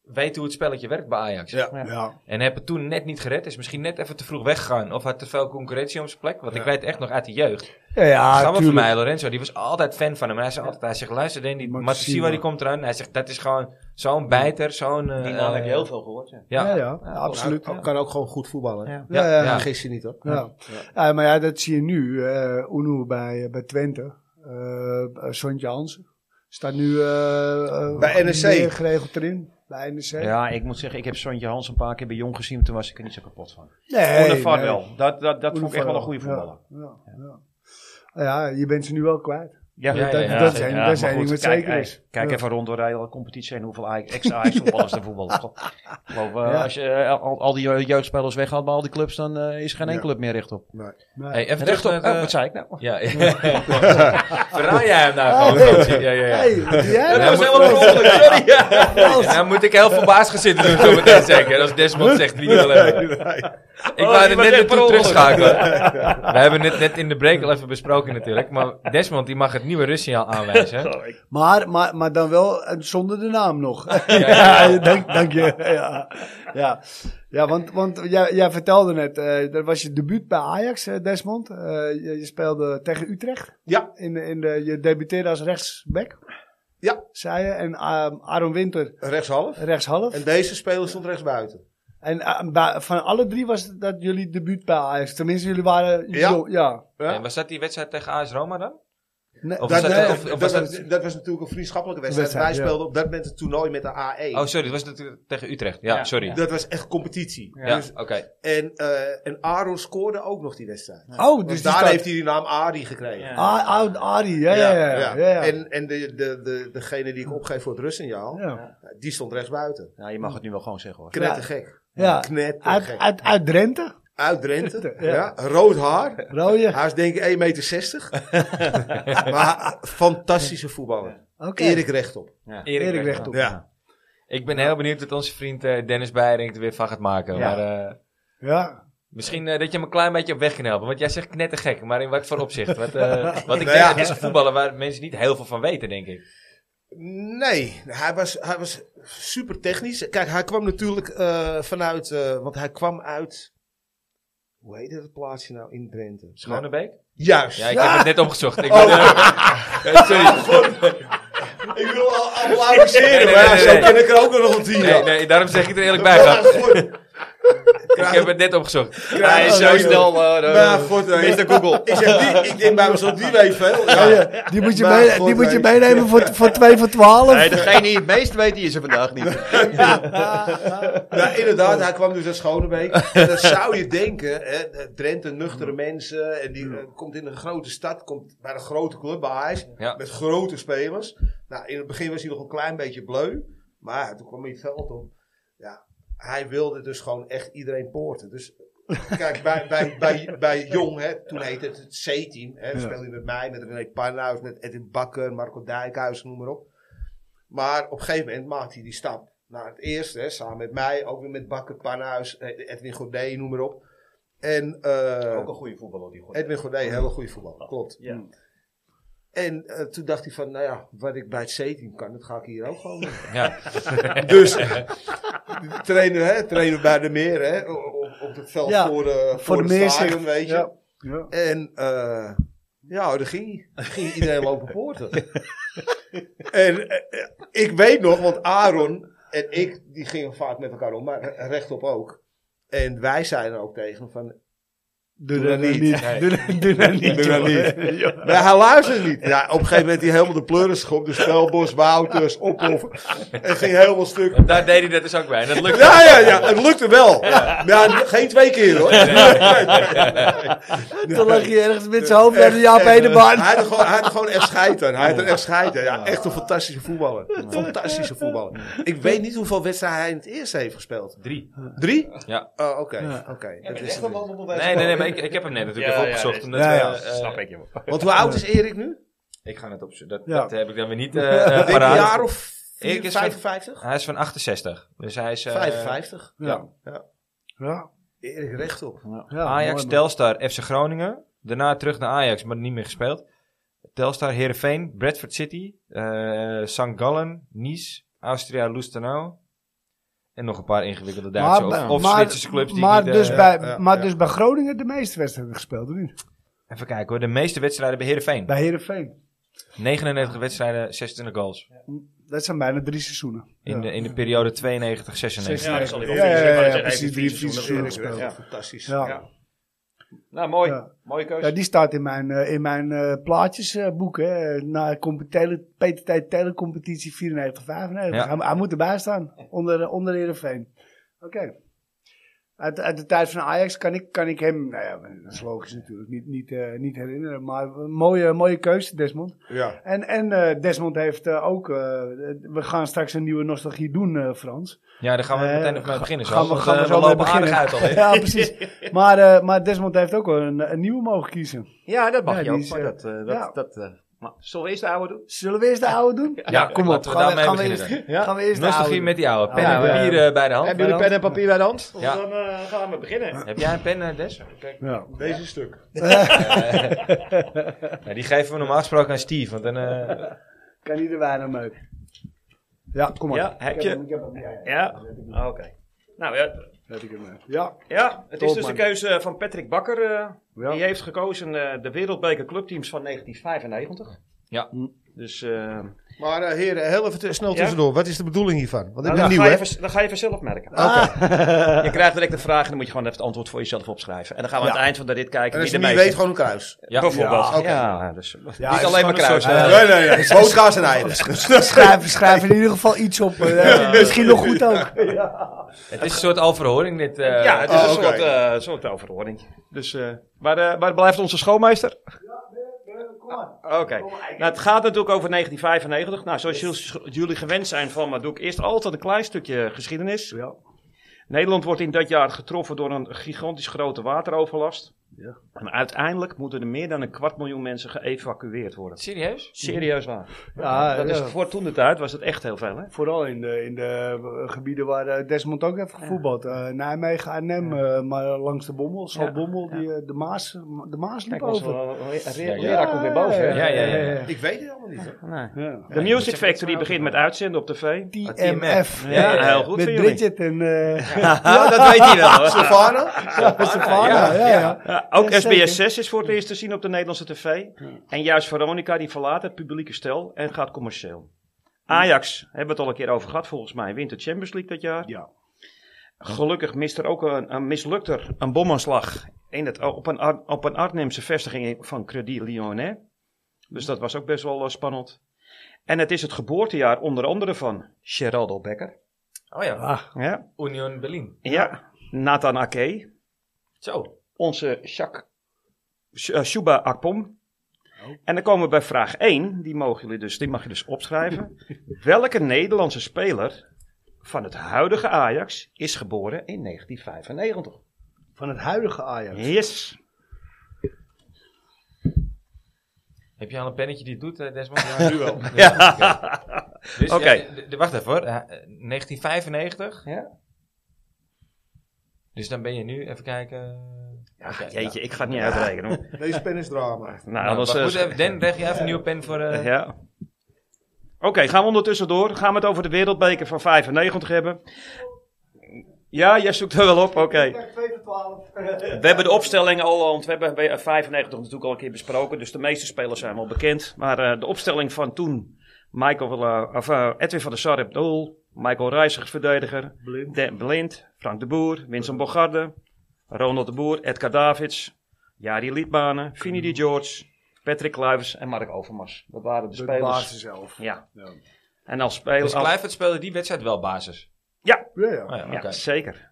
[SPEAKER 1] weten hoe het spelletje werkt bij Ajax.
[SPEAKER 3] Ja.
[SPEAKER 2] Ja.
[SPEAKER 1] En hebben toen net niet gered. Is misschien net even te vroeg weggegaan. Of had te veel concurrentie om zijn plek. Want ik weet echt nog uit de jeugd.
[SPEAKER 2] Ja, ja,
[SPEAKER 1] Samen van
[SPEAKER 2] tuurlijk.
[SPEAKER 1] mij, Lorenzo, die was altijd fan van hem. En hij zei altijd, hij zegt, luister, Danny, die
[SPEAKER 2] Matsushima.
[SPEAKER 1] Matsushima die komt eraan. Hij zegt, dat is gewoon zo'n bijter, zo'n... eh,
[SPEAKER 5] Die naam heb je heel veel gehoord. Ja.
[SPEAKER 1] Ja,
[SPEAKER 2] Ja, ja, absoluut.
[SPEAKER 3] Hij kan ook gewoon goed voetballen. hè.
[SPEAKER 5] Ja.
[SPEAKER 2] Ja, ja, ja.
[SPEAKER 3] Vergis je niet hoor.
[SPEAKER 2] Ja. Ja, maar ja, dat zie je nu. eh Uno bij, bij Twente. eh Sontje Hansen. Staat nu eh, eh,
[SPEAKER 3] Bij NEC.
[SPEAKER 2] meer geregeld erin. Bij NEC.
[SPEAKER 5] Ja, ik moet zeggen, ik heb Sontje Hans een paar keer bij Jong gezien, maar toen was ik er niet zo kapot van.
[SPEAKER 2] Nee,
[SPEAKER 5] Onder Van
[SPEAKER 2] nee.
[SPEAKER 5] wel. Dat, dat, dat
[SPEAKER 2] Oene
[SPEAKER 5] vond ik echt wel
[SPEAKER 2] van
[SPEAKER 5] een goede voetballer.
[SPEAKER 2] Ja, ja, ja. ja, je bent ze nu wel kwijt.
[SPEAKER 5] Ja,
[SPEAKER 1] Ja, ja, ja.
[SPEAKER 2] dat zijn- dat
[SPEAKER 5] maar
[SPEAKER 2] zijn
[SPEAKER 5] goed,
[SPEAKER 2] dingen wat
[SPEAKER 5] kijk,
[SPEAKER 2] zeker
[SPEAKER 5] hey,
[SPEAKER 2] is.
[SPEAKER 5] Kijk
[SPEAKER 2] Ja.
[SPEAKER 5] even rond door de hele competitie en hoeveel Ajax- ex-Ajax voetballers er voetballen. Ik geloof, eh,
[SPEAKER 2] Ja.
[SPEAKER 5] Als je eh, al, al die je- jeugdspelers weghaalt bij al die clubs, dan eh, is er geen
[SPEAKER 3] Ja.
[SPEAKER 5] enkele club meer recht op.
[SPEAKER 2] Nee.
[SPEAKER 1] Hey, even terug
[SPEAKER 5] Recht op,
[SPEAKER 1] naar...
[SPEAKER 5] eh,
[SPEAKER 1] eh,
[SPEAKER 5] wat zei ik nou?
[SPEAKER 1] ja, verraai jij hem nou gewoon?
[SPEAKER 2] Hey.
[SPEAKER 1] Fransie? Ja, ja, ja.
[SPEAKER 2] Hey, wat doe jij
[SPEAKER 1] Ja,
[SPEAKER 2] nou?
[SPEAKER 1] dat was helemaal per ongeluk, sorry. Ja. Dan moet ik heel verbaasd gaan zitten doen zo meteen zeker. Als Desmond zegt 3-0 hebben. Ik
[SPEAKER 5] Oh,
[SPEAKER 1] wou
[SPEAKER 5] die
[SPEAKER 1] er
[SPEAKER 5] was
[SPEAKER 1] net
[SPEAKER 5] echt
[SPEAKER 1] naartoe
[SPEAKER 5] per ongeluk.
[SPEAKER 1] terugschakelen. We hebben het net in de break al even besproken natuurlijk. Maar Desmond die mag het nieuwe rustsignaal aanwijzen.
[SPEAKER 2] Maar, maar, maar dan wel eh, zonder de naam nog. ja, dank, dank je. Ja, ja. ja want, want jij, jij vertelde net, eh, dat was je debuut bij Ajax, eh, Desmond. Eh, je, je speelde tegen Utrecht.
[SPEAKER 3] Ja.
[SPEAKER 2] In, de- in de, je debuteerde als rechtsback.
[SPEAKER 3] Ja.
[SPEAKER 2] Zei je. En ehm, Aaron Winter
[SPEAKER 3] Rechtshalf.
[SPEAKER 2] rechtshalf.
[SPEAKER 3] En
[SPEAKER 2] En,
[SPEAKER 3] deze speler stond rechtsbuiten.
[SPEAKER 2] eh, bij- van alle drie was het dat jullie debuut bij Ajax. Tenminste, jullie waren...
[SPEAKER 3] Ja.
[SPEAKER 2] jong- ja.
[SPEAKER 3] Ja.
[SPEAKER 1] En was dat die wedstrijd tegen AS Roma dan?
[SPEAKER 2] Nee,
[SPEAKER 1] Of
[SPEAKER 3] Dat,
[SPEAKER 1] was
[SPEAKER 3] dat,
[SPEAKER 1] dat- of- of
[SPEAKER 3] dat
[SPEAKER 1] was
[SPEAKER 3] was,
[SPEAKER 1] dat-
[SPEAKER 3] dat was natuurlijk een vriendschappelijke wedstrijd.
[SPEAKER 2] Wedstrijd,
[SPEAKER 3] Wij
[SPEAKER 2] ja.
[SPEAKER 3] speelden op dat moment een toernooi met de E. A1.
[SPEAKER 1] Oh sorry, dat was natuurlijk tegen Utrecht. Ja,
[SPEAKER 5] Ja.
[SPEAKER 1] sorry.
[SPEAKER 3] Dat was echt competitie.
[SPEAKER 1] Ja,
[SPEAKER 3] Dus-
[SPEAKER 1] oké.
[SPEAKER 3] en, eh en Aaron scoorde ook nog die wedstrijd.
[SPEAKER 2] oh,
[SPEAKER 3] Dus
[SPEAKER 2] dus
[SPEAKER 3] daar heeft hij die naam Ari gekregen.
[SPEAKER 5] Ja.
[SPEAKER 2] Ah, oud Arie, ja, ja, ja. ja, ja.
[SPEAKER 3] En, en de, de, de, degene die ik opgeef voor het rustsignaal,
[SPEAKER 2] ja.
[SPEAKER 3] die stond rechtsbuiten.
[SPEAKER 5] Nou, je mag het nu wel gewoon zeggen hoor.
[SPEAKER 3] Knettergek.
[SPEAKER 2] Ja. Uit,
[SPEAKER 3] Knettergek.
[SPEAKER 2] uit, uit Drenthe?
[SPEAKER 3] Uit Drenthe.
[SPEAKER 2] Ja.
[SPEAKER 3] Ja. Rood haar.
[SPEAKER 2] Rooie?
[SPEAKER 3] Hij is denk ik 1,60 meter. maar fantastische voetballer.
[SPEAKER 2] Oké.
[SPEAKER 3] Erik rechtop.
[SPEAKER 1] Erik,
[SPEAKER 2] Erik
[SPEAKER 1] Weg.
[SPEAKER 2] rechtop.
[SPEAKER 3] Ja.
[SPEAKER 1] Ik ben heel benieuwd wat onze vriend eh, Dennis Beiring er weer van gaat maken.
[SPEAKER 5] Ja.
[SPEAKER 1] Maar, eh,
[SPEAKER 2] Ja.
[SPEAKER 1] Misschien eh, dat je me een klein beetje op weg kan helpen. Want jij zegt knettergek, maar in wat voor opzicht? Wat, eh, want ik
[SPEAKER 3] Nou
[SPEAKER 1] denk,
[SPEAKER 3] ja.
[SPEAKER 1] het is een voetballer waar mensen niet heel veel van weten, denk ik.
[SPEAKER 3] Nee, hij was, hij was super technisch. Kijk, hij kwam natuurlijk eh, vanuit, eh, want hij kwam uit, hoe heet dat plaatsje nou Oh. in Drenthe?
[SPEAKER 1] Schonebeek?
[SPEAKER 3] Juist.
[SPEAKER 1] Ja, ik heb het net opgezocht. Ik ben, eh, eh, sorry.
[SPEAKER 3] Ik wil al, al amuseren,
[SPEAKER 1] Nee, nee,
[SPEAKER 3] maar ja,
[SPEAKER 1] nee,
[SPEAKER 3] zo
[SPEAKER 1] nee.
[SPEAKER 3] ken ik er ook nog een tien.
[SPEAKER 1] Nee,
[SPEAKER 3] jaar.
[SPEAKER 1] nee, daarom zeg ik er eerlijk bij.
[SPEAKER 3] Maar
[SPEAKER 1] Gap.
[SPEAKER 3] goed.
[SPEAKER 1] Ik heb het net opgezocht.
[SPEAKER 3] Hij is zo snel, Maar
[SPEAKER 1] Maar
[SPEAKER 3] goed, eh, Ik, zeg, die, ik denk bij mezelf, die weet veel. Ja.
[SPEAKER 2] Die moet je,
[SPEAKER 3] Maar
[SPEAKER 2] mee,
[SPEAKER 3] God,
[SPEAKER 2] die moet je
[SPEAKER 3] nee.
[SPEAKER 2] meenemen voor, voor 2 voor 12.
[SPEAKER 5] Nee, degene die het meest weet, die is er vandaag niet.
[SPEAKER 3] Nou, inderdaad, hij kwam dus uit Schonebeek. En dan zou je denken, hè, Drenthe, nuchtere mensen. En die eh, komt in een grote stad, komt bij een grote club, bij Ajax.
[SPEAKER 1] Ja.
[SPEAKER 3] Met grote spelers. Nou, in het begin was hij nog een klein beetje bleu. Maar toen kwam hij het veld op. Ja, hij wilde dus gewoon echt iedereen poorten. Dus kijk, bij, bij, bij, bij Jong, hè, toen heette het het C-team. Hè, speelde hij met mij, met René Panhuis, met Edwin Bakker, Marco Dijkhuis, noem maar op. Maar op een gegeven moment maakt hij die stap naar het eerste. Hè, samen met mij, ook weer met Bakker Panhuis, eh, Edwin Godet, noem maar op. En, eh,
[SPEAKER 5] Ook een goede voetballer die gooit.
[SPEAKER 3] Edwin Godet, hele goede voetballer, klopt.
[SPEAKER 5] Ja.
[SPEAKER 3] En eh, toen dacht hij van, nou ja, wat ik bij het C-team kan, dat ga ik hier ook gewoon doen.
[SPEAKER 1] Ja.
[SPEAKER 3] Dus trainen, hè, trainen bij de meer, hè, op, op het veld
[SPEAKER 2] Ja,
[SPEAKER 3] voor, eh, voor
[SPEAKER 2] de
[SPEAKER 3] het
[SPEAKER 2] meer
[SPEAKER 3] stadion,
[SPEAKER 2] zegt-
[SPEAKER 3] weet je.
[SPEAKER 2] ja. Ja.
[SPEAKER 3] En eh, ja, daar ging, hij. ging iedereen lopen poorten. en eh, eh, ik weet nog, want Aaron en ik, die gingen vaak met elkaar om, maar rechtop ook. En wij zeiden ook tegen hem van,
[SPEAKER 2] Doe,
[SPEAKER 3] dat niet.
[SPEAKER 2] nou Doe, dat- doe dat niet.
[SPEAKER 3] Doe dat
[SPEAKER 2] jongen. Ja.
[SPEAKER 3] Maar hij luisterde niet. Ja, op een gegeven moment die helemaal de pleuris schop. De spelbos, Wouters, Ophoff. Het ging helemaal stuk.
[SPEAKER 1] Want daar deed hij dat dus ook bij. En dat lukte.
[SPEAKER 3] Ja, ja, ja. Het lukte wel. Ja. geen twee keer hoor.
[SPEAKER 2] Toen lag je ergens met zijn hoofd naar de Jaap Hedenbaan.
[SPEAKER 3] Hij had, er gewoon, hij had er gewoon echt scheid aan. Hij had er echt scheid aan. Ja, echt een fantastische voetballer. Fantastische voetballer. Ik weet niet hoeveel wedstrijden hij in het eerste heeft gespeeld.
[SPEAKER 1] Drie.
[SPEAKER 3] Drie?
[SPEAKER 1] Ja.
[SPEAKER 3] Oh, oké. oké. Dat is het niet.
[SPEAKER 1] Nee, nee, nee, maar ik, ik heb hem net natuurlijk
[SPEAKER 5] Ja,
[SPEAKER 1] even opgezocht.
[SPEAKER 5] ja,
[SPEAKER 1] omdat
[SPEAKER 2] ja,
[SPEAKER 1] we,
[SPEAKER 2] ja,
[SPEAKER 1] eh,
[SPEAKER 5] Snap ik, joh.
[SPEAKER 3] Want hoe oud is Erik nu?
[SPEAKER 1] ik ga net opzoeken. Dat,
[SPEAKER 2] Ja.
[SPEAKER 1] dat heb ik dan weer niet eh
[SPEAKER 3] Ik denk een
[SPEAKER 1] paraat.
[SPEAKER 3] jaar of vier-
[SPEAKER 1] Erik is van-
[SPEAKER 3] 55?
[SPEAKER 1] Hij is van 68. Dus hij is eh,
[SPEAKER 3] 55.
[SPEAKER 2] Ja.
[SPEAKER 3] Ja.
[SPEAKER 2] Ja.
[SPEAKER 3] Erik rechtop.
[SPEAKER 2] Ja,
[SPEAKER 1] Ajax,
[SPEAKER 2] mooi, man.
[SPEAKER 1] Telstar, FC Groningen. Daarna terug naar Ajax, maar niet meer gespeeld. Telstar, Heerenveen, Bradford City, eh St. Gallen, Nice, Austria, Lustenau. En nog een paar ingewikkelde Duitse
[SPEAKER 2] bij-
[SPEAKER 1] of, of Zwitserse clubs die ik
[SPEAKER 2] maar
[SPEAKER 1] niet,
[SPEAKER 2] dus
[SPEAKER 1] eh,
[SPEAKER 2] bij,
[SPEAKER 3] ja,
[SPEAKER 2] Maar
[SPEAKER 3] ja.
[SPEAKER 2] dus bij Groningen de meeste wedstrijden gespeeld, of niet?
[SPEAKER 1] Even kijken hoor, de meeste wedstrijden bij Heerenveen.
[SPEAKER 2] Bij Herenveen.
[SPEAKER 1] 99 wedstrijden, 26 goals.
[SPEAKER 2] Dat zijn bijna drie seizoenen.
[SPEAKER 1] In,
[SPEAKER 2] Ja.
[SPEAKER 1] de, in de periode 92-96.
[SPEAKER 5] Ja, dat zal ik wel
[SPEAKER 2] Ja, ja,
[SPEAKER 5] vies. Ik wou
[SPEAKER 2] ja,
[SPEAKER 5] zeggen,
[SPEAKER 2] precies,
[SPEAKER 5] heeft
[SPEAKER 2] drie,
[SPEAKER 5] vier
[SPEAKER 2] vier
[SPEAKER 5] seizoenen
[SPEAKER 2] seizoenen
[SPEAKER 5] gespeeld.
[SPEAKER 2] gespeeld.
[SPEAKER 5] Ja.
[SPEAKER 3] Fantastisch.
[SPEAKER 2] Ja.
[SPEAKER 5] Ja. Nou, mooi.
[SPEAKER 2] Ja.
[SPEAKER 5] Mooie keuze.
[SPEAKER 2] Ja, die staat in mijn, eh, in mijn eh, plaatjesboek. hè. Na compu- tele- PTT Telecompetitie 94, 95.
[SPEAKER 1] Ja.
[SPEAKER 2] Hij, hij moet erbij staan. Onder, onder Heerenveen. Oké. Uit, uit de tijd van Ajax kan ik, kan ik hem, nou ja, dat is logisch natuurlijk, niet, niet, eh, niet herinneren. Maar een mooie, mooie keuze, Desmond.
[SPEAKER 3] Ja.
[SPEAKER 2] En, en eh, Desmond heeft eh, ook, eh, we gaan straks een nieuwe nostalgie doen, eh, Frans.
[SPEAKER 1] Ja, daar gaan we
[SPEAKER 2] Eh,
[SPEAKER 1] meteen even mee beginnen. Zo.
[SPEAKER 2] Gaan we,
[SPEAKER 1] want,
[SPEAKER 2] gaan
[SPEAKER 1] eh,
[SPEAKER 2] we zo mee
[SPEAKER 1] lopen
[SPEAKER 2] beginnen.
[SPEAKER 1] aardig uit alweer.
[SPEAKER 2] ja, precies. Maar, eh, maar Desmond heeft ook wel een, een nieuwe mogen kiezen.
[SPEAKER 5] Ja, dat mag
[SPEAKER 2] Ja,
[SPEAKER 5] je
[SPEAKER 2] die
[SPEAKER 5] ook.
[SPEAKER 2] is,
[SPEAKER 5] maar
[SPEAKER 2] eh,
[SPEAKER 5] dat, eh, dat,
[SPEAKER 2] ja.
[SPEAKER 5] dat, eh, maar zullen we eerst de oude doen?
[SPEAKER 2] Zullen we eerst de oude doen? Ja, kom op.
[SPEAKER 1] laten we
[SPEAKER 2] Gaan we,
[SPEAKER 1] daarmee
[SPEAKER 2] gaan we
[SPEAKER 1] beginnen
[SPEAKER 2] eerst, gaan we eerst de
[SPEAKER 1] Nostalgie
[SPEAKER 2] oude
[SPEAKER 1] met die oude. Pen
[SPEAKER 2] Ja,
[SPEAKER 1] en
[SPEAKER 5] Ah,
[SPEAKER 2] ja, ja.
[SPEAKER 1] papier eh, bij de hand.
[SPEAKER 5] Hebben jullie pen en papier bij de hand?
[SPEAKER 1] Ja.
[SPEAKER 5] Dan eh, gaan we beginnen.
[SPEAKER 1] Heb jij een pen, eh, Des?
[SPEAKER 2] doen. Ja.
[SPEAKER 3] Deze stuk.
[SPEAKER 1] Nou, die geven we normaal gesproken aan Steve. Want dan, eh,
[SPEAKER 2] Kan ieder weinig mee. Ja, kom maar.
[SPEAKER 5] Ja, heb
[SPEAKER 2] Ik
[SPEAKER 5] je-
[SPEAKER 2] hem, ik heb hem, ja, ja.
[SPEAKER 5] Ja, oké. Nou ja,
[SPEAKER 2] Heb ik hem, ja. Ja,
[SPEAKER 5] ja, het is
[SPEAKER 2] Top,
[SPEAKER 5] dus de
[SPEAKER 2] man.
[SPEAKER 5] keuze van Patrick Bakker. eh,
[SPEAKER 2] Ja.
[SPEAKER 5] Die heeft gekozen eh, de wereldbeker clubteams van 1995.
[SPEAKER 1] Ja.
[SPEAKER 5] Dus eh
[SPEAKER 3] Maar eh, heren, heel even te- snel
[SPEAKER 5] Ja?
[SPEAKER 3] tussendoor. Wat is de bedoeling hiervan? Want ik
[SPEAKER 5] nou,
[SPEAKER 3] ben
[SPEAKER 5] dan,
[SPEAKER 3] nieuw,
[SPEAKER 5] ga je
[SPEAKER 3] hè?
[SPEAKER 5] vers- dan ga je vanzelf merken. Je krijgt direct een vraag en dan moet je gewoon even het antwoord voor jezelf opschrijven. En dan gaan we aan het eind van de rit kijken wie
[SPEAKER 3] En als
[SPEAKER 5] de
[SPEAKER 3] je niet
[SPEAKER 5] meeste...
[SPEAKER 3] weet, gewoon een kruis.
[SPEAKER 1] ja.
[SPEAKER 5] Bijvoorbeeld.
[SPEAKER 1] Ja,
[SPEAKER 5] Ja,
[SPEAKER 3] oké.
[SPEAKER 5] dus,
[SPEAKER 2] Ja,
[SPEAKER 5] niet
[SPEAKER 2] het is
[SPEAKER 5] alleen maar
[SPEAKER 1] gewoon een
[SPEAKER 5] kruis.
[SPEAKER 1] soort, eh,
[SPEAKER 3] Nee, nee, nee. Bootkaas en eieren.
[SPEAKER 2] schrijf, schrijf in ieder geval iets op. eh, Misschien nog goed ook.
[SPEAKER 1] Het is een soort alverhoring dit. eh,
[SPEAKER 5] ja, het is
[SPEAKER 3] oh,
[SPEAKER 5] een
[SPEAKER 3] oké.
[SPEAKER 5] soort, eh, soort overhoring. Dus, eh, waar, eh, waar blijft onze schoonmeester? Oké. Nou, het gaat natuurlijk over 1995. Nou, zoals jullie- jullie gewend zijn van me, doe ik eerst altijd een klein stukje geschiedenis.
[SPEAKER 2] Ja.
[SPEAKER 5] Nederland wordt in dat jaar getroffen door een gigantisch grote wateroverlast. En uiteindelijk moeten er meer dan een kwart miljoen mensen geëvacueerd worden.
[SPEAKER 1] Serieus?
[SPEAKER 5] Serieus waar.
[SPEAKER 2] Ja,
[SPEAKER 5] dat is,
[SPEAKER 2] ja.
[SPEAKER 5] Voor toen de tijd was dat echt heel veel, hè?
[SPEAKER 2] Vooral in de, in de eh, gebieden waar eh, Desmond ook heeft gevoetbald. Eh, Nijmegen, Arnhem, eh, maar langs de Bommel. Zo
[SPEAKER 5] Ja.
[SPEAKER 2] Bommel, die, eh, de, Maas, de Maas liep
[SPEAKER 5] Kijk, onze
[SPEAKER 2] over.
[SPEAKER 5] le- leraar komt weer boven. hè?
[SPEAKER 1] Ja, ja, ja. ja.
[SPEAKER 3] Ik weet het allemaal niet. hè.
[SPEAKER 5] Nee.
[SPEAKER 2] Ja.
[SPEAKER 5] De Music Factory begint met uitzenden op tv.
[SPEAKER 2] TMF.
[SPEAKER 5] Ja,
[SPEAKER 2] hè?
[SPEAKER 5] heel goed
[SPEAKER 2] eh, Met
[SPEAKER 5] van jullie.
[SPEAKER 2] Bridget en eh
[SPEAKER 1] Ja, dat weet hij wel. hè.
[SPEAKER 3] Savannah?
[SPEAKER 2] Savannah. Ja, ja.
[SPEAKER 5] Ja, ook
[SPEAKER 2] Ja, zeker.
[SPEAKER 5] SBS 6 is voor het eerst te zien op de Nederlandse tv. En juist Veronica die verlaat het publieke stel en gaat commercieel. Ajax, hebben we het al een keer over gehad volgens mij, wint de Champions League dat jaar.
[SPEAKER 2] Ja.
[SPEAKER 5] Gelukkig mist er ook een, een mislukt er een bomaanslag in het, op, een, Ar- op een Arnhemse vestiging van Credit Lyonnais. Dus dat was ook best wel eh, spannend. En het is het geboortejaar onder andere van Geraldo Becker.
[SPEAKER 1] Oh ja,
[SPEAKER 2] Ah.
[SPEAKER 5] Ja,
[SPEAKER 1] Union Berlin.
[SPEAKER 5] ja. Nathan Ake.
[SPEAKER 1] Zo.
[SPEAKER 5] onze Jacques Sh- eh, Shuba Akpom. En dan komen we bij vraag 1, die, mogen jullie dus, die mag je dus opschrijven. Welke Nederlandse speler van het huidige Ajax is geboren in 1995?
[SPEAKER 2] Van het huidige Ajax.
[SPEAKER 5] Yes.
[SPEAKER 1] Heb je al een pennetje die het doet, eh, Desmond? Ja, nu wel.
[SPEAKER 5] Ja.
[SPEAKER 1] Dus,
[SPEAKER 5] Oké.
[SPEAKER 1] ja, d- d- wacht even hoor. Eh, 1995.
[SPEAKER 2] Ja.
[SPEAKER 1] Dus dan ben je nu, even kijken.
[SPEAKER 5] Ja,
[SPEAKER 1] Oké,
[SPEAKER 5] jeetje, ik ga het niet uitrekenen. hoor.
[SPEAKER 3] Deze pen is drama.
[SPEAKER 5] Nou,
[SPEAKER 1] Nou,
[SPEAKER 5] anders...
[SPEAKER 1] wacht,
[SPEAKER 5] eh,
[SPEAKER 1] goed, even, Den, leg je even een nieuwe pen voor... eh,
[SPEAKER 5] Ja. Oké, gaan we ondertussen door. Gaan we het over de wereldbeker van 95 hebben. Ja, jij zoekt er wel op, oké. We hebben de opstelling al, want we hebben bij 95 natuurlijk al een keer besproken. Dus de meeste spelers zijn wel bekend. Maar eh, de opstelling van toen, Michael, eh, of, eh, Edwin van der Sar op doel. Michael Reiziger, verdediger.
[SPEAKER 3] Blind.
[SPEAKER 5] Dan Blind, Frank de Boer, Winston Bogarde. Ronald de Boer, Edgar Davids. Jari Liedbanen, Vinnie Di George. Patrick Kluivers en Mark Overmars. Dat waren de,
[SPEAKER 2] De
[SPEAKER 5] spelers.
[SPEAKER 2] basis zelf.
[SPEAKER 5] Ja.
[SPEAKER 2] Ja.
[SPEAKER 5] En als speler...
[SPEAKER 1] Dus
[SPEAKER 5] als-
[SPEAKER 1] Kluivert speelde die wedstrijd wel basis.
[SPEAKER 2] Ja, ja.
[SPEAKER 1] Oh, ja,
[SPEAKER 5] ja,
[SPEAKER 1] oké.
[SPEAKER 5] zeker.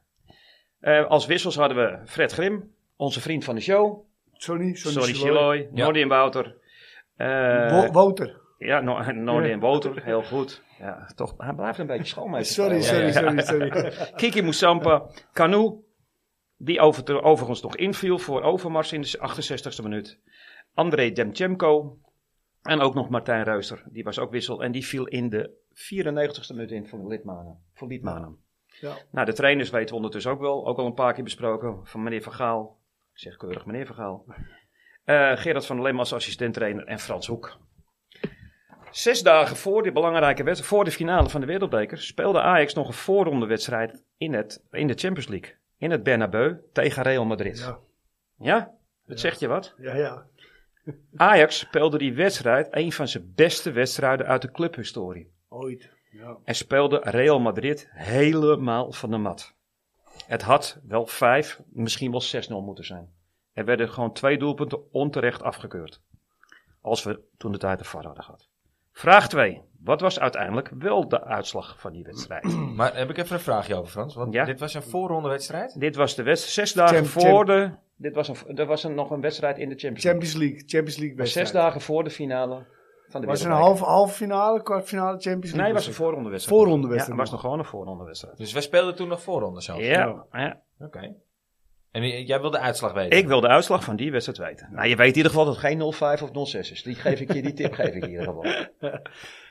[SPEAKER 5] Eh, als wissels hadden we Fred Grim, onze vriend van de show.
[SPEAKER 2] Sonny, Sonny,
[SPEAKER 5] Sorry,
[SPEAKER 2] Siloy.
[SPEAKER 5] Chiloy.
[SPEAKER 1] Ja.
[SPEAKER 5] Nordi en Wouter. Eh,
[SPEAKER 2] Wo- Wouter.
[SPEAKER 5] ja, no Nordi en Wouter. Heel goed. Ja, toch, hij blijft een beetje schoonmeester.
[SPEAKER 2] Sorry,
[SPEAKER 1] ja, ja.
[SPEAKER 2] sorry, sorry, sorry.
[SPEAKER 5] Kiki Moussampa, Kanu, die over, overigens nog inviel voor Overmars in de 68e minuut. André Demchenko en ook nog Martijn Ruister, die was ook wissel en die viel in de 94e minuut in voor Lidmanen. Voor Liedmanen.
[SPEAKER 2] Ja.
[SPEAKER 5] Nou, de trainers weten we ondertussen ook wel, ook al een paar keer besproken, van meneer Van Gaal. Ik zeg keurig meneer Van Gaal. Eh, Gerard van der Lem als assistent-trainer en Frans Hoek. Zes dagen voor die belangrijke wedstrijd, voor de finale van de Wereldbeker, speelde Ajax nog een voorrondewedstrijd in, het, in de Champions League. In het Bernabeu tegen Real Madrid. Ja?
[SPEAKER 2] Ja.
[SPEAKER 5] Dat zegt je wat?
[SPEAKER 2] Ja, ja.
[SPEAKER 5] Ajax speelde die wedstrijd, een van zijn beste wedstrijden uit de clubhistorie.
[SPEAKER 2] Ooit. Ja.
[SPEAKER 5] En speelde Real Madrid helemaal van de mat. Het had wel vijf, misschien wel 6-0 moeten zijn. Er werden gewoon twee doelpunten onterecht afgekeurd. Als we toen de tijd de VAR hadden gehad. Vraag 2. Wat was uiteindelijk wel de uitslag van die wedstrijd?
[SPEAKER 1] Maar heb ik even een vraagje over, Frans? Want
[SPEAKER 5] Ja.
[SPEAKER 1] dit was een voorronde wedstrijd.
[SPEAKER 5] dit was de wedstrijd zes dagen
[SPEAKER 2] Champ-
[SPEAKER 5] voor de... Dit was, een, er was een, nog een wedstrijd in de Champions League.
[SPEAKER 2] Champions League. Champions League
[SPEAKER 5] Maar
[SPEAKER 2] wedstrijd.
[SPEAKER 5] zes dagen voor de finale van de
[SPEAKER 2] Was het een
[SPEAKER 5] Wereldbeker.
[SPEAKER 2] halve, halve finale, kwartfinale Champions League?
[SPEAKER 5] Nee, het was een
[SPEAKER 2] wedstrijd?
[SPEAKER 5] voorronde wedstrijd.
[SPEAKER 2] Voorrondewedstrijd
[SPEAKER 5] Ja, het was
[SPEAKER 2] nog.
[SPEAKER 5] nog gewoon een voorronde wedstrijd.
[SPEAKER 1] Dus wij speelden toen nog voorronde zelf.
[SPEAKER 2] nou.
[SPEAKER 5] Ja, ja,
[SPEAKER 1] Oké. En i- jij wil de uitslag weten?
[SPEAKER 5] Ik wil de uitslag van die wedstrijd weten. Nou, je weet in ieder geval dat het geen 05 of 06 is. Die geef ik je, die tip geef ik je in ieder geval.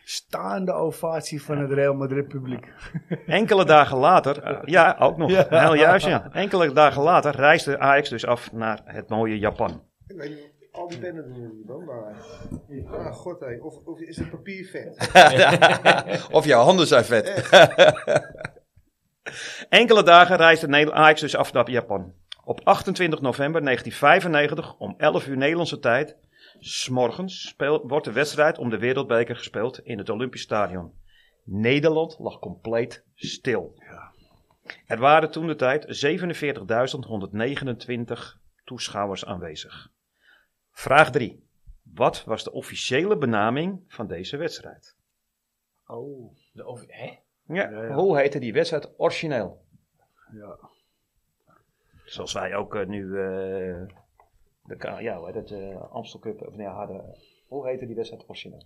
[SPEAKER 2] Staande ovatie van het Real Madrid publiek.
[SPEAKER 5] Enkele dagen later, eh, ja, ook nog,
[SPEAKER 2] Ja.
[SPEAKER 5] heel juist ja. Enkele dagen later reisde Ajax dus af naar het mooie Japan.
[SPEAKER 3] Ik weet niet, al die pennen doen jullie dan, maar... Ah, god hé, of, of is het papier vet?
[SPEAKER 4] of jouw handen zijn vet.
[SPEAKER 5] Enkele dagen reisde Nederland- Ajax dus af naar Japan. Op 28 november 1995 om 11 uur Nederlandse tijd, smorgens, speel- wordt de wedstrijd om de wereldbeker gespeeld in het Olympisch Stadion. Nederland lag compleet stil. Er waren toen de tijd 47.129 toeschouwers aanwezig. Vraag 3. Wat was de officiële benaming van deze wedstrijd?
[SPEAKER 2] Oh.
[SPEAKER 1] De of- hè?
[SPEAKER 5] Ja,
[SPEAKER 2] Ja, ja.
[SPEAKER 5] Hoe heette die wedstrijd origineel?
[SPEAKER 2] Ja.
[SPEAKER 5] Zoals wij ook eh, nu eh, de K- ja, hoe heet het, eh, Amstel Cup of nee, hadden. Hoe heette die wedstrijd origineel?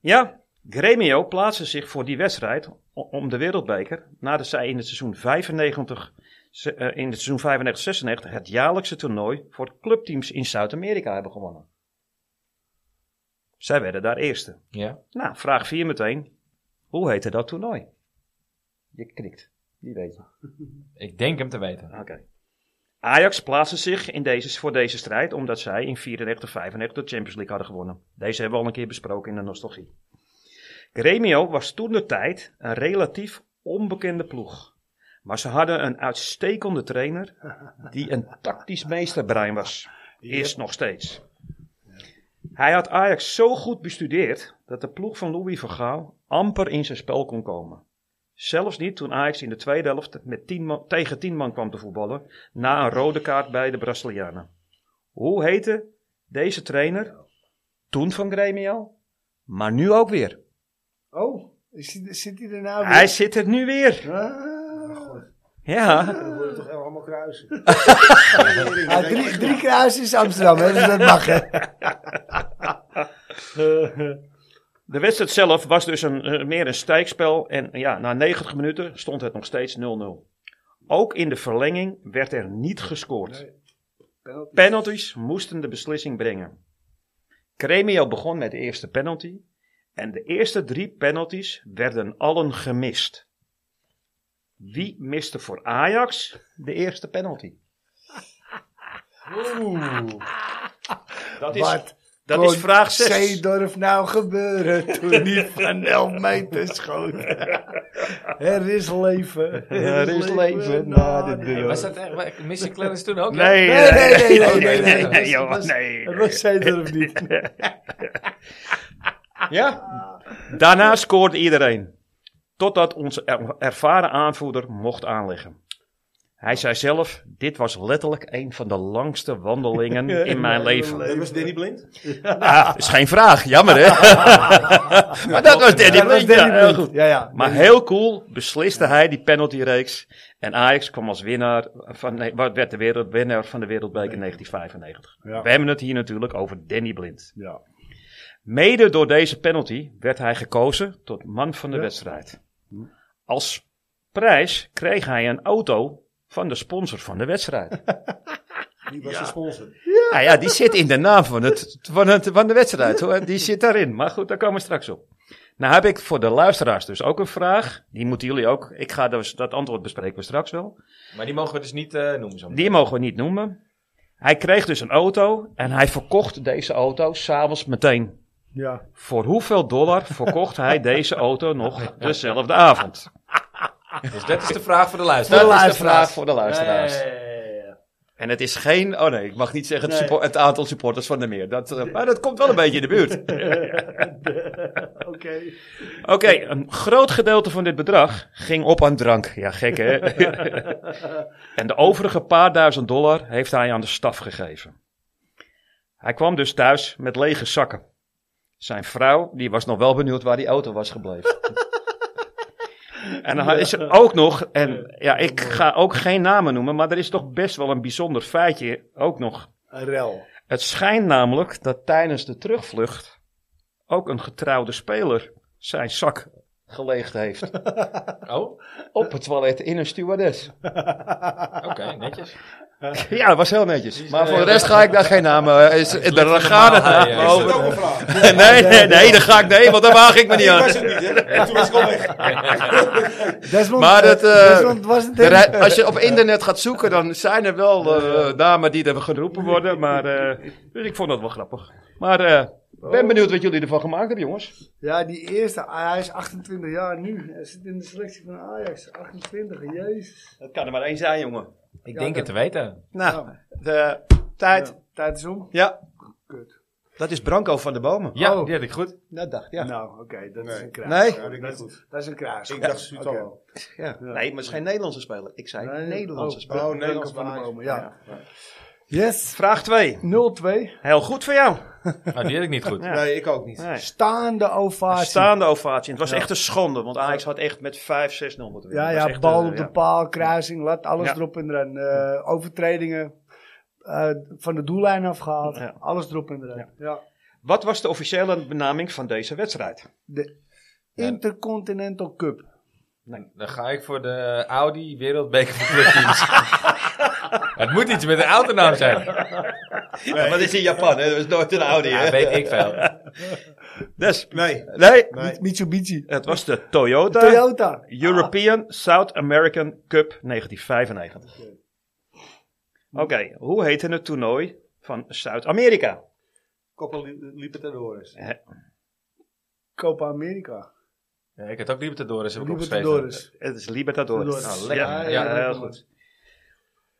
[SPEAKER 5] ja, Gremio plaatste zich voor die wedstrijd o- om de wereldbeker nadat zij in het seizoen 95 ze- eh, in het seizoen 95-96 het jaarlijkse toernooi voor clubteams in Zuid-Amerika hebben gewonnen. Zij werden daar eerste.
[SPEAKER 1] Ja.
[SPEAKER 5] Nou, vraag 4 meteen. Hoe heette dat toernooi? Je knikt. Die weet je.
[SPEAKER 1] Ik denk hem te weten.
[SPEAKER 5] Oké. Ajax plaatste zich in deze, voor deze strijd omdat zij in 94-95 de Champions League hadden gewonnen. Deze hebben we al een keer besproken in de nostalgie. Gremio was toen de tijd een relatief onbekende ploeg. Maar ze hadden een uitstekende trainer die een tactisch meesterbrein was. Is nog steeds. Hij had Ajax zo goed bestudeerd dat de ploeg van Louis van Gaal amper in zijn spel kon komen. Zelfs niet toen Ajax in de tweede helft met 10 man- tegen 10 man kwam te voetballen na een rode kaart bij de Brazilianen. Hoe heette deze trainer? Toen van Grêmio, maar nu ook weer.
[SPEAKER 2] Oh, is die- zit hij er nou
[SPEAKER 5] Hij zit er nu weer.
[SPEAKER 2] Ah.
[SPEAKER 5] Ja.
[SPEAKER 3] Dan worden toch allemaal kruisen?
[SPEAKER 2] Ah, drie, drie kruisen is Amsterdam, hè, dus dat mag, hè.
[SPEAKER 5] De wedstrijd zelf was dus een, eh, meer een stijgspel en ja, na 90 minuten stond het nog steeds 0-0. Ook in de verlenging werd er niet gescoord.
[SPEAKER 2] penalty.
[SPEAKER 5] Penalties moesten de beslissing brengen. Cremio begon met de eerste penalty. En de eerste drie penalties werden allen gemist. Wie miste voor Ajax de eerste penalty? Dat is, dat is
[SPEAKER 2] Kon
[SPEAKER 5] vraag 6.
[SPEAKER 2] Zeedorf nou gebeuren toen die van 11 meter schoot. er is leven.
[SPEAKER 5] Er is leven na de deur.
[SPEAKER 1] Was dat echt? maar Mr. Clarence toen ook? hè?
[SPEAKER 5] Nee,
[SPEAKER 2] Nee, nee, nee, nee, nee, nee,
[SPEAKER 5] nee,
[SPEAKER 2] nee.
[SPEAKER 5] jongen,
[SPEAKER 2] Dat was-
[SPEAKER 5] nee.
[SPEAKER 2] Het was Zeedorf niet.
[SPEAKER 5] Ja. Daarna scoorde iedereen. Totdat onze er- ervaren aanvoerder mocht aanleggen. Hij zei zelf, dit was letterlijk een van de langste wandelingen in mijn leven.
[SPEAKER 3] Dat was Danny Blind.
[SPEAKER 5] Ah, is geen vraag, jammer hè. maar dat was Danny
[SPEAKER 2] Dat was
[SPEAKER 5] Blind.
[SPEAKER 2] Danny
[SPEAKER 5] ja, heel
[SPEAKER 2] Blind.
[SPEAKER 5] goed.
[SPEAKER 2] Ja, ja.
[SPEAKER 5] Maar heel cool besliste hij die penaltyreeks. En Ajax kwam als winnaar van, nee, wat werd de wereld, winnaar van de Wereldbeker 1995.
[SPEAKER 2] Ja.
[SPEAKER 5] We hebben het hier natuurlijk over Danny Blind.
[SPEAKER 2] Ja.
[SPEAKER 5] Mede door deze penalty werd hij gekozen tot man van de
[SPEAKER 2] Ja.
[SPEAKER 5] wedstrijd. Als prijs kreeg hij een auto van de sponsor van de wedstrijd.
[SPEAKER 3] Die was de sponsor.
[SPEAKER 5] Nou ja, die zit in de naam van, het, van, het, van de wedstrijd hoor. Die zit daarin. Maar goed, daar komen we straks op. Nou heb ik voor de luisteraars dus ook een vraag. Die moeten jullie ook. Ik ga dus, dat antwoord bespreken we straks wel.
[SPEAKER 1] Maar die mogen we dus niet eh, noemen zo. meteen.
[SPEAKER 5] Die mogen we niet noemen. Hij kreeg dus een auto en hij verkocht deze auto s'avonds meteen.
[SPEAKER 2] Ja.
[SPEAKER 5] Voor hoeveel dollar verkocht hij deze auto nog dezelfde avond?
[SPEAKER 1] Dus dat is de vraag voor de luisteraar.
[SPEAKER 5] Dat is de
[SPEAKER 2] luisteraars.
[SPEAKER 5] vraag voor de luisteraars. En het is geen. Oh nee, ik mag niet zeggen het,
[SPEAKER 2] Nee.
[SPEAKER 5] suppo- het aantal supporters van de meer. Dat, eh, maar dat komt wel een beetje in de buurt.
[SPEAKER 2] Oké.
[SPEAKER 5] Oké, een groot gedeelte van dit bedrag ging op aan drank. Ja, gek hè? en de overige paar duizend dollar heeft hij aan de staf gegeven. Hij kwam dus thuis met lege zakken. Zijn vrouw, die was nog wel benieuwd waar die auto was gebleven. en dan is er ook nog, en ja, ik ga ook geen namen noemen, maar er is toch best wel een bijzonder feitje ook nog
[SPEAKER 2] Een rel.
[SPEAKER 5] het schijnt namelijk dat tijdens de terugvlucht ook een getrouwde speler zijn zak geleegd heeft.
[SPEAKER 1] Oh, oké,
[SPEAKER 5] Op het toilet in een stewardess.
[SPEAKER 1] netjes.
[SPEAKER 5] Ja, dat was heel netjes. Maar voor de rest ga ik daar geen namen. eh, Is, daar
[SPEAKER 1] normaal,
[SPEAKER 5] gaat
[SPEAKER 1] hè,
[SPEAKER 5] het
[SPEAKER 1] ja.
[SPEAKER 5] over.
[SPEAKER 3] Ook een vraag.
[SPEAKER 5] Nee, nee, nee, daar ga ik nee, want daar waag ik me niet
[SPEAKER 3] Ik was
[SPEAKER 5] aan.
[SPEAKER 3] het niet, hè? En Toen was ik al weg.
[SPEAKER 2] Desmond,
[SPEAKER 5] Maar dat, eh,
[SPEAKER 2] Desmond was het
[SPEAKER 5] Er rij- als je op internet gaat zoeken, dan zijn er wel eh, namen die er geroepen worden. Maar, eh, dus ik vond dat wel grappig. Maar eh, ik ben benieuwd wat jullie ervan gemaakt hebben, jongens.
[SPEAKER 2] Ja, die eerste. ah, Hij is 28 jaar nu. Hij zit in de selectie van Ajax. 28, jezus.
[SPEAKER 5] Dat kan er maar één zijn, jongen.
[SPEAKER 1] Ik
[SPEAKER 2] Ja,
[SPEAKER 1] denk het
[SPEAKER 2] dat-
[SPEAKER 1] te weten.
[SPEAKER 5] Nou, de tijd.
[SPEAKER 2] Ja, tijd is om.
[SPEAKER 5] Ja.
[SPEAKER 2] Kut.
[SPEAKER 5] Dat is Branco van de Bomen.
[SPEAKER 1] Ja,
[SPEAKER 2] Oh.
[SPEAKER 1] die had ik goed.
[SPEAKER 5] Dat dacht
[SPEAKER 2] Nou, oké, dat is
[SPEAKER 3] Nee.
[SPEAKER 2] een kraas.
[SPEAKER 5] Nee?
[SPEAKER 3] Ja, dat is niet goed.
[SPEAKER 2] Dat is een kraas.
[SPEAKER 3] Ik dacht Sutalo.
[SPEAKER 5] Ja. Nee, maar het is geen Nederlandse speler. Ik zei Nederlandse speler.
[SPEAKER 3] Oh,
[SPEAKER 2] Nederlands
[SPEAKER 3] Nederlands
[SPEAKER 2] van de
[SPEAKER 3] van
[SPEAKER 2] bomen, ja. Yes,
[SPEAKER 5] Vraag 2.
[SPEAKER 2] 0-2.
[SPEAKER 5] Heel goed voor jou.
[SPEAKER 1] Oh, die had ik niet goed.
[SPEAKER 5] Ja.
[SPEAKER 3] Nee, ik ook niet.
[SPEAKER 5] Nee.
[SPEAKER 2] Staande ovatie.
[SPEAKER 5] Staande ovatie. Het was echt een schande, want Ajax had echt met 5-6-0 moeten winnen.
[SPEAKER 2] ja,
[SPEAKER 5] Het was
[SPEAKER 2] ja,
[SPEAKER 5] echt,
[SPEAKER 2] bal
[SPEAKER 5] eh,
[SPEAKER 2] op de
[SPEAKER 5] ja.
[SPEAKER 2] paal, kruising, lat, alles
[SPEAKER 5] Ja.
[SPEAKER 2] erop en eraan. Eh, overtredingen eh, van de doellijn afgehaald,
[SPEAKER 5] Ja.
[SPEAKER 2] alles erop en eraan. Ja.
[SPEAKER 5] Wat was de officiële benaming van deze wedstrijd?
[SPEAKER 2] De Intercontinental Cup.
[SPEAKER 1] Dan ga ik voor de Audi Wereldbeker van Clubteams. het moet iets met een autonaam zijn.
[SPEAKER 5] Ja, maar dat is in Japan, hè? dat is nooit een Audi.
[SPEAKER 1] Ja, weet ik veel.
[SPEAKER 5] Dus,
[SPEAKER 3] Nee.
[SPEAKER 5] nee,
[SPEAKER 2] Mitsubishi.
[SPEAKER 5] het was de Toyota,
[SPEAKER 2] Toyota.
[SPEAKER 3] Ah.
[SPEAKER 5] European South American Cup 1995.
[SPEAKER 2] Hm.
[SPEAKER 5] Oké, hoe heette het toernooi van Zuid-Amerika?
[SPEAKER 3] Copa Li- Libertadores.
[SPEAKER 5] Eh,
[SPEAKER 2] Copa America.
[SPEAKER 1] Ja, ik had ook Libertadores, heb ik opgeschreven.
[SPEAKER 2] Libertadores.
[SPEAKER 5] Het is Libertadores.
[SPEAKER 2] Libertadores.
[SPEAKER 1] Oh, lekker.
[SPEAKER 5] Ja,
[SPEAKER 1] Ja,
[SPEAKER 5] ja, heel goed.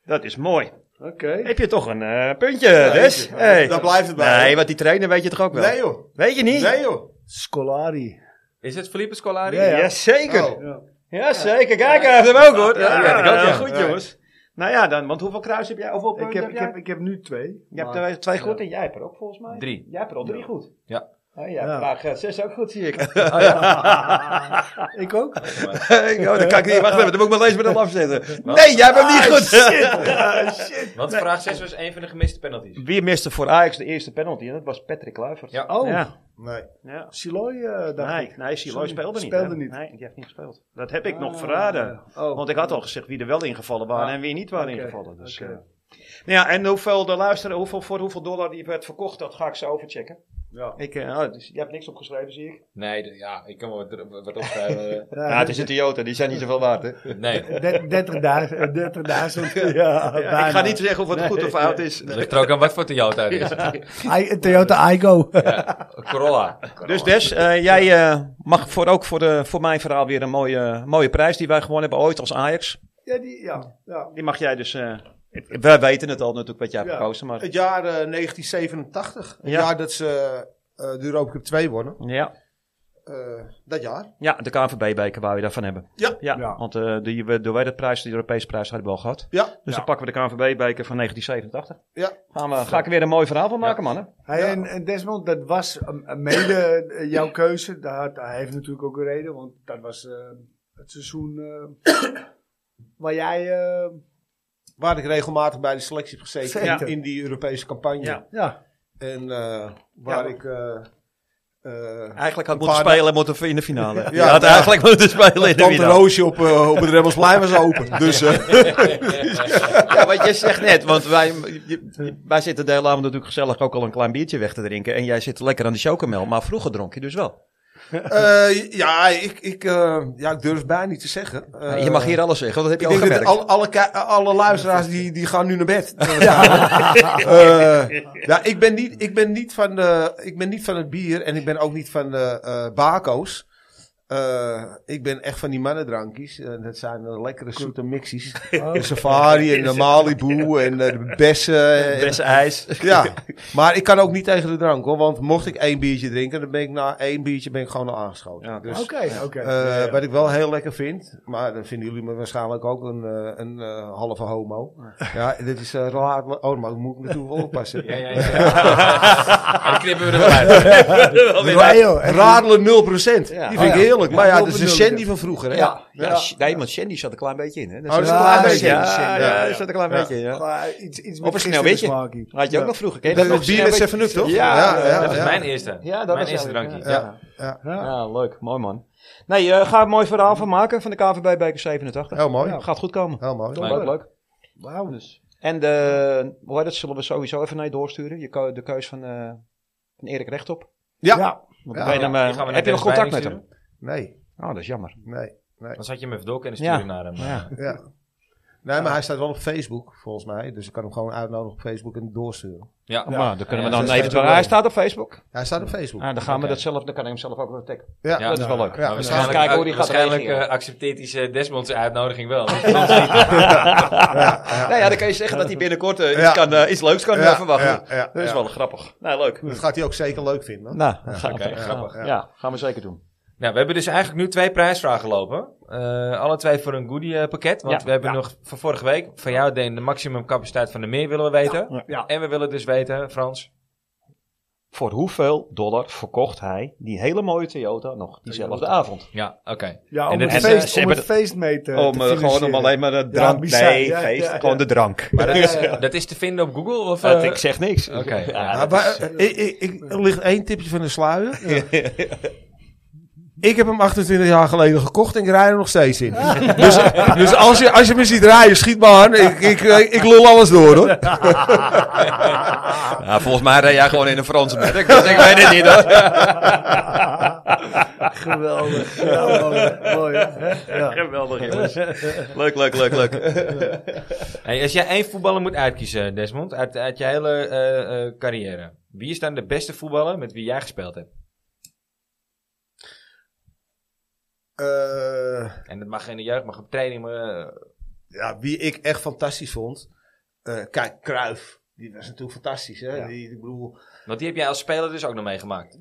[SPEAKER 5] Dat is mooi.
[SPEAKER 2] Oké.
[SPEAKER 5] Heb je toch een eh, puntje, Des?
[SPEAKER 3] eentje.
[SPEAKER 5] Hey.
[SPEAKER 3] Daar blijft het bij.
[SPEAKER 5] Nee, want die trainer weet je toch ook wel?
[SPEAKER 3] Nee, joh.
[SPEAKER 5] Weet je niet?
[SPEAKER 3] Nee, joh.
[SPEAKER 2] Scolari.
[SPEAKER 1] Is het Felipe Scolari?
[SPEAKER 2] Ja, ja.
[SPEAKER 5] Jazeker.
[SPEAKER 3] Oh.
[SPEAKER 2] Ja.
[SPEAKER 5] Jazeker. Kijk, hij heeft hem ook hoor.
[SPEAKER 1] Ja, dat heb ik ook, ja.
[SPEAKER 5] Goed
[SPEAKER 3] Ja.
[SPEAKER 5] jongens. Nou ja, dan, want hoeveel kruis heb jij? Hoeveel
[SPEAKER 2] Ik
[SPEAKER 5] punten
[SPEAKER 2] heb,
[SPEAKER 5] heb,
[SPEAKER 2] ik,
[SPEAKER 5] jij?
[SPEAKER 2] heb, ik heb nu twee.
[SPEAKER 5] je hebt
[SPEAKER 2] maar-
[SPEAKER 5] er twee goed en jij hebt er ook volgens mij.
[SPEAKER 1] Drie.
[SPEAKER 5] Jij hebt er al drie goed.
[SPEAKER 1] Ja.
[SPEAKER 5] Oh, ja,
[SPEAKER 2] Ah,
[SPEAKER 5] Oh,
[SPEAKER 2] Ja.
[SPEAKER 5] vraag eh, zes ook goed, zie ik.
[SPEAKER 2] ik ook.
[SPEAKER 5] oh, dan kan ik niet. Wacht even, dan moet ik mijn leesbril afzetten. Nee, jij hebt hem niet goed.
[SPEAKER 1] Want vraag 6 was een van de gemiste penalties.
[SPEAKER 5] Wie miste voor Ajax de eerste penalty? En dat was Patrick Kluivert.
[SPEAKER 1] Ja.
[SPEAKER 2] Oh,
[SPEAKER 5] ja.
[SPEAKER 3] Nee.
[SPEAKER 5] ja.
[SPEAKER 2] Siloy eh dacht
[SPEAKER 5] Nee,
[SPEAKER 2] ik.
[SPEAKER 5] nee Siloy
[SPEAKER 2] Sorry,
[SPEAKER 5] speelde niet.
[SPEAKER 2] speelde
[SPEAKER 5] hè?
[SPEAKER 2] niet.
[SPEAKER 5] Nee, die heeft niet gespeeld. Dat heb ik nog
[SPEAKER 2] Ah,
[SPEAKER 5] verraden.
[SPEAKER 2] oh.
[SPEAKER 5] Want ik had al gezegd wie er wel ingevallen waren
[SPEAKER 2] Ah,
[SPEAKER 5] en wie niet waren
[SPEAKER 2] oké,
[SPEAKER 5] ingevallen. Dus,
[SPEAKER 2] oké.
[SPEAKER 5] eh, Nou ja, en hoeveel de luisteren, hoeveel, voor hoeveel dollar die werd verkocht, dat ga ik zo overchecken.
[SPEAKER 2] Ja.
[SPEAKER 5] Ik, eh, oh, dus, je hebt niks opgeschreven, zie ik.
[SPEAKER 1] Nee, d- ja, ik kan wel wat, er- wat opschrijven.
[SPEAKER 2] Ja,
[SPEAKER 5] het is een Toyota, die zijn niet zoveel waard. Hè?
[SPEAKER 1] eh, nee,
[SPEAKER 2] de- de- 30.000. ja, bijna.
[SPEAKER 5] ik ga niet zeggen of het goed of oud is.
[SPEAKER 1] het ligt er ook Dus aan wat voor Toyota het is.
[SPEAKER 2] I- Toyota Igo.
[SPEAKER 1] Corolla.
[SPEAKER 5] Dus Des, eh, jij eh, mag voor, ook voor, de, voor mijn verhaal weer een mooie, mooie prijs die wij gewonnen hebben ooit als Ajax.
[SPEAKER 2] ja, die, ja, ja.
[SPEAKER 5] Die mag jij dus... eh, wij weten het al natuurlijk wat jij hebt
[SPEAKER 2] Ja.
[SPEAKER 5] gekozen, maar...
[SPEAKER 3] Het jaar eh, 1987. Het
[SPEAKER 5] Ja.
[SPEAKER 3] jaar dat ze eh, de Europa Cup 2 wonnen.
[SPEAKER 5] Ja.
[SPEAKER 3] Eh, dat jaar.
[SPEAKER 5] Ja, de KNVB-beker wou je daarvan hebben.
[SPEAKER 3] Ja.
[SPEAKER 5] ja,
[SPEAKER 2] Ja.
[SPEAKER 5] Want eh die, we- door wij dat prijs, die Europese prijs, hadden we al gehad.
[SPEAKER 3] Ja.
[SPEAKER 5] Dus dan pakken we de KNVB-beker van 1987.
[SPEAKER 3] Ja.
[SPEAKER 5] Gaan we, ga ik er weer een mooi verhaal van maken, mannen.
[SPEAKER 2] Hey, en, en Desmond, dat was eh, mede eh, jouw keuze. Daar, had- hij heeft natuurlijk ook een reden, want dat was eh, het seizoen eh, waar jij... eh,
[SPEAKER 3] Waar ik regelmatig bij de selectie heb gezeten.
[SPEAKER 2] Zeker.
[SPEAKER 3] In die Europese campagne.
[SPEAKER 5] Ja.
[SPEAKER 2] ja,
[SPEAKER 3] En eh, waar
[SPEAKER 5] Ja.
[SPEAKER 3] ik... eh, eh,
[SPEAKER 5] Eigenlijk had
[SPEAKER 3] Een
[SPEAKER 5] moeten
[SPEAKER 3] paar
[SPEAKER 5] spelen moeten in de finale. ja,
[SPEAKER 3] Ja,
[SPEAKER 5] had
[SPEAKER 3] ja.
[SPEAKER 5] eigenlijk moeten spelen in de
[SPEAKER 3] Tante
[SPEAKER 5] finale.
[SPEAKER 3] Roosje op, eh, op het Remmelsplein was open. Dus eh,
[SPEAKER 5] Ja, want je zegt net, want wij, je- je- wij zitten de hele avond natuurlijk gezellig ook al een klein biertje weg te drinken. En jij zit lekker aan de chocomel, maar vroeger dronk je dus wel.
[SPEAKER 3] eh, ja, ik, ik, eh, ja, ik durf het bijna niet te zeggen. Eh,
[SPEAKER 5] je mag hier alles zeggen, want dat
[SPEAKER 3] Ik
[SPEAKER 5] heb je al
[SPEAKER 3] denk dat
[SPEAKER 5] gemerkt.
[SPEAKER 3] alle, alle, ki- alle luisteraars die, die gaan nu naar bed. ja. ja, ik, ben niet, ik, ben niet van de, ik ben niet van het bier en ik ben ook niet van de eh bako's. Eh, ik ben echt van die mannendrankjes. Eh, dat zijn eh, lekkere zoete mixies.
[SPEAKER 2] Oh.
[SPEAKER 3] De safari en de Malibu en eh, de bessen. en-
[SPEAKER 5] Beste ijs.
[SPEAKER 3] ja, maar ik kan ook niet tegen de drank hoor. Want mocht ik één biertje drinken, dan ben ik na één biertje ben ik gewoon al aangeschoten.
[SPEAKER 5] Ja.
[SPEAKER 3] dus,
[SPEAKER 2] oké. oké.
[SPEAKER 3] eh, Wat ik wel heel lekker vind, maar dan vinden jullie me waarschijnlijk ook een, eh, een eh, halve homo. Ja, dit is eh raar. Oh, maar ik moet natuurlijk wel oppassen.
[SPEAKER 1] Ja, ja, ja. En dan knippen we er wel uit.
[SPEAKER 2] Ja, joh, echt.
[SPEAKER 3] Radelen 0%. Die vind ik
[SPEAKER 2] ja.
[SPEAKER 3] heerlijk. Maar ja, dat is de
[SPEAKER 2] 0%,
[SPEAKER 3] Shandy
[SPEAKER 2] ja.
[SPEAKER 3] van vroeger. Hè?
[SPEAKER 2] Ja.
[SPEAKER 5] Ja, Sh- nee, maar Shandy zat een klein beetje in. Hè. Dat
[SPEAKER 3] Oh,
[SPEAKER 5] zat-
[SPEAKER 3] dat is een klein
[SPEAKER 2] Ja,
[SPEAKER 3] beetje.
[SPEAKER 5] ja,
[SPEAKER 2] Shandy,
[SPEAKER 5] ja,
[SPEAKER 2] Shandy, ja.
[SPEAKER 5] dat zat een klein beetje. Ja.
[SPEAKER 2] Maar iets, iets
[SPEAKER 5] Of
[SPEAKER 2] met
[SPEAKER 5] eh, een
[SPEAKER 2] gisteren
[SPEAKER 5] sneeuwwitje.
[SPEAKER 2] smaakje.
[SPEAKER 5] Had je ook
[SPEAKER 2] Ja.
[SPEAKER 5] nog vroeger. ken je
[SPEAKER 3] Dat is
[SPEAKER 5] nog
[SPEAKER 3] met bier met 7 Up, toch?
[SPEAKER 5] Ja,
[SPEAKER 3] ja,
[SPEAKER 1] Dat is
[SPEAKER 3] ja.
[SPEAKER 1] mijn eerste.
[SPEAKER 5] Ja, dat
[SPEAKER 1] mijn
[SPEAKER 5] was
[SPEAKER 1] eerste
[SPEAKER 5] eigenlijk,
[SPEAKER 1] drankje.
[SPEAKER 5] ja.
[SPEAKER 1] Ja.
[SPEAKER 5] Ja. leuk. Mooi man. Nee, eh, ga een mooi verhaal van maken van de KVB Beker 87.
[SPEAKER 3] Heel Oh, mooi.
[SPEAKER 5] Gaat goed komen.
[SPEAKER 3] Heel Oh, mooi.
[SPEAKER 1] Leuk.
[SPEAKER 5] Leuk, leuk. Wauw. Dus. En de, hoe heet dat, zullen we sowieso even naar je doorsturen. Je, keu- de keus van, eh van Erik Rechtop.
[SPEAKER 3] Ja.
[SPEAKER 2] Ja.
[SPEAKER 5] Want ben
[SPEAKER 3] Ja,
[SPEAKER 5] je
[SPEAKER 1] die
[SPEAKER 5] hem, eh,
[SPEAKER 1] gaan we naar
[SPEAKER 5] heb je
[SPEAKER 1] Dennis
[SPEAKER 5] nog contact met
[SPEAKER 1] Beiring
[SPEAKER 5] hem?
[SPEAKER 3] Nee,
[SPEAKER 5] Oh, dat is jammer.
[SPEAKER 3] nee.
[SPEAKER 1] Dan had je hem even door kunnen
[SPEAKER 5] Ja.
[SPEAKER 1] sturen naar hem.
[SPEAKER 5] Ja.
[SPEAKER 3] Ja. Nee, maar hij staat wel op Facebook, volgens mij. Dus ik kan hem gewoon uitnodigen op Facebook en doorsturen.
[SPEAKER 1] Ja.
[SPEAKER 5] Maar dan kunnen we
[SPEAKER 3] Ja,
[SPEAKER 5] dan
[SPEAKER 3] dat is
[SPEAKER 5] eventueel...
[SPEAKER 3] geen
[SPEAKER 5] Hij staat op Facebook.
[SPEAKER 3] Hij staat op Facebook.
[SPEAKER 5] Ah, dan gaan we dat zelf, dan kan ik hem zelf ook wel taggen.
[SPEAKER 3] Ja. nou,
[SPEAKER 1] Ja.
[SPEAKER 5] Dat is wel leuk.
[SPEAKER 3] Ja,
[SPEAKER 1] Maar
[SPEAKER 3] we
[SPEAKER 1] waarschijnlijk
[SPEAKER 5] kijken hoe die gaat
[SPEAKER 1] waarschijnlijk
[SPEAKER 5] reageren.
[SPEAKER 1] eh, accepteert hij eh, Desmond zijn uitnodiging wel.
[SPEAKER 5] Nou ja, dan kan je zeggen dat hij binnenkort eh, iets,
[SPEAKER 3] Ja.
[SPEAKER 5] kan, eh, iets leuks kan eh,
[SPEAKER 3] Ja,
[SPEAKER 5] verwachten.
[SPEAKER 3] ja, ja,
[SPEAKER 5] dat is
[SPEAKER 3] ja.
[SPEAKER 5] wel grappig. Nou, leuk.
[SPEAKER 3] Dat gaat hij ook zeker leuk vinden.
[SPEAKER 5] Nou,
[SPEAKER 1] Oké, grappig.
[SPEAKER 5] ja. gaan we zeker doen.
[SPEAKER 1] Nou, we hebben dus eigenlijk nu twee prijsvragen lopen. Eh, alle twee voor een goodie eh, pakket. Want
[SPEAKER 5] Ja,
[SPEAKER 1] we hebben
[SPEAKER 5] ja.
[SPEAKER 1] nog van vorige week, van jou Deen, de maximumcapaciteit van de meer willen we weten.
[SPEAKER 2] Ja.
[SPEAKER 1] En we willen dus weten, Frans,
[SPEAKER 5] Voor hoeveel dollar verkocht hij die hele mooie Toyota nog diezelfde avond?
[SPEAKER 1] ja, oké.
[SPEAKER 2] Ja,
[SPEAKER 1] En
[SPEAKER 2] om,
[SPEAKER 1] dat
[SPEAKER 2] het
[SPEAKER 1] is-
[SPEAKER 5] ze-
[SPEAKER 2] feest,
[SPEAKER 5] ze
[SPEAKER 2] om
[SPEAKER 5] hebben
[SPEAKER 2] het feest mee te
[SPEAKER 5] om
[SPEAKER 2] te
[SPEAKER 5] eh, gewoon om
[SPEAKER 2] financieren.
[SPEAKER 5] alleen maar de drank.
[SPEAKER 2] bizar.
[SPEAKER 5] nee,
[SPEAKER 2] Ja,
[SPEAKER 5] feest.
[SPEAKER 2] ja, ja.
[SPEAKER 5] Gewoon de drank.
[SPEAKER 1] Maar dat is,
[SPEAKER 2] Ja, ja.
[SPEAKER 1] dat is te vinden op Google? Of,
[SPEAKER 5] Dat-
[SPEAKER 1] eh,
[SPEAKER 5] ik zeg niks.
[SPEAKER 1] Oké.
[SPEAKER 5] Ja,
[SPEAKER 3] Ja,
[SPEAKER 5] dat
[SPEAKER 3] maar,
[SPEAKER 5] is-
[SPEAKER 3] eh, ik, ik, ik- er ligt één tipje van de sluier. Ik heb hem 28 jaar geleden gekocht en ik rij er nog steeds in. Dus, dus als, je, als je me ziet rijden, schiet me aan. Ik, ik, eh, ik lul alles door hoor.
[SPEAKER 5] Ja, volgens mij rij jij gewoon in een Franse merk. Dus ik weet het niet hoor.
[SPEAKER 2] Geweldig. Ja, mooi. mooi, hè? Ja.
[SPEAKER 5] Geweldig jongens. Leuk, leuk, leuk, leuk.
[SPEAKER 1] Hey, als jij één voetballer moet uitkiezen, Desmond, uit, uit je hele eh, eh, carrière. Wie is dan de beste voetballer met wie jij gespeeld hebt?
[SPEAKER 3] Eh,
[SPEAKER 1] En dat mag in de jeugd, mag op training. maar, eh,
[SPEAKER 3] ja, wie ik echt fantastisch vond. eh, kijk, Kruif. Die was natuurlijk fantastisch. Hè? Die, ik bedoel, eh,
[SPEAKER 1] want die heb jij als speler dus ook nog meegemaakt.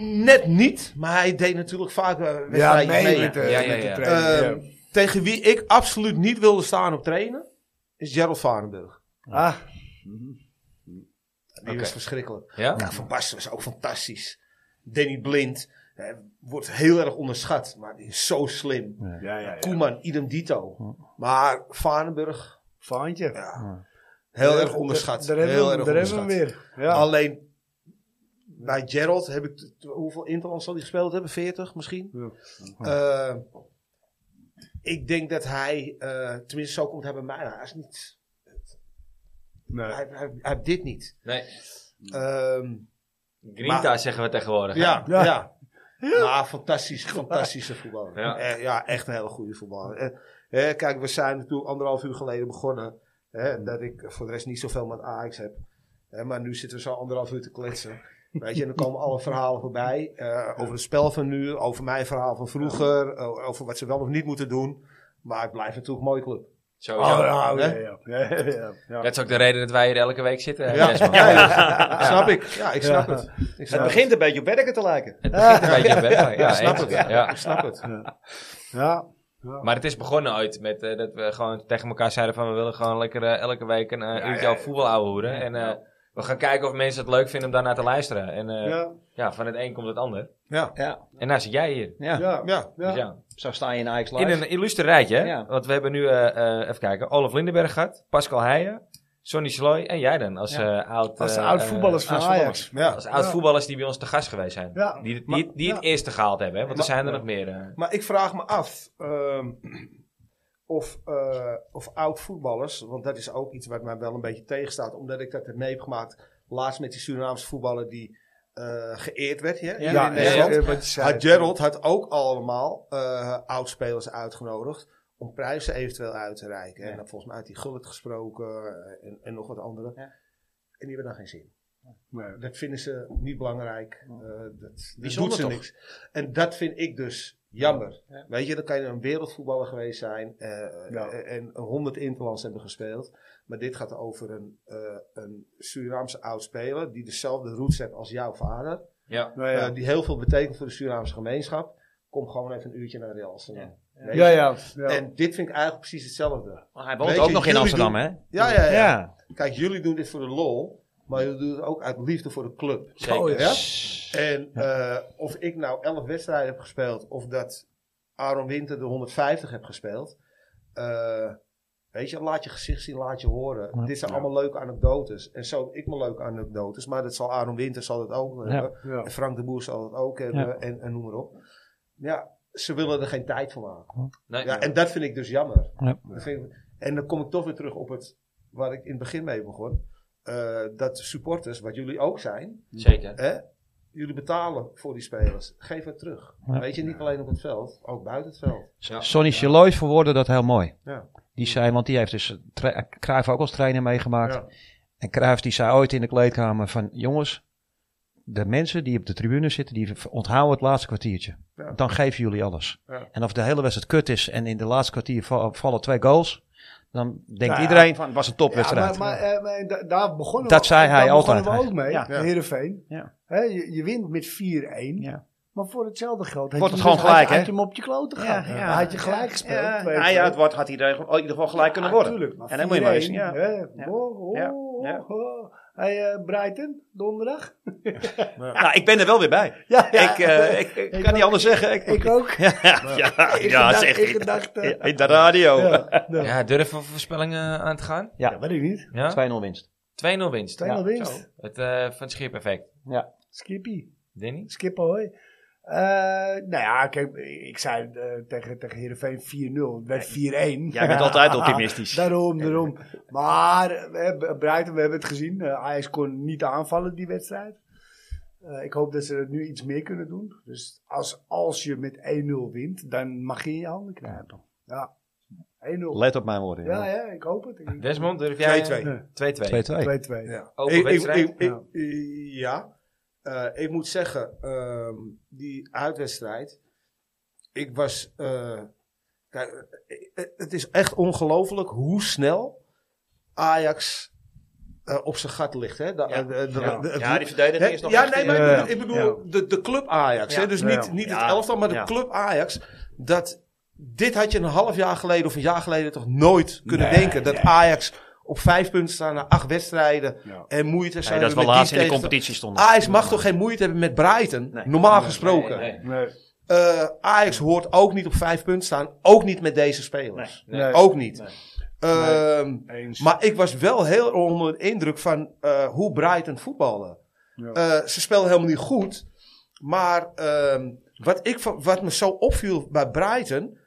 [SPEAKER 3] net niet, maar hij deed natuurlijk vaak eh,
[SPEAKER 2] Ja,
[SPEAKER 3] wedstrijden
[SPEAKER 2] mee
[SPEAKER 3] mee.
[SPEAKER 2] met de,
[SPEAKER 1] Ja, ja,
[SPEAKER 2] met de
[SPEAKER 1] ja.
[SPEAKER 2] training,
[SPEAKER 3] Eh, Tegen wie ik absoluut niet wilde staan op trainen, is Gerald Varenburg.
[SPEAKER 2] ja. Ah,
[SPEAKER 3] Die
[SPEAKER 1] Oké.
[SPEAKER 3] was verschrikkelijk.
[SPEAKER 1] Ja?
[SPEAKER 3] Nou, Van Basten was ook fantastisch. Danny Blind eh, wordt heel erg onderschat, maar die is zo slim.
[SPEAKER 2] ja, ja, ja.
[SPEAKER 3] Koeman, idem dito. Maar Varenburg,
[SPEAKER 2] Vaantje.
[SPEAKER 3] heel
[SPEAKER 2] Ja,
[SPEAKER 3] erg onderschat.
[SPEAKER 2] Daar hebben
[SPEAKER 3] heel
[SPEAKER 2] we hem-
[SPEAKER 3] erg
[SPEAKER 2] daar hebben we
[SPEAKER 3] onderschat.
[SPEAKER 2] hem weer. Ja.
[SPEAKER 3] Alleen bij Gerald heb ik. t- t- Hoeveel Interlands zal hij gespeeld hebben? 40 misschien?
[SPEAKER 2] Ja.
[SPEAKER 3] Eh, ik denk dat hij. eh, tenminste, zo komt hij bij mij. Hij is Nou, niet.
[SPEAKER 2] Nee.
[SPEAKER 3] Hij, hij, hij heeft dit niet.
[SPEAKER 1] Nee.
[SPEAKER 3] Ehm,
[SPEAKER 1] Grinta
[SPEAKER 3] Maar-
[SPEAKER 1] zeggen we tegenwoordig. hè?
[SPEAKER 3] ja,
[SPEAKER 2] Ja.
[SPEAKER 3] ja. Maar fantastisch, fantastische voetballer.
[SPEAKER 1] Ja.
[SPEAKER 3] Ja. ja, echt een hele goede voetballer. Eh, eh, kijk, we zijn natuurlijk anderhalf uur geleden begonnen. hè, dat ik voor de rest niet zoveel met Ajax heb. Hè, maar nu zitten we zo anderhalf uur te kletsen. Weet je, en dan komen alle verhalen voorbij. eh, over het spel van nu, over mijn verhaal van vroeger. o- Over wat ze wel of niet moeten doen. Maar het blijft natuurlijk een mooie club.
[SPEAKER 1] Sowieso.
[SPEAKER 3] Oh, ja,
[SPEAKER 2] Oh, Ja, ja, ja, ja, ja.
[SPEAKER 1] Dat is ook de reden dat wij hier elke week zitten.
[SPEAKER 3] Ja,
[SPEAKER 1] Jesper.
[SPEAKER 3] ja, ja, snap ik. Ja, ik snap
[SPEAKER 2] Ja.
[SPEAKER 3] het. Ik
[SPEAKER 5] Het
[SPEAKER 3] snap het.
[SPEAKER 5] begint een beetje op Werken te lijken.
[SPEAKER 1] Het begint een beetje op weg. Ja,
[SPEAKER 3] snap
[SPEAKER 1] eens.
[SPEAKER 3] het.
[SPEAKER 1] Ja.
[SPEAKER 3] Ik snap het.
[SPEAKER 2] Ja.
[SPEAKER 1] Maar het is begonnen ooit met eh, dat we gewoon tegen elkaar zeiden van we willen gewoon lekker eh, elke week een eh, uurtje al voetbal ouwehoeren. En eh, we gaan kijken of mensen het leuk vinden om daarnaar te luisteren. En eh, ja.
[SPEAKER 2] Ja.
[SPEAKER 1] van het een komt het ander.
[SPEAKER 5] Ja,
[SPEAKER 1] En nou zit jij hier.
[SPEAKER 5] ja.
[SPEAKER 2] Ja.
[SPEAKER 3] Ja,
[SPEAKER 1] Dus
[SPEAKER 2] Ja.
[SPEAKER 1] ja.
[SPEAKER 5] Zo sta je in Ajax Live.
[SPEAKER 1] In een illustre rijtje, hè?
[SPEAKER 5] Ja.
[SPEAKER 1] want we hebben nu, eh, eh, even kijken, Olaf Lindenberg gehad, Pascal Heijen, Sonny Sloy en jij dan als
[SPEAKER 5] Ja.
[SPEAKER 1] eh, oud...
[SPEAKER 2] Als de
[SPEAKER 1] eh,
[SPEAKER 2] oud
[SPEAKER 1] eh,
[SPEAKER 2] voetballers van
[SPEAKER 1] oud
[SPEAKER 2] Ajax.
[SPEAKER 3] ja.
[SPEAKER 1] Als oud
[SPEAKER 2] Ja.
[SPEAKER 1] voetballers die bij ons te gast geweest zijn.
[SPEAKER 2] Ja.
[SPEAKER 1] Die, die,
[SPEAKER 3] Maar-
[SPEAKER 1] die het eerste gehaald hebben, hè? want er
[SPEAKER 3] Maar-
[SPEAKER 1] zijn er nog meer. eh.
[SPEAKER 3] Maar ik vraag me af ehm, of, eh, of oud voetballers, want dat is ook iets wat mij wel een beetje tegenstaat, omdat ik dat heb meegemaakt laatst met die Surinaamse voetballer die eh, geëerd werd hier hier
[SPEAKER 2] Ja,
[SPEAKER 3] in Nederland.
[SPEAKER 2] eh, wat je zei.
[SPEAKER 3] had Gerald had ook allemaal eh oudspelers uitgenodigd om prijzen eventueel uit te reiken. En dan volgens mij had hij Gullit gesproken eh, en, en nog wat andere.
[SPEAKER 5] Ja.
[SPEAKER 3] En die hebben daar geen zin.
[SPEAKER 2] Nee.
[SPEAKER 3] Dat vinden ze niet belangrijk. Eh, dat dat doet
[SPEAKER 5] Bijzonder
[SPEAKER 3] ze
[SPEAKER 5] toch?
[SPEAKER 3] niks. En dat vind ik dus jammer.
[SPEAKER 5] Ja.
[SPEAKER 3] Weet je, dan kan je een wereldvoetballer geweest zijn eh,
[SPEAKER 2] Ja.
[SPEAKER 3] eh, en 100 interlands hebben gespeeld. Maar dit gaat over een, eh een Surinaamse oudspeler die dezelfde roots heeft als jouw vader.
[SPEAKER 1] Ja.
[SPEAKER 2] Nou ja.
[SPEAKER 3] Eh, die heel veel betekent voor de Surinaamse gemeenschap. Kom gewoon even een uurtje naar Real Amsterdam. Weet je?
[SPEAKER 2] Ja, ja. ja.
[SPEAKER 3] En dit vind ik eigenlijk precies hetzelfde.
[SPEAKER 5] Maar hij woont
[SPEAKER 3] Weet
[SPEAKER 5] ook
[SPEAKER 3] je,
[SPEAKER 5] nog in
[SPEAKER 3] jullie
[SPEAKER 5] Amsterdam,
[SPEAKER 3] doen-
[SPEAKER 5] hè?
[SPEAKER 3] Ja, ja, ja,
[SPEAKER 5] Ja.
[SPEAKER 3] Kijk, jullie doen dit voor de lol. Maar jullie doen het ook uit liefde voor de club.
[SPEAKER 1] Zeker.
[SPEAKER 2] Oh,
[SPEAKER 3] Ja? En eh, of ik nou 11 wedstrijden heb gespeeld, of dat Aaron Winter de 150 heb gespeeld. eh, weet je, laat je gezicht zien, laat je horen. Dit zijn allemaal leuke anekdotes. En zo heb ik mijn leuke anekdotes, maar dat zal Aaron Winter zal het ook eh, hebben.
[SPEAKER 2] Ja.
[SPEAKER 3] En Frank de Boer zal het ook hebben. En, en noem maar op. Ja, ze willen er geen tijd voor maken.
[SPEAKER 1] Nee,
[SPEAKER 3] Ja, en dat vind ik dus jammer.
[SPEAKER 5] Ja.
[SPEAKER 3] Dat vind ik- en dan kom ik toch weer terug op het waar ik in het begin mee begon. Eh, dat supporters, wat jullie ook zijn,
[SPEAKER 1] Zeker.
[SPEAKER 3] hè, jullie betalen voor die spelers. Geef het terug.
[SPEAKER 5] Ja.
[SPEAKER 3] Weet je, niet alleen op het veld, ook buiten het veld.
[SPEAKER 5] Sonny Chaloy verwoordde dat heel mooi.
[SPEAKER 3] Ja.
[SPEAKER 5] Die zei, want die heeft dus tra- Cruijff ook als trainer meegemaakt.
[SPEAKER 3] Ja.
[SPEAKER 5] En Cruijff die zei ooit in de kleedkamer van... Jongens, de mensen die op de tribune zitten, die onthouden het laatste kwartiertje.
[SPEAKER 3] Ja.
[SPEAKER 5] Dan geven jullie alles.
[SPEAKER 3] Ja.
[SPEAKER 5] En of de hele wedstrijd kut is en in de laatste kwartier va- vallen twee goals... Dan denkt
[SPEAKER 2] Ja.
[SPEAKER 5] iedereen van, het was een topwedstrijd.
[SPEAKER 2] maar, maar, eh, maar da- daar begonnen
[SPEAKER 5] Dat
[SPEAKER 2] we,
[SPEAKER 5] zei hij
[SPEAKER 2] daar begonnen
[SPEAKER 5] altijd.
[SPEAKER 2] we ook mee,
[SPEAKER 5] Ja.
[SPEAKER 2] ja. Heerenveen.
[SPEAKER 5] Ja.
[SPEAKER 2] Hè, je, je wint met 4-1.
[SPEAKER 5] Ja.
[SPEAKER 2] Maar voor hetzelfde geld had
[SPEAKER 5] Wordt
[SPEAKER 2] je
[SPEAKER 5] het gewoon
[SPEAKER 2] dus- had-
[SPEAKER 5] gelijk, hè?
[SPEAKER 2] Had je hem op je kloten gehad.
[SPEAKER 5] Ja,
[SPEAKER 2] Ja,
[SPEAKER 5] ja.
[SPEAKER 2] Had je gelijk gespeeld.
[SPEAKER 5] Ja,
[SPEAKER 2] twee-
[SPEAKER 5] nou ja, het wordt, had iedereen in ieder geval gelijk kunnen
[SPEAKER 2] Ja,
[SPEAKER 5] worden.
[SPEAKER 2] tuurlijk, maar
[SPEAKER 5] en dan moet je maar eens...
[SPEAKER 2] 4-1,
[SPEAKER 5] Ja.
[SPEAKER 2] hè.
[SPEAKER 5] Ja.
[SPEAKER 2] Oh, oh,
[SPEAKER 5] Ja.
[SPEAKER 2] oh,
[SPEAKER 5] Ja.
[SPEAKER 2] oh. Hey, eh, Brighton, donderdag.
[SPEAKER 5] Nou, ik ben er wel weer bij.
[SPEAKER 2] Ja,
[SPEAKER 5] Ik, eh, ik, ik kan
[SPEAKER 2] ook.
[SPEAKER 5] niet anders zeggen. Ik,
[SPEAKER 2] Ik ook.
[SPEAKER 5] Ja, ja,
[SPEAKER 2] In
[SPEAKER 5] ja,
[SPEAKER 2] gedacht-
[SPEAKER 5] zegt
[SPEAKER 2] in
[SPEAKER 5] hij.
[SPEAKER 2] gedachten.
[SPEAKER 5] Ja, In de radio.
[SPEAKER 2] eh, Ja,
[SPEAKER 1] Ja.
[SPEAKER 2] nou,
[SPEAKER 1] durven we voorspellingen eh, aan te gaan?
[SPEAKER 2] ja, weet ik niet.
[SPEAKER 1] Ja?
[SPEAKER 5] 2-0 winst.
[SPEAKER 1] 2-0 winst.
[SPEAKER 2] 2-0 winst.
[SPEAKER 1] Zo. Het eh, van het schip-effect.
[SPEAKER 2] Skippy.
[SPEAKER 1] Danny?
[SPEAKER 2] Skip ahoy. Eh, nou ja, kijk, ik zei eh, tegen, tegen Heerenveen 4-0. Het werd 4-1.
[SPEAKER 5] Jij bent altijd optimistisch.
[SPEAKER 2] daarom, daarom. Maar we hebben, Brighton, we hebben het gezien. Eh, Ajax kon niet aanvallen die wedstrijd. Eh, ik hoop dat ze dat nu iets meer kunnen doen. Dus als, als je met 1-0 wint, dan mag je in je handen kruipen. Ja, 1-0.
[SPEAKER 5] Let op mijn woorden.
[SPEAKER 2] Ja, ja, ik hoop het. Ik-
[SPEAKER 1] Desmond, durf jij?
[SPEAKER 3] 2-2.
[SPEAKER 1] 2-2.
[SPEAKER 5] 2-2.
[SPEAKER 2] 2-2.
[SPEAKER 3] Ja.
[SPEAKER 1] Open
[SPEAKER 3] Ik, ik,
[SPEAKER 1] wedstrijd.
[SPEAKER 3] ik- ik- eh, ja. Eh, ik moet zeggen, ehm, die uitwedstrijd. Ik was. eh, kijk, eh, het is echt ongelooflijk hoe snel Ajax eh, op zijn gat ligt. Hè? Da-
[SPEAKER 5] Ja.
[SPEAKER 3] de- de-
[SPEAKER 2] Ja.
[SPEAKER 3] de- het-
[SPEAKER 5] Ja, die verdediging is nog
[SPEAKER 3] ja,
[SPEAKER 5] echt
[SPEAKER 3] nee, maar
[SPEAKER 5] in-
[SPEAKER 3] ik
[SPEAKER 2] Ja.
[SPEAKER 3] bedoel, ik bedoel de, de club Ajax.
[SPEAKER 5] Ja.
[SPEAKER 3] Hè? Dus
[SPEAKER 2] Ja.
[SPEAKER 3] niet, niet
[SPEAKER 5] Ja.
[SPEAKER 3] het elftal, maar de
[SPEAKER 5] Ja.
[SPEAKER 3] club Ajax. Dat, dit had je een half jaar geleden of een jaar geleden toch nooit kunnen denken. Dat Ajax op vijf punten staat na acht wedstrijden.
[SPEAKER 2] Ja.
[SPEAKER 3] En moeite zijn
[SPEAKER 5] Nee, dat
[SPEAKER 3] we
[SPEAKER 5] we
[SPEAKER 3] met
[SPEAKER 5] laatst
[SPEAKER 3] die
[SPEAKER 5] in de
[SPEAKER 3] tegenstander.
[SPEAKER 5] competitie stonden.
[SPEAKER 3] Ajax mag toch geen moeite hebben met Brighton?
[SPEAKER 5] Nee.
[SPEAKER 3] Normaal gesproken.
[SPEAKER 1] Nee, nee.
[SPEAKER 2] Nee.
[SPEAKER 3] Eh, Ajax hoort ook niet op vijf punten staan. Ook niet met deze spelers.
[SPEAKER 2] Nee.
[SPEAKER 3] Ook niet. Ehm,
[SPEAKER 2] Eens.
[SPEAKER 3] maar ik was wel heel onder de indruk van eh, hoe Brighton voetballen.
[SPEAKER 2] Ja.
[SPEAKER 3] Eh, ze spelen helemaal niet goed. Maar ehm, wat, ik, van- wat me zo opviel bij Brighton.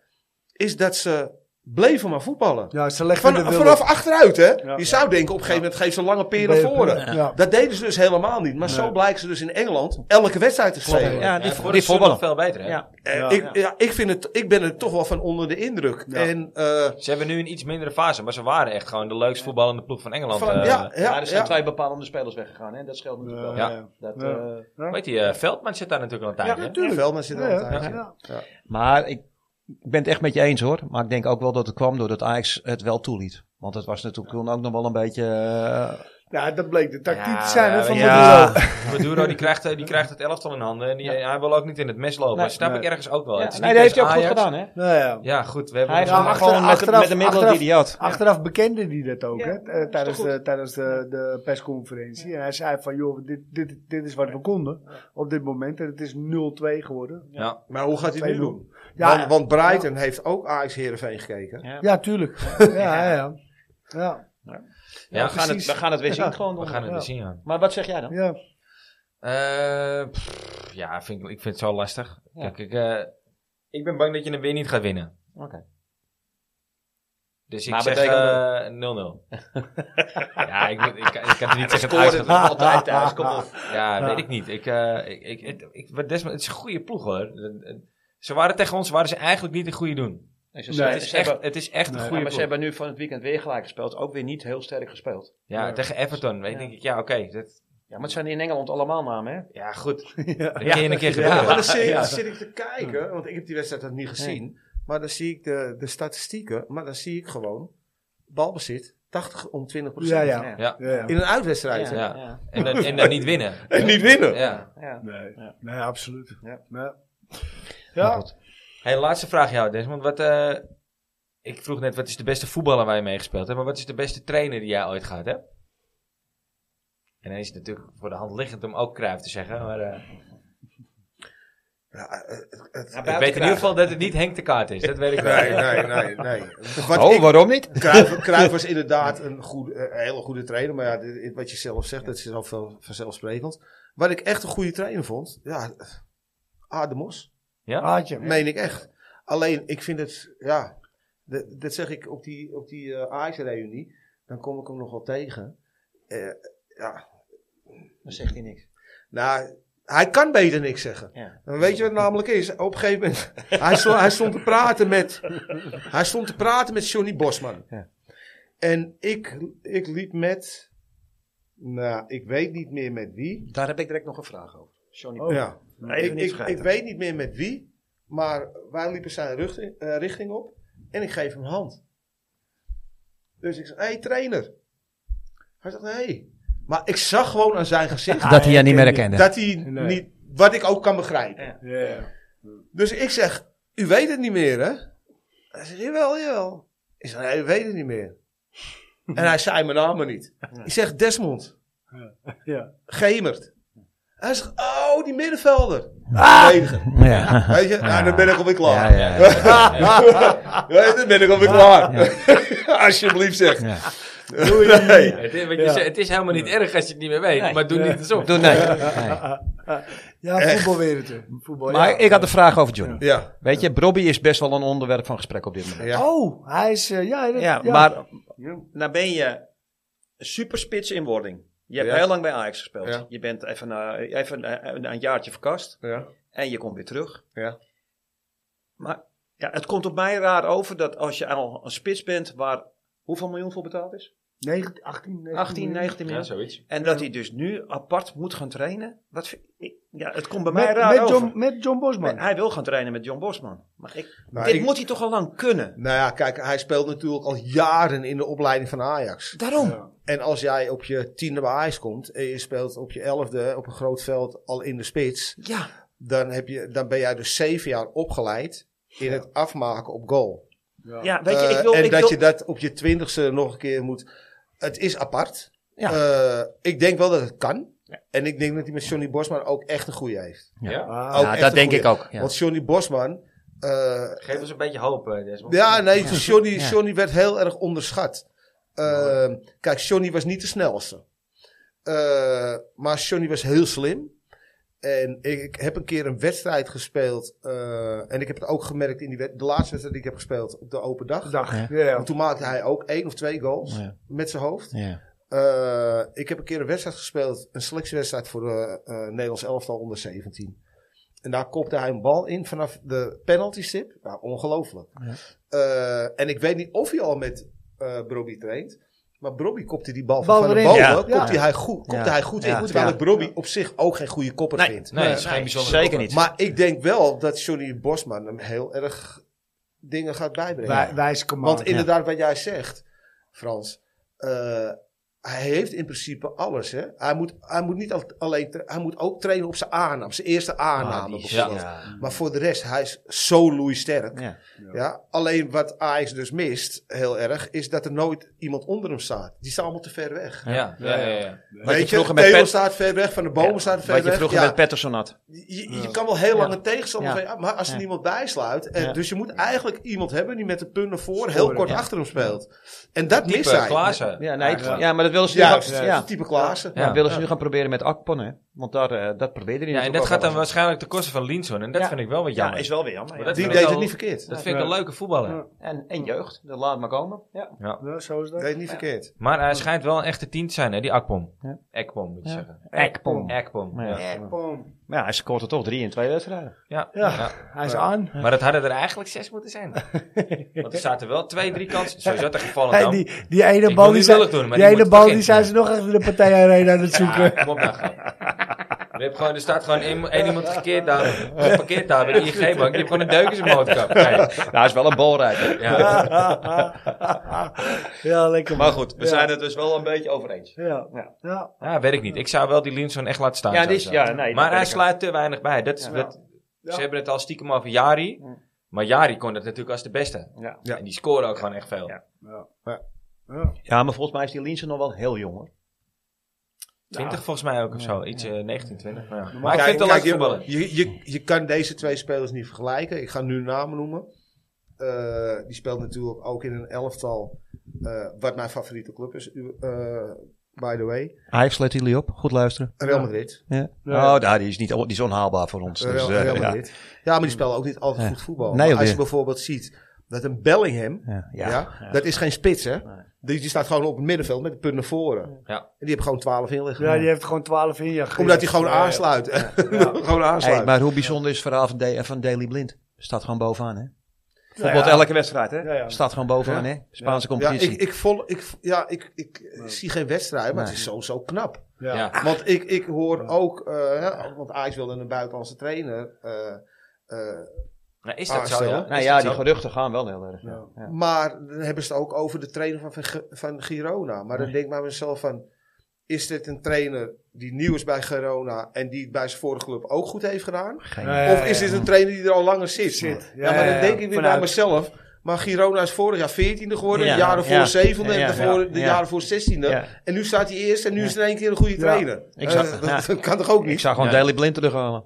[SPEAKER 3] is dat ze bleven maar voetballen.
[SPEAKER 2] Ja, ze legden de
[SPEAKER 3] Van,
[SPEAKER 2] wilde-
[SPEAKER 3] vanaf achteruit, hè?
[SPEAKER 2] Ja.
[SPEAKER 3] Je zou denken, op een gegeven moment geef ze lange peer naar
[SPEAKER 2] Beven.
[SPEAKER 3] voren.
[SPEAKER 2] Ja.
[SPEAKER 3] Dat deden ze dus helemaal niet. Maar zo blijken ze dus in Engeland elke wedstrijd te spelen.
[SPEAKER 5] Ja, die,
[SPEAKER 1] voor
[SPEAKER 5] die voetballen.
[SPEAKER 1] veel beter, hè?
[SPEAKER 5] Ja.
[SPEAKER 3] Eh,
[SPEAKER 2] Ja.
[SPEAKER 3] ik, ja, ik, vind het, ik ben er toch wel van onder de indruk. En, eh,
[SPEAKER 1] Ze hebben nu een iets mindere fase, maar ze waren echt gewoon de leukst voetballende ploeg van Engeland.
[SPEAKER 3] van,
[SPEAKER 1] eh.
[SPEAKER 3] ja, ja,
[SPEAKER 5] Maar er zijn
[SPEAKER 3] ja.
[SPEAKER 5] twee bepalende spelers weggegaan, hè? Dat scheelt natuurlijk wel.
[SPEAKER 1] Ja.
[SPEAKER 5] Dat,
[SPEAKER 2] Ja.
[SPEAKER 5] eh,
[SPEAKER 1] Weet je, eh, Veldman zit daar natuurlijk al een
[SPEAKER 3] Ja,
[SPEAKER 1] tijdje. hè?
[SPEAKER 3] natuurlijk. Veldman zit er al een
[SPEAKER 2] Ja,
[SPEAKER 3] tijdje.
[SPEAKER 2] ja.
[SPEAKER 5] Maar ik, ik ben het echt met je eens hoor. Maar ik denk ook wel dat het kwam doordat Ajax het wel toeliet. Want het was natuurlijk toen ook nog wel een beetje... eh,
[SPEAKER 2] Ja, dat bleek de tactiek
[SPEAKER 1] Ja,
[SPEAKER 2] te zijn hè,
[SPEAKER 1] ja,
[SPEAKER 2] van
[SPEAKER 5] ja.
[SPEAKER 2] Maduro.
[SPEAKER 1] Maduro die krijgt, eh, die krijgt het elftal in handen. En die, eh, Hij wil ook niet in het mes lopen.
[SPEAKER 5] Nee.
[SPEAKER 1] dat snap
[SPEAKER 2] Nee.
[SPEAKER 1] ik ergens ook wel.
[SPEAKER 5] ja,
[SPEAKER 1] Het is
[SPEAKER 5] nee,
[SPEAKER 1] niet
[SPEAKER 5] dat heeft hij ook
[SPEAKER 1] eens
[SPEAKER 5] goed
[SPEAKER 1] Ajax.
[SPEAKER 5] gedaan hè.
[SPEAKER 2] Nou ja.
[SPEAKER 1] Ja, goed. We hebben
[SPEAKER 5] Hij is
[SPEAKER 2] Ja,
[SPEAKER 1] ons-
[SPEAKER 5] gewoon
[SPEAKER 2] achteraf-
[SPEAKER 5] met, met een
[SPEAKER 2] achteraf-
[SPEAKER 5] middel die idioot.
[SPEAKER 2] Achteraf bekende hij dat ook,
[SPEAKER 5] Ja,
[SPEAKER 2] hè,
[SPEAKER 5] dat is
[SPEAKER 2] eh, tijdens,
[SPEAKER 5] toch goed.
[SPEAKER 2] de, tijdens de, de persconferentie. En hij zei van, joh, dit, dit, dit is wat we konden op dit moment. En het is 0-2 geworden.
[SPEAKER 1] ja.
[SPEAKER 3] Maar hoe gaat hij nu
[SPEAKER 2] 2-0.
[SPEAKER 3] doen?
[SPEAKER 2] Ja,
[SPEAKER 3] want, want Brighton heeft ook Ajax Heerenveen gekeken.
[SPEAKER 2] ja tuurlijk. Ja, ja, ja. ja.
[SPEAKER 1] Ja,
[SPEAKER 5] we, gaan het, we gaan het weer zien
[SPEAKER 2] Ja.
[SPEAKER 5] gewoon.
[SPEAKER 1] we gaan het
[SPEAKER 2] Ja.
[SPEAKER 1] weer zien. Ja.
[SPEAKER 5] Maar wat zeg jij dan?
[SPEAKER 2] ja.
[SPEAKER 1] Eh, pff, ja, vind ik, ik vind het zo lastig.
[SPEAKER 5] Ja.
[SPEAKER 1] Kijk, ik, eh, ik ben bang dat je hem weer niet gaat winnen.
[SPEAKER 5] Oké.
[SPEAKER 1] Dus ik
[SPEAKER 5] Maar
[SPEAKER 1] zeg
[SPEAKER 5] betekent
[SPEAKER 1] eh, 0-0. ja, ik, moet- ik, kan- ik kan het niet zeggen. het
[SPEAKER 5] Scoren
[SPEAKER 1] uitgevoerd.
[SPEAKER 5] we altijd thuis, kom op.
[SPEAKER 1] Ja,
[SPEAKER 2] Ja.
[SPEAKER 1] weet ik niet. Ik, eh, ik, ik, het- ik, werd desma- het is een goede ploeg hoor. Ze waren tegen ons, waren ze eigenlijk niet een goede doen.
[SPEAKER 5] Nee, ze,
[SPEAKER 2] Nee,
[SPEAKER 5] ze-
[SPEAKER 1] het, is
[SPEAKER 5] ze
[SPEAKER 1] echt,
[SPEAKER 5] hebben,
[SPEAKER 1] het is echt
[SPEAKER 2] Nee.
[SPEAKER 1] een
[SPEAKER 5] ja,
[SPEAKER 1] goede
[SPEAKER 5] maar ze
[SPEAKER 1] ploeg.
[SPEAKER 5] hebben nu van het weekend weer gelijk gespeeld. Ook weer niet heel sterk gespeeld.
[SPEAKER 1] Ja, tegen Everton. Weet,
[SPEAKER 5] Ja.
[SPEAKER 1] Denk ik, ja, oké. dat-
[SPEAKER 5] Ja, maar het zijn in Engeland allemaal namen hè.
[SPEAKER 1] ja, goed. Dat kan je een keer
[SPEAKER 3] Ja,
[SPEAKER 1] gebeuren.
[SPEAKER 3] maar dan zit, dan zit ik te kijken, want ik heb die wedstrijd nog niet gezien. Maar dan zie ik de, de statistieken, maar dan zie ik gewoon balbezit 80 om 20
[SPEAKER 2] Ja, ja.
[SPEAKER 5] Ja.
[SPEAKER 1] Ja.
[SPEAKER 2] ja.
[SPEAKER 3] In een uitwedstrijd.
[SPEAKER 1] Ja.
[SPEAKER 5] ja.
[SPEAKER 1] En, dan, en dan niet winnen.
[SPEAKER 3] En niet winnen.
[SPEAKER 1] Ja.
[SPEAKER 5] ja.
[SPEAKER 2] Nee, nee, absoluut.
[SPEAKER 5] Ja.
[SPEAKER 2] Nee.
[SPEAKER 5] Maar
[SPEAKER 2] Ja.
[SPEAKER 5] goed.
[SPEAKER 1] Hey, laatste vraag jou, Desmond. Wat, eh, ik vroeg net, wat is de beste voetballer waar je mee gespeeld hebt? Maar wat is de beste trainer die jij ooit gehad hebt? En dan is het natuurlijk voor de hand liggend om ook Cruijff te zeggen. Maar eh,
[SPEAKER 3] Ja, eh, het- het-
[SPEAKER 5] Ja,
[SPEAKER 1] ik weet in ieder geval dat het niet Henk de Kaart is. Dat weet ik wel.
[SPEAKER 3] nee, nee, nee, nee. Wat
[SPEAKER 5] Oh,
[SPEAKER 3] ik-
[SPEAKER 5] waarom niet?
[SPEAKER 3] Cruijff, Cruijff was inderdaad een, goede, eh, een hele goede trainer. Maar ja, dit- wat je zelf zegt, dat is al veel, vanzelfsprekend. Wat ik echt een goede trainer vond, ja, eh, Ademos.
[SPEAKER 1] Ja?
[SPEAKER 2] Haatje.
[SPEAKER 3] Meen ik echt. Alleen, ik vind het, ja, dat, dat zeg ik op die, op die eh, Ajax-reunie. Dan kom ik hem nog wel tegen. Eh, ja,
[SPEAKER 5] Dan zegt hij niks.
[SPEAKER 3] nou, hij kan beter niks zeggen.
[SPEAKER 5] Ja.
[SPEAKER 3] Maar Weet je wat het namelijk is? Op een gegeven moment, hij stond, hij stond te praten met, hij stond te praten met Johnny Bosman.
[SPEAKER 5] Ja.
[SPEAKER 3] En ik, ik liep met, nou, ik weet niet meer met wie.
[SPEAKER 5] Daar heb ik direct nog een vraag over. Johnny.
[SPEAKER 2] Oh.
[SPEAKER 3] Ja.
[SPEAKER 5] Even
[SPEAKER 3] ik,
[SPEAKER 5] niet
[SPEAKER 3] ik,
[SPEAKER 5] vergeten.
[SPEAKER 3] ik weet niet meer met wie, maar wij liepen zijn richting, eh, richting op en ik geef hem hand. Dus ik zeg, hé hey, trainer. Hij zegt, hé. Hey. Maar ik zag gewoon aan zijn gezicht
[SPEAKER 5] Dat hij jou niet meer herkende.
[SPEAKER 3] dat hij
[SPEAKER 2] Nee.
[SPEAKER 3] niet, wat ik ook kan begrijpen.
[SPEAKER 2] Ja.
[SPEAKER 3] Dus ik zeg, u weet het niet meer, hè? Hij zegt, jawel, jawel. Ik zeg, nee, u weet het niet meer. en hij zei mijn naam maar niet. Ik zeg, Desmond,
[SPEAKER 2] Ja.
[SPEAKER 3] Gemert. Hij zegt, oh, die middenvelder. Verdediger.
[SPEAKER 5] Ja.
[SPEAKER 3] Weet je, nou, dan ben ik alweer klaar.
[SPEAKER 5] Ja, ja, ja.
[SPEAKER 3] Weet je, dan ben ik alweer klaar. Alsjeblieft zeg.
[SPEAKER 5] Ja.
[SPEAKER 3] Nee.
[SPEAKER 1] Het, is, want je
[SPEAKER 2] Ja.
[SPEAKER 1] zei, het is helemaal niet erg als je het niet meer weet.
[SPEAKER 5] Nee.
[SPEAKER 1] Maar doe
[SPEAKER 2] Nee.
[SPEAKER 1] niet alsof.
[SPEAKER 5] Doe nee. nee.
[SPEAKER 2] Ja,
[SPEAKER 3] Echt.
[SPEAKER 2] voetbal weer het. hè. Voetbal, ja.
[SPEAKER 5] Maar ik had een vraag over Johnny.
[SPEAKER 3] Ja,
[SPEAKER 5] Weet je, Bobby is best wel een onderwerp van gesprek op dit moment.
[SPEAKER 3] ja.
[SPEAKER 2] Oh, hij is... eh, ja, dat-
[SPEAKER 5] Ja,
[SPEAKER 2] ja.
[SPEAKER 5] maar nou ben je superspits in wording. Je hebt
[SPEAKER 3] Ja.
[SPEAKER 5] heel lang bij Ajax gespeeld.
[SPEAKER 3] Ja.
[SPEAKER 5] Je bent even, na- even eh, een een jaartje verkast
[SPEAKER 3] ja.
[SPEAKER 5] en je komt weer terug.
[SPEAKER 3] Ja.
[SPEAKER 5] Maar ja, het komt op mij raar over dat als je al een spits bent waar hoeveel miljoen voor betaald is?
[SPEAKER 2] 19, 18, 19,
[SPEAKER 5] 18, 19
[SPEAKER 1] Ja,
[SPEAKER 5] miljoen.
[SPEAKER 1] zoiets.
[SPEAKER 5] en dat hij dus nu apart moet gaan trainen. Wat vind ik- ja, het komt bij mij
[SPEAKER 2] Met,
[SPEAKER 5] raar
[SPEAKER 2] met,
[SPEAKER 5] over.
[SPEAKER 2] John, met John Bosman.
[SPEAKER 5] Hij wil gaan trainen met John Bosman. Maar ik,
[SPEAKER 3] Nou,
[SPEAKER 5] dit
[SPEAKER 3] ik-
[SPEAKER 5] moet hij toch al lang kunnen?
[SPEAKER 3] Nou ja, kijk, hij speelt natuurlijk al jaren in de opleiding van Ajax.
[SPEAKER 5] Daarom.
[SPEAKER 3] En als jij op je tiende bij Ajax komt en je speelt op je elfde op een groot veld al in de spits,
[SPEAKER 5] Ja.
[SPEAKER 3] dan, heb je, dan ben jij dus zeven jaar opgeleid in het afmaken op goal.
[SPEAKER 5] ja. weet je, ik wil...
[SPEAKER 3] Eh, en
[SPEAKER 5] ik
[SPEAKER 3] dat
[SPEAKER 5] wil-
[SPEAKER 3] je dat op je twintigste nog een keer moet. Het is apart.
[SPEAKER 5] Ja.
[SPEAKER 3] Eh, ik denk wel dat het kan. En ik denk dat hij met Johnny Bosman ook echt een goede heeft.
[SPEAKER 1] Ja.
[SPEAKER 2] Ah,
[SPEAKER 3] Ook
[SPEAKER 5] Ja,
[SPEAKER 3] echt
[SPEAKER 5] dat
[SPEAKER 3] een
[SPEAKER 5] denk
[SPEAKER 3] goeie.
[SPEAKER 5] ik ook. Ja.
[SPEAKER 3] Want Johnny Bosman. eh,
[SPEAKER 1] Geef ons een beetje hoop, eh, Desmond.
[SPEAKER 3] ja, nee, Johnny,
[SPEAKER 5] Ja.
[SPEAKER 3] Johnny werd heel erg onderschat. Eh, Ehm, Kijk, Johnny was niet de snelste. Eh, maar Johnny was heel slim. En ik heb een keer een wedstrijd gespeeld. eh, en ik heb het ook gemerkt in die wed- de laatste wedstrijd die ik heb gespeeld op de open dag.
[SPEAKER 2] Dag.
[SPEAKER 4] Ja.
[SPEAKER 2] Ja.
[SPEAKER 3] En toen maakte hij ook één of twee goals
[SPEAKER 4] Ja.
[SPEAKER 3] met zijn hoofd.
[SPEAKER 4] Ja.
[SPEAKER 3] Eh, ik heb een keer een wedstrijd gespeeld, een selectiewedstrijd voor de eh, Nederlands elftal onder 17. En daar kopte hij een bal in vanaf de penalty stip. Nou, ongelooflijk.
[SPEAKER 4] Ja.
[SPEAKER 3] Eh, en ik weet niet of hij al met eh Brobby traint. Maar Brobby kopte die bal
[SPEAKER 2] Bal
[SPEAKER 3] van de
[SPEAKER 2] erin.
[SPEAKER 3] bal.
[SPEAKER 5] Ja.
[SPEAKER 3] Kopte hij goed, kopte
[SPEAKER 4] Ja.
[SPEAKER 3] hij goed
[SPEAKER 4] Ja.
[SPEAKER 3] in. Terwijl
[SPEAKER 5] Ja.
[SPEAKER 3] ik Brobby op zich ook geen goede kopper
[SPEAKER 5] Nee.
[SPEAKER 3] vind.
[SPEAKER 1] Nee,
[SPEAKER 5] Nee,
[SPEAKER 1] het is geen
[SPEAKER 5] nee,
[SPEAKER 1] bijzonder.
[SPEAKER 5] zeker
[SPEAKER 1] kopper.
[SPEAKER 5] niet.
[SPEAKER 3] Maar ik denk wel dat Johnny Bosman hem heel erg dingen gaat bijbrengen.
[SPEAKER 2] Wij, wijs command.
[SPEAKER 3] Want inderdaad, wat jij zegt, Frans. eh, hij heeft in principe alles. Hè? Hij, moet, hij moet niet al- alleen. tra- Hij moet ook trainen op zijn aanname. Zijn eerste
[SPEAKER 1] Ah,
[SPEAKER 3] aanname bijvoorbeeld. Maar voor de rest, hij is zo loeisterk.
[SPEAKER 5] Ja.
[SPEAKER 3] Ja. Alleen wat Ajax dus mist, heel erg, is dat er nooit iemand onder hem staat. Die staat allemaal te ver weg.
[SPEAKER 1] Ja, ja, ja. ja, ja.
[SPEAKER 5] Wat je
[SPEAKER 3] Weet je,
[SPEAKER 5] vroeger met
[SPEAKER 3] Theo
[SPEAKER 5] Pet-
[SPEAKER 3] staat ver weg, Van de Bomen
[SPEAKER 5] Ja,
[SPEAKER 3] staat ver
[SPEAKER 5] Wat je
[SPEAKER 3] weg.
[SPEAKER 5] vroeger
[SPEAKER 3] Ja,
[SPEAKER 5] met Patterson had.
[SPEAKER 3] je, je kan wel heel lang een tegenstander
[SPEAKER 5] Ja.
[SPEAKER 3] van je af, maar als er
[SPEAKER 5] Ja.
[SPEAKER 3] niemand bijsluit. En
[SPEAKER 5] Ja.
[SPEAKER 3] Dus je moet eigenlijk iemand hebben die met de punten voor heel kort
[SPEAKER 5] ja.
[SPEAKER 3] achter hem speelt. En dat mist
[SPEAKER 1] Type
[SPEAKER 3] hij.
[SPEAKER 1] Klaassen.
[SPEAKER 5] Ja, nee, ik-
[SPEAKER 1] Ja.
[SPEAKER 5] ja, maar dat willen ze nu,
[SPEAKER 3] Ja,
[SPEAKER 5] gaan,
[SPEAKER 3] ja,
[SPEAKER 5] ja.
[SPEAKER 3] type Klaassen.
[SPEAKER 5] Ja, willen ze nu gaan proberen met Akpon, hè? Want daar, eh, dat probeerde hij
[SPEAKER 1] Ja, en
[SPEAKER 5] natuurlijk
[SPEAKER 1] dat
[SPEAKER 5] ook
[SPEAKER 1] gaat dan
[SPEAKER 5] wel.
[SPEAKER 1] waarschijnlijk ten koste van Linson. En dat
[SPEAKER 5] Ja.
[SPEAKER 1] vind ik wel wat
[SPEAKER 5] Ja,
[SPEAKER 1] jammer.
[SPEAKER 5] is wel weer jammer.
[SPEAKER 1] Maar
[SPEAKER 5] ja.
[SPEAKER 1] dat
[SPEAKER 3] Die
[SPEAKER 1] vind
[SPEAKER 3] deed
[SPEAKER 1] ik
[SPEAKER 3] het
[SPEAKER 1] al-
[SPEAKER 3] niet verkeerd.
[SPEAKER 1] Dat vind ik een leuke voetballer.
[SPEAKER 5] En, en jeugd, dat laat maar komen. Ja.
[SPEAKER 2] Ja, zo is
[SPEAKER 3] Dat
[SPEAKER 2] dat.
[SPEAKER 3] deed het niet verkeerd.
[SPEAKER 1] Maar hij schijnt wel een echte tien te zijn, hè, die Akpom.
[SPEAKER 5] Ja.
[SPEAKER 1] Ekpom moet je
[SPEAKER 5] Ja.
[SPEAKER 1] zeggen.
[SPEAKER 5] Ekpom.
[SPEAKER 1] Ekpom.
[SPEAKER 5] Ja.
[SPEAKER 1] Ja. Ja.
[SPEAKER 2] Boom.
[SPEAKER 5] Maar ja, hij scoort er toch drie in twee wedstrijden.
[SPEAKER 2] Ja. Hij is aan.
[SPEAKER 1] Maar dat hadden er eigenlijk zes moeten zijn. Want er zaten wel twee, drie kansen. Sowieso tegen Volendam.
[SPEAKER 2] Hey, die, die ene
[SPEAKER 1] Ik
[SPEAKER 2] bal,
[SPEAKER 1] wil
[SPEAKER 2] die,
[SPEAKER 1] niet
[SPEAKER 2] zijn,
[SPEAKER 1] lullig doen, maar
[SPEAKER 2] die
[SPEAKER 1] die
[SPEAKER 2] ene
[SPEAKER 1] moet
[SPEAKER 2] bal die
[SPEAKER 1] beginnen.
[SPEAKER 2] zijn ze nog achter de partij Arena aan het zoeken.
[SPEAKER 1] Ja, kom op nou gewoon. Je hebt gewoon, er staat gewoon één, één iemand gekeerd daar, geparkeerd daar bij de IG-bank. Je hebt gewoon een deuk in zijn motorkap. Nee,
[SPEAKER 5] Nou, hij is wel een balrijder.
[SPEAKER 1] ja.
[SPEAKER 2] ja, lekker.
[SPEAKER 5] Maar goed, we
[SPEAKER 2] Ja.
[SPEAKER 5] zijn het dus wel een beetje over eens.
[SPEAKER 2] Ja. Ja. Ja.
[SPEAKER 1] ja, weet ik niet. Ik zou wel die Linson echt laten staan.
[SPEAKER 5] Ja, die is-
[SPEAKER 1] sowieso.
[SPEAKER 5] ja, nee, dat
[SPEAKER 1] maar
[SPEAKER 5] ben
[SPEAKER 1] hij
[SPEAKER 5] ik
[SPEAKER 1] sluit te weinig bij. Dat is, dat,
[SPEAKER 2] Ja.
[SPEAKER 1] Ze hebben het al stiekem over Jari.
[SPEAKER 5] Ja.
[SPEAKER 1] Maar Jari kon dat natuurlijk als de beste.
[SPEAKER 5] Ja.
[SPEAKER 1] En die scoren ook gewoon echt veel.
[SPEAKER 5] Ja.
[SPEAKER 2] Ja.
[SPEAKER 5] ja, maar volgens mij is die Linsen nog wel heel jong, hoor.
[SPEAKER 1] 20 volgens mij ook of zo. Iets eh, 19, 20. Maar, ja. maar, ik
[SPEAKER 3] Kijk,
[SPEAKER 1] vind het een
[SPEAKER 3] kijk,
[SPEAKER 1] leuke voetballer.
[SPEAKER 3] je, je, je, je kan deze twee spelers niet vergelijken. Ik ga nu namen noemen. Eh, die speelt natuurlijk ook in een elftal. eh, wat mijn favoriete club is, u- eh, by the way.
[SPEAKER 5] Ajax sluit jullie op. Goed luisteren.
[SPEAKER 3] Real Madrid.
[SPEAKER 5] Ja.
[SPEAKER 2] Ja.
[SPEAKER 5] Oh, daar, die, is niet, on- die is onhaalbaar voor ons. Dus,
[SPEAKER 3] Real,
[SPEAKER 5] eh,
[SPEAKER 3] Real
[SPEAKER 5] ja.
[SPEAKER 3] Madrid. Ja, maar die spelen ook niet altijd
[SPEAKER 5] Ja.
[SPEAKER 3] goed voetbal.
[SPEAKER 5] Nee,
[SPEAKER 3] Maar als
[SPEAKER 5] alweer.
[SPEAKER 3] je bijvoorbeeld ziet dat een Bellingham,
[SPEAKER 5] Ja,
[SPEAKER 3] ja,
[SPEAKER 5] ja.
[SPEAKER 3] dat is geen spits hè. Die, die staat gewoon op het middenveld met de punt naar voren.
[SPEAKER 1] Ja.
[SPEAKER 3] En die hebben gewoon 12 in liggen.
[SPEAKER 2] Ja, die heeft gewoon 12 in je.
[SPEAKER 3] Omdat hij gewoon aansluit. gewoon
[SPEAKER 5] Hey,
[SPEAKER 3] aansluit.
[SPEAKER 5] maar hoe bijzonder is het verhaal van, Da- van Daily Blind? Staat gewoon bovenaan, hè? Bijvoorbeeld elke wedstrijd, hè?
[SPEAKER 2] Ja, ja.
[SPEAKER 5] Staat gewoon bovenaan, hè? Spaanse
[SPEAKER 3] ja,
[SPEAKER 5] competitie.
[SPEAKER 3] ik, ik, vol, ik, ja, ik, ik eh, zie geen wedstrijd, maar het is sowieso knap.
[SPEAKER 2] Ja.
[SPEAKER 1] Ja.
[SPEAKER 3] Want ik, ik hoor ook, eh, hè, want Ajax wilde een buitenlandse trainer. eh, eh,
[SPEAKER 1] Nou, is dat zo,
[SPEAKER 3] Aanstellen.
[SPEAKER 1] ja?
[SPEAKER 5] nou
[SPEAKER 1] Is
[SPEAKER 5] ja,
[SPEAKER 1] dat
[SPEAKER 5] die
[SPEAKER 1] zo?
[SPEAKER 5] geruchten gaan wel heel erg. Ja. Ja.
[SPEAKER 3] Maar dan hebben ze het ook over de trainer van, van, Gi- van Girona. Maar dan denk ik bij mezelf van... Is dit een trainer die nieuw is bij Girona... en die het bij zijn vorige club ook goed heeft gedaan? of is dit een trainer die er al langer zit?
[SPEAKER 2] Zit,
[SPEAKER 3] Ja,
[SPEAKER 2] ja,
[SPEAKER 3] maar
[SPEAKER 2] ja,
[SPEAKER 3] dan
[SPEAKER 2] ja.
[SPEAKER 3] denk ik weer bij
[SPEAKER 2] Vanuit-
[SPEAKER 3] mezelf... Maar Girona is vorig jaar 14e geworden,
[SPEAKER 5] Ja,
[SPEAKER 3] de jaren
[SPEAKER 5] ja,
[SPEAKER 3] voor zevende
[SPEAKER 5] ja,
[SPEAKER 3] en daarvoor- de
[SPEAKER 5] ja.
[SPEAKER 3] jaren voor 16e.
[SPEAKER 5] Ja.
[SPEAKER 3] En nu staat hij eerst en nu is er in één keer een goede trainer.
[SPEAKER 5] Ik zou-
[SPEAKER 3] Eh, dat,
[SPEAKER 5] ja.
[SPEAKER 3] dat kan toch ook
[SPEAKER 5] Ik
[SPEAKER 3] niet?
[SPEAKER 5] zou gewoon
[SPEAKER 1] Nee.
[SPEAKER 5] Daily Blind terughalen.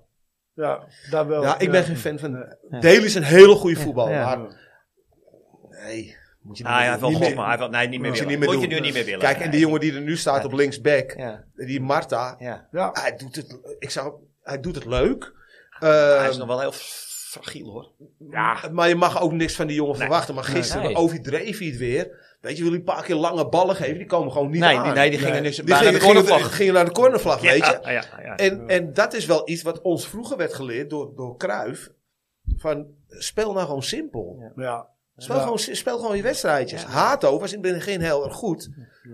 [SPEAKER 2] Ja, daar wel.
[SPEAKER 3] Ja, ik ben geen fan van... Daley is een hele goede voetbal,
[SPEAKER 5] Ja.
[SPEAKER 3] maar... Nee, moet je niet
[SPEAKER 5] Ah,
[SPEAKER 3] doen.
[SPEAKER 5] hij heeft wel
[SPEAKER 3] Niet
[SPEAKER 5] gehad,
[SPEAKER 3] meer-
[SPEAKER 5] maar hij heeft wel, nee, niet meer
[SPEAKER 3] Moet je
[SPEAKER 5] willen.
[SPEAKER 3] niet meer
[SPEAKER 5] Moet je
[SPEAKER 3] doen.
[SPEAKER 5] nu niet meer willen.
[SPEAKER 3] Kijk, en die jongen die er nu staat op linksback,
[SPEAKER 5] Ja,
[SPEAKER 3] die Marta,
[SPEAKER 5] ja.
[SPEAKER 2] Ja.
[SPEAKER 3] hij doet het, ik zou, hij doet het leuk.
[SPEAKER 5] hij is
[SPEAKER 3] Ehm,
[SPEAKER 5] nog wel heel fragiel, hoor.
[SPEAKER 3] Maar je mag ook niks van die jongen verwachten. Maar gisteren
[SPEAKER 1] Nee.
[SPEAKER 3] overdreef hij het weer. Weet je, wil hij een paar keer lange ballen geven? Die komen gewoon niet
[SPEAKER 5] Nee,
[SPEAKER 3] aan.
[SPEAKER 5] die- nee, die gingen dus bijna
[SPEAKER 3] gingen-
[SPEAKER 5] de cornervlag.
[SPEAKER 3] gingen- gingen naar de cornervlag, weet je.
[SPEAKER 5] Ja, ja, ja.
[SPEAKER 3] En, en dat is wel iets wat ons vroeger werd geleerd door, door Cruijff. Van, speel nou gewoon simpel.
[SPEAKER 2] Ja.
[SPEAKER 3] Speel,
[SPEAKER 2] Ja.
[SPEAKER 3] gewoon, speel gewoon je wedstrijdjes. Hato was in het begin heel erg goed.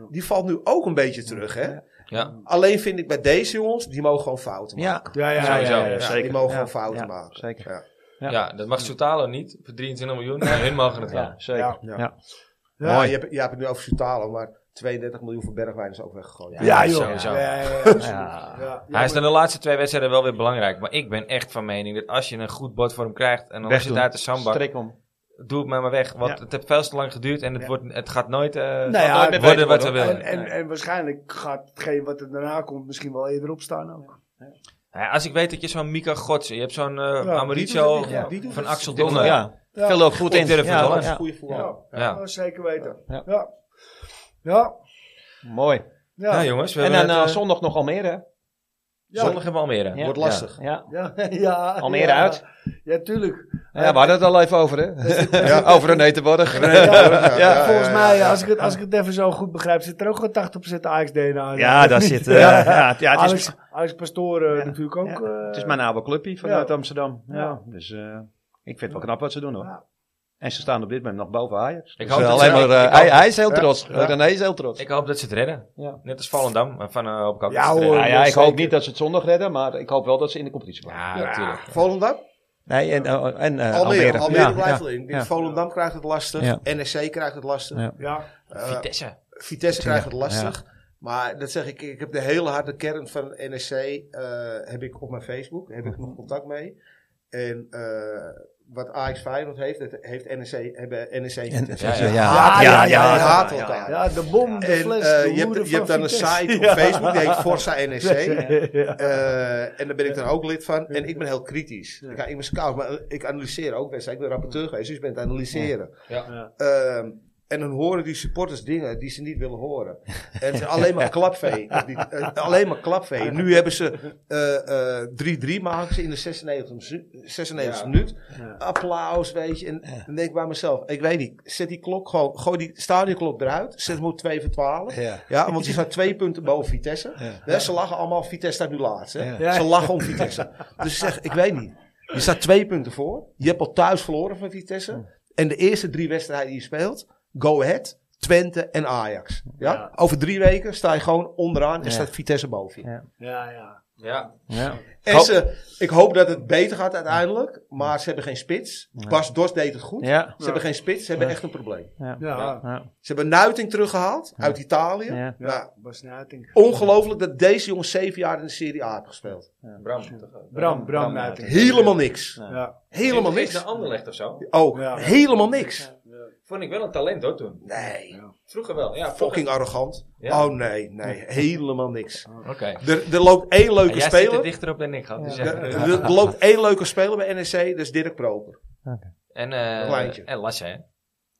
[SPEAKER 3] Die valt nu ook een beetje terug, hè?
[SPEAKER 1] Ja.
[SPEAKER 3] Alleen vind ik bij deze jongens, die mogen gewoon fouten maken.
[SPEAKER 5] Ja,
[SPEAKER 2] Ja, ja, ja,
[SPEAKER 1] Sowieso.
[SPEAKER 2] ja, ja.
[SPEAKER 3] Ja,
[SPEAKER 5] zeker.
[SPEAKER 3] Die mogen
[SPEAKER 5] Ja,
[SPEAKER 3] gewoon fouten
[SPEAKER 5] ja,
[SPEAKER 3] maken.
[SPEAKER 5] zeker.
[SPEAKER 3] Ja.
[SPEAKER 1] Ja. dat mag Soutalo niet. Voor 23 miljoen. Nee, hun mogen het wel.
[SPEAKER 5] ja, zeker.
[SPEAKER 3] Ja.
[SPEAKER 5] Ja.
[SPEAKER 3] Ja,
[SPEAKER 5] Mooi.
[SPEAKER 3] Je, hebt, je hebt het nu over Sutalo, maar 32 miljoen voor Bergwijn is ook weggegooid.
[SPEAKER 2] Ja, joh.
[SPEAKER 1] Sowieso.
[SPEAKER 2] Ja, ja, ja, absoluut.
[SPEAKER 5] Ja.
[SPEAKER 2] Ja,
[SPEAKER 1] Hij is dan de laatste twee wedstrijden wel weer belangrijk. Maar ik ben echt van mening dat als je een goed bord voor hem krijgt. en dan is
[SPEAKER 5] Weg
[SPEAKER 1] het
[SPEAKER 5] doen.
[SPEAKER 1] uit de samba.
[SPEAKER 5] Strik om.
[SPEAKER 1] doe het maar maar weg. Want
[SPEAKER 5] Ja.
[SPEAKER 1] het heeft veel te lang geduurd. en het, wordt, het gaat nooit eh,
[SPEAKER 2] Nou ja,
[SPEAKER 1] worden
[SPEAKER 5] met weten
[SPEAKER 1] wat we
[SPEAKER 5] worden,
[SPEAKER 1] willen.
[SPEAKER 2] En, en, en waarschijnlijk gaat hetgeen wat er daarna komt misschien wel eerder opstaan ook.
[SPEAKER 1] Ja, als ik weet dat je zo'n Mika Gods. je hebt zo'n eh
[SPEAKER 3] doet
[SPEAKER 1] Amauricio
[SPEAKER 3] het niet, ja. Die doet
[SPEAKER 1] van
[SPEAKER 3] het.
[SPEAKER 1] Axel
[SPEAKER 5] Dit-
[SPEAKER 1] Dongen. Ja.
[SPEAKER 5] Ja, veel ook goed in.
[SPEAKER 1] durf het wel,
[SPEAKER 5] Ja,
[SPEAKER 1] hè?
[SPEAKER 5] ja.
[SPEAKER 3] Goeie voetbal.
[SPEAKER 2] Ja,
[SPEAKER 1] Ja.
[SPEAKER 2] ja, zeker weten.
[SPEAKER 5] Ja.
[SPEAKER 2] Ja. Ja. ja.
[SPEAKER 5] Mooi.
[SPEAKER 1] Nou jongens, we
[SPEAKER 5] En
[SPEAKER 1] hebben
[SPEAKER 5] dan
[SPEAKER 1] het,
[SPEAKER 5] eh,
[SPEAKER 1] eh,
[SPEAKER 5] zondag nog Almere.
[SPEAKER 1] Zondag hebben we Almere.
[SPEAKER 5] Ja.
[SPEAKER 3] Wordt lastig.
[SPEAKER 5] Ja, ja.
[SPEAKER 2] Ja, ja,
[SPEAKER 5] Almere
[SPEAKER 2] ja.
[SPEAKER 5] uit.
[SPEAKER 2] Ja, tuurlijk.
[SPEAKER 5] Ja, we hadden het al even over, hè? Ja, over een Netenborg.
[SPEAKER 2] Ja,
[SPEAKER 3] ja,
[SPEAKER 2] volgens
[SPEAKER 3] ja,
[SPEAKER 2] mij, als ik, het, als ik het even zo goed begrijp, zit er ook gewoon 80% Ajax-DNA in.
[SPEAKER 5] Ja, daar zit... eh, ja, ja, het, is,
[SPEAKER 2] Alex, Alex Pastoor eh,
[SPEAKER 5] Ja.
[SPEAKER 2] natuurlijk ook.
[SPEAKER 5] Ja.
[SPEAKER 2] eh,
[SPEAKER 5] het is mijn oude clubje vanuit Amsterdam. Ja.
[SPEAKER 2] Ja.
[SPEAKER 5] Dus eh, ik vind het wel knap wat ze doen, hoor.
[SPEAKER 2] Ja.
[SPEAKER 5] En ze staan op dit moment nog boven Ajax.
[SPEAKER 1] Ik
[SPEAKER 5] Dus
[SPEAKER 1] hoop dat
[SPEAKER 5] alleen
[SPEAKER 1] ze-
[SPEAKER 5] maar, eh,
[SPEAKER 1] ik
[SPEAKER 5] hij,
[SPEAKER 1] hoop-
[SPEAKER 5] hij is heel trots. René is heel trots.
[SPEAKER 1] Ik hoop dat ze het redden.
[SPEAKER 5] Ja.
[SPEAKER 1] Net als Volendam eh, van eh op kap.
[SPEAKER 2] Ja,
[SPEAKER 1] Dat ze het
[SPEAKER 2] hoor.
[SPEAKER 1] redden.
[SPEAKER 5] ja, Nou ja, ik
[SPEAKER 2] zeker.
[SPEAKER 5] hoop niet dat ze het zondag redden, maar ik hoop wel dat ze in de competitie blijven.
[SPEAKER 1] Ja, natuurlijk.
[SPEAKER 3] Volendam?
[SPEAKER 5] Nee, en, eh, en eh,
[SPEAKER 3] Almere. Almere,
[SPEAKER 5] Ja,
[SPEAKER 3] blijft
[SPEAKER 5] ja.
[SPEAKER 3] wel in.
[SPEAKER 5] ja.
[SPEAKER 3] Volendam krijgt het lastig.
[SPEAKER 5] Ja.
[SPEAKER 3] NSC krijgt het lastig.
[SPEAKER 5] Ja.
[SPEAKER 2] ja.
[SPEAKER 3] Eh,
[SPEAKER 1] Vitesse.
[SPEAKER 3] Vitesse krijgt het lastig. Maar dat zeg ik, ik heb de hele harde kern van NSC eh, heb ik op mijn Facebook. Heb
[SPEAKER 2] Mhm.
[SPEAKER 3] ik nog contact mee. En eh, wat Ajax Feyenoord heeft, dat heeft NSC, hebben NSC Vitesse.
[SPEAKER 1] Ja, ja.
[SPEAKER 2] E Ja, ja, ja,
[SPEAKER 3] die
[SPEAKER 2] ja,
[SPEAKER 3] haten
[SPEAKER 5] ja,
[SPEAKER 3] elkaar.
[SPEAKER 2] Ja, de bom, de
[SPEAKER 3] En,
[SPEAKER 2] fles,
[SPEAKER 3] eh,
[SPEAKER 2] de
[SPEAKER 3] je
[SPEAKER 2] hoeren
[SPEAKER 3] hebt, je hebt
[SPEAKER 2] van
[SPEAKER 3] dan een
[SPEAKER 2] Vitesse.
[SPEAKER 3] site op
[SPEAKER 2] Ja.
[SPEAKER 3] Facebook, die heet Forza E NSC.
[SPEAKER 2] Ja.
[SPEAKER 3] Eh, en daar ben ik dan ook lid van. En ik ben heel kritisch. Ik, ik ben scout, maar ik analyseer ook wedstrijden. Ik ben rapporteur geweest, dus ik ben het analyseren.
[SPEAKER 1] Ja.
[SPEAKER 3] Ehm, en dan horen die supporters dingen die ze niet willen horen. En het is alleen maar klapvee. Die- eh, alleen maar klapvee. Nu hebben ze eh, eh, 3-3 maken ze in de 96 e 96 e minuut. Applaus, weet je. En dan denk ik bij mezelf, ik weet niet. Zet die klok gewoon, gooi die stadionklok eruit. Zet hem op 2 voor 12.
[SPEAKER 5] Ja.
[SPEAKER 3] Ja, want die staat twee punten boven Vitesse. Hè, ze lachen allemaal, Vitesse staat nu laatst. Hè?
[SPEAKER 5] Ja.
[SPEAKER 3] Ze lachen om Vitesse. Dus ik zeg, ik weet niet. Je staat twee punten voor. Je hebt al thuis verloren van Vitesse. En de eerste drie wedstrijden die je speelt, Go Ahead, Twente en Ajax. Ja? Over drie weken sta je gewoon onderaan en staat Vitesse boven je.
[SPEAKER 5] Ja.
[SPEAKER 2] Ja, ja.
[SPEAKER 1] Ja.
[SPEAKER 5] Ja.
[SPEAKER 3] En ze, ik hoop dat het beter gaat uiteindelijk, maar ze hebben geen spits. Bas Dos deed het goed.
[SPEAKER 5] Ja.
[SPEAKER 3] Ze hebben geen spits, ze hebben echt een probleem.
[SPEAKER 2] Ja,
[SPEAKER 5] Ja.
[SPEAKER 3] Ze hebben Nuiting teruggehaald uit Italië.
[SPEAKER 5] Ja.
[SPEAKER 3] Nou,
[SPEAKER 2] Bas Nuiting.
[SPEAKER 3] Ongelooflijk dat deze jongen zeven jaar in de Serie A heeft gespeeld.
[SPEAKER 1] Bram.
[SPEAKER 2] Bram, Bram Nuiting.
[SPEAKER 3] Helemaal niks.
[SPEAKER 2] Ja.
[SPEAKER 3] Helemaal
[SPEAKER 1] Is het
[SPEAKER 3] niks.
[SPEAKER 1] een Anderlecht of zo?
[SPEAKER 3] Ook.
[SPEAKER 2] Ja.
[SPEAKER 3] Helemaal niks.
[SPEAKER 1] Vond ik wel een talent hoor toen.
[SPEAKER 3] Nee.
[SPEAKER 1] Vroeger wel. Ja, vroeger.
[SPEAKER 3] Fucking arrogant.
[SPEAKER 1] Ja.
[SPEAKER 3] Oh nee, nee. Helemaal niks.
[SPEAKER 1] Oké.
[SPEAKER 3] Er, er loopt één
[SPEAKER 1] Ja,
[SPEAKER 3] leuke
[SPEAKER 1] jij zit er
[SPEAKER 3] speler.
[SPEAKER 1] dichter op dan ik had. Dus
[SPEAKER 3] Er,
[SPEAKER 1] ja.
[SPEAKER 3] er- er loopt één leuke speler bij NEC, dat is Dirk Proper.
[SPEAKER 1] En, eh
[SPEAKER 3] Kleintje.
[SPEAKER 1] en Lasse, hè?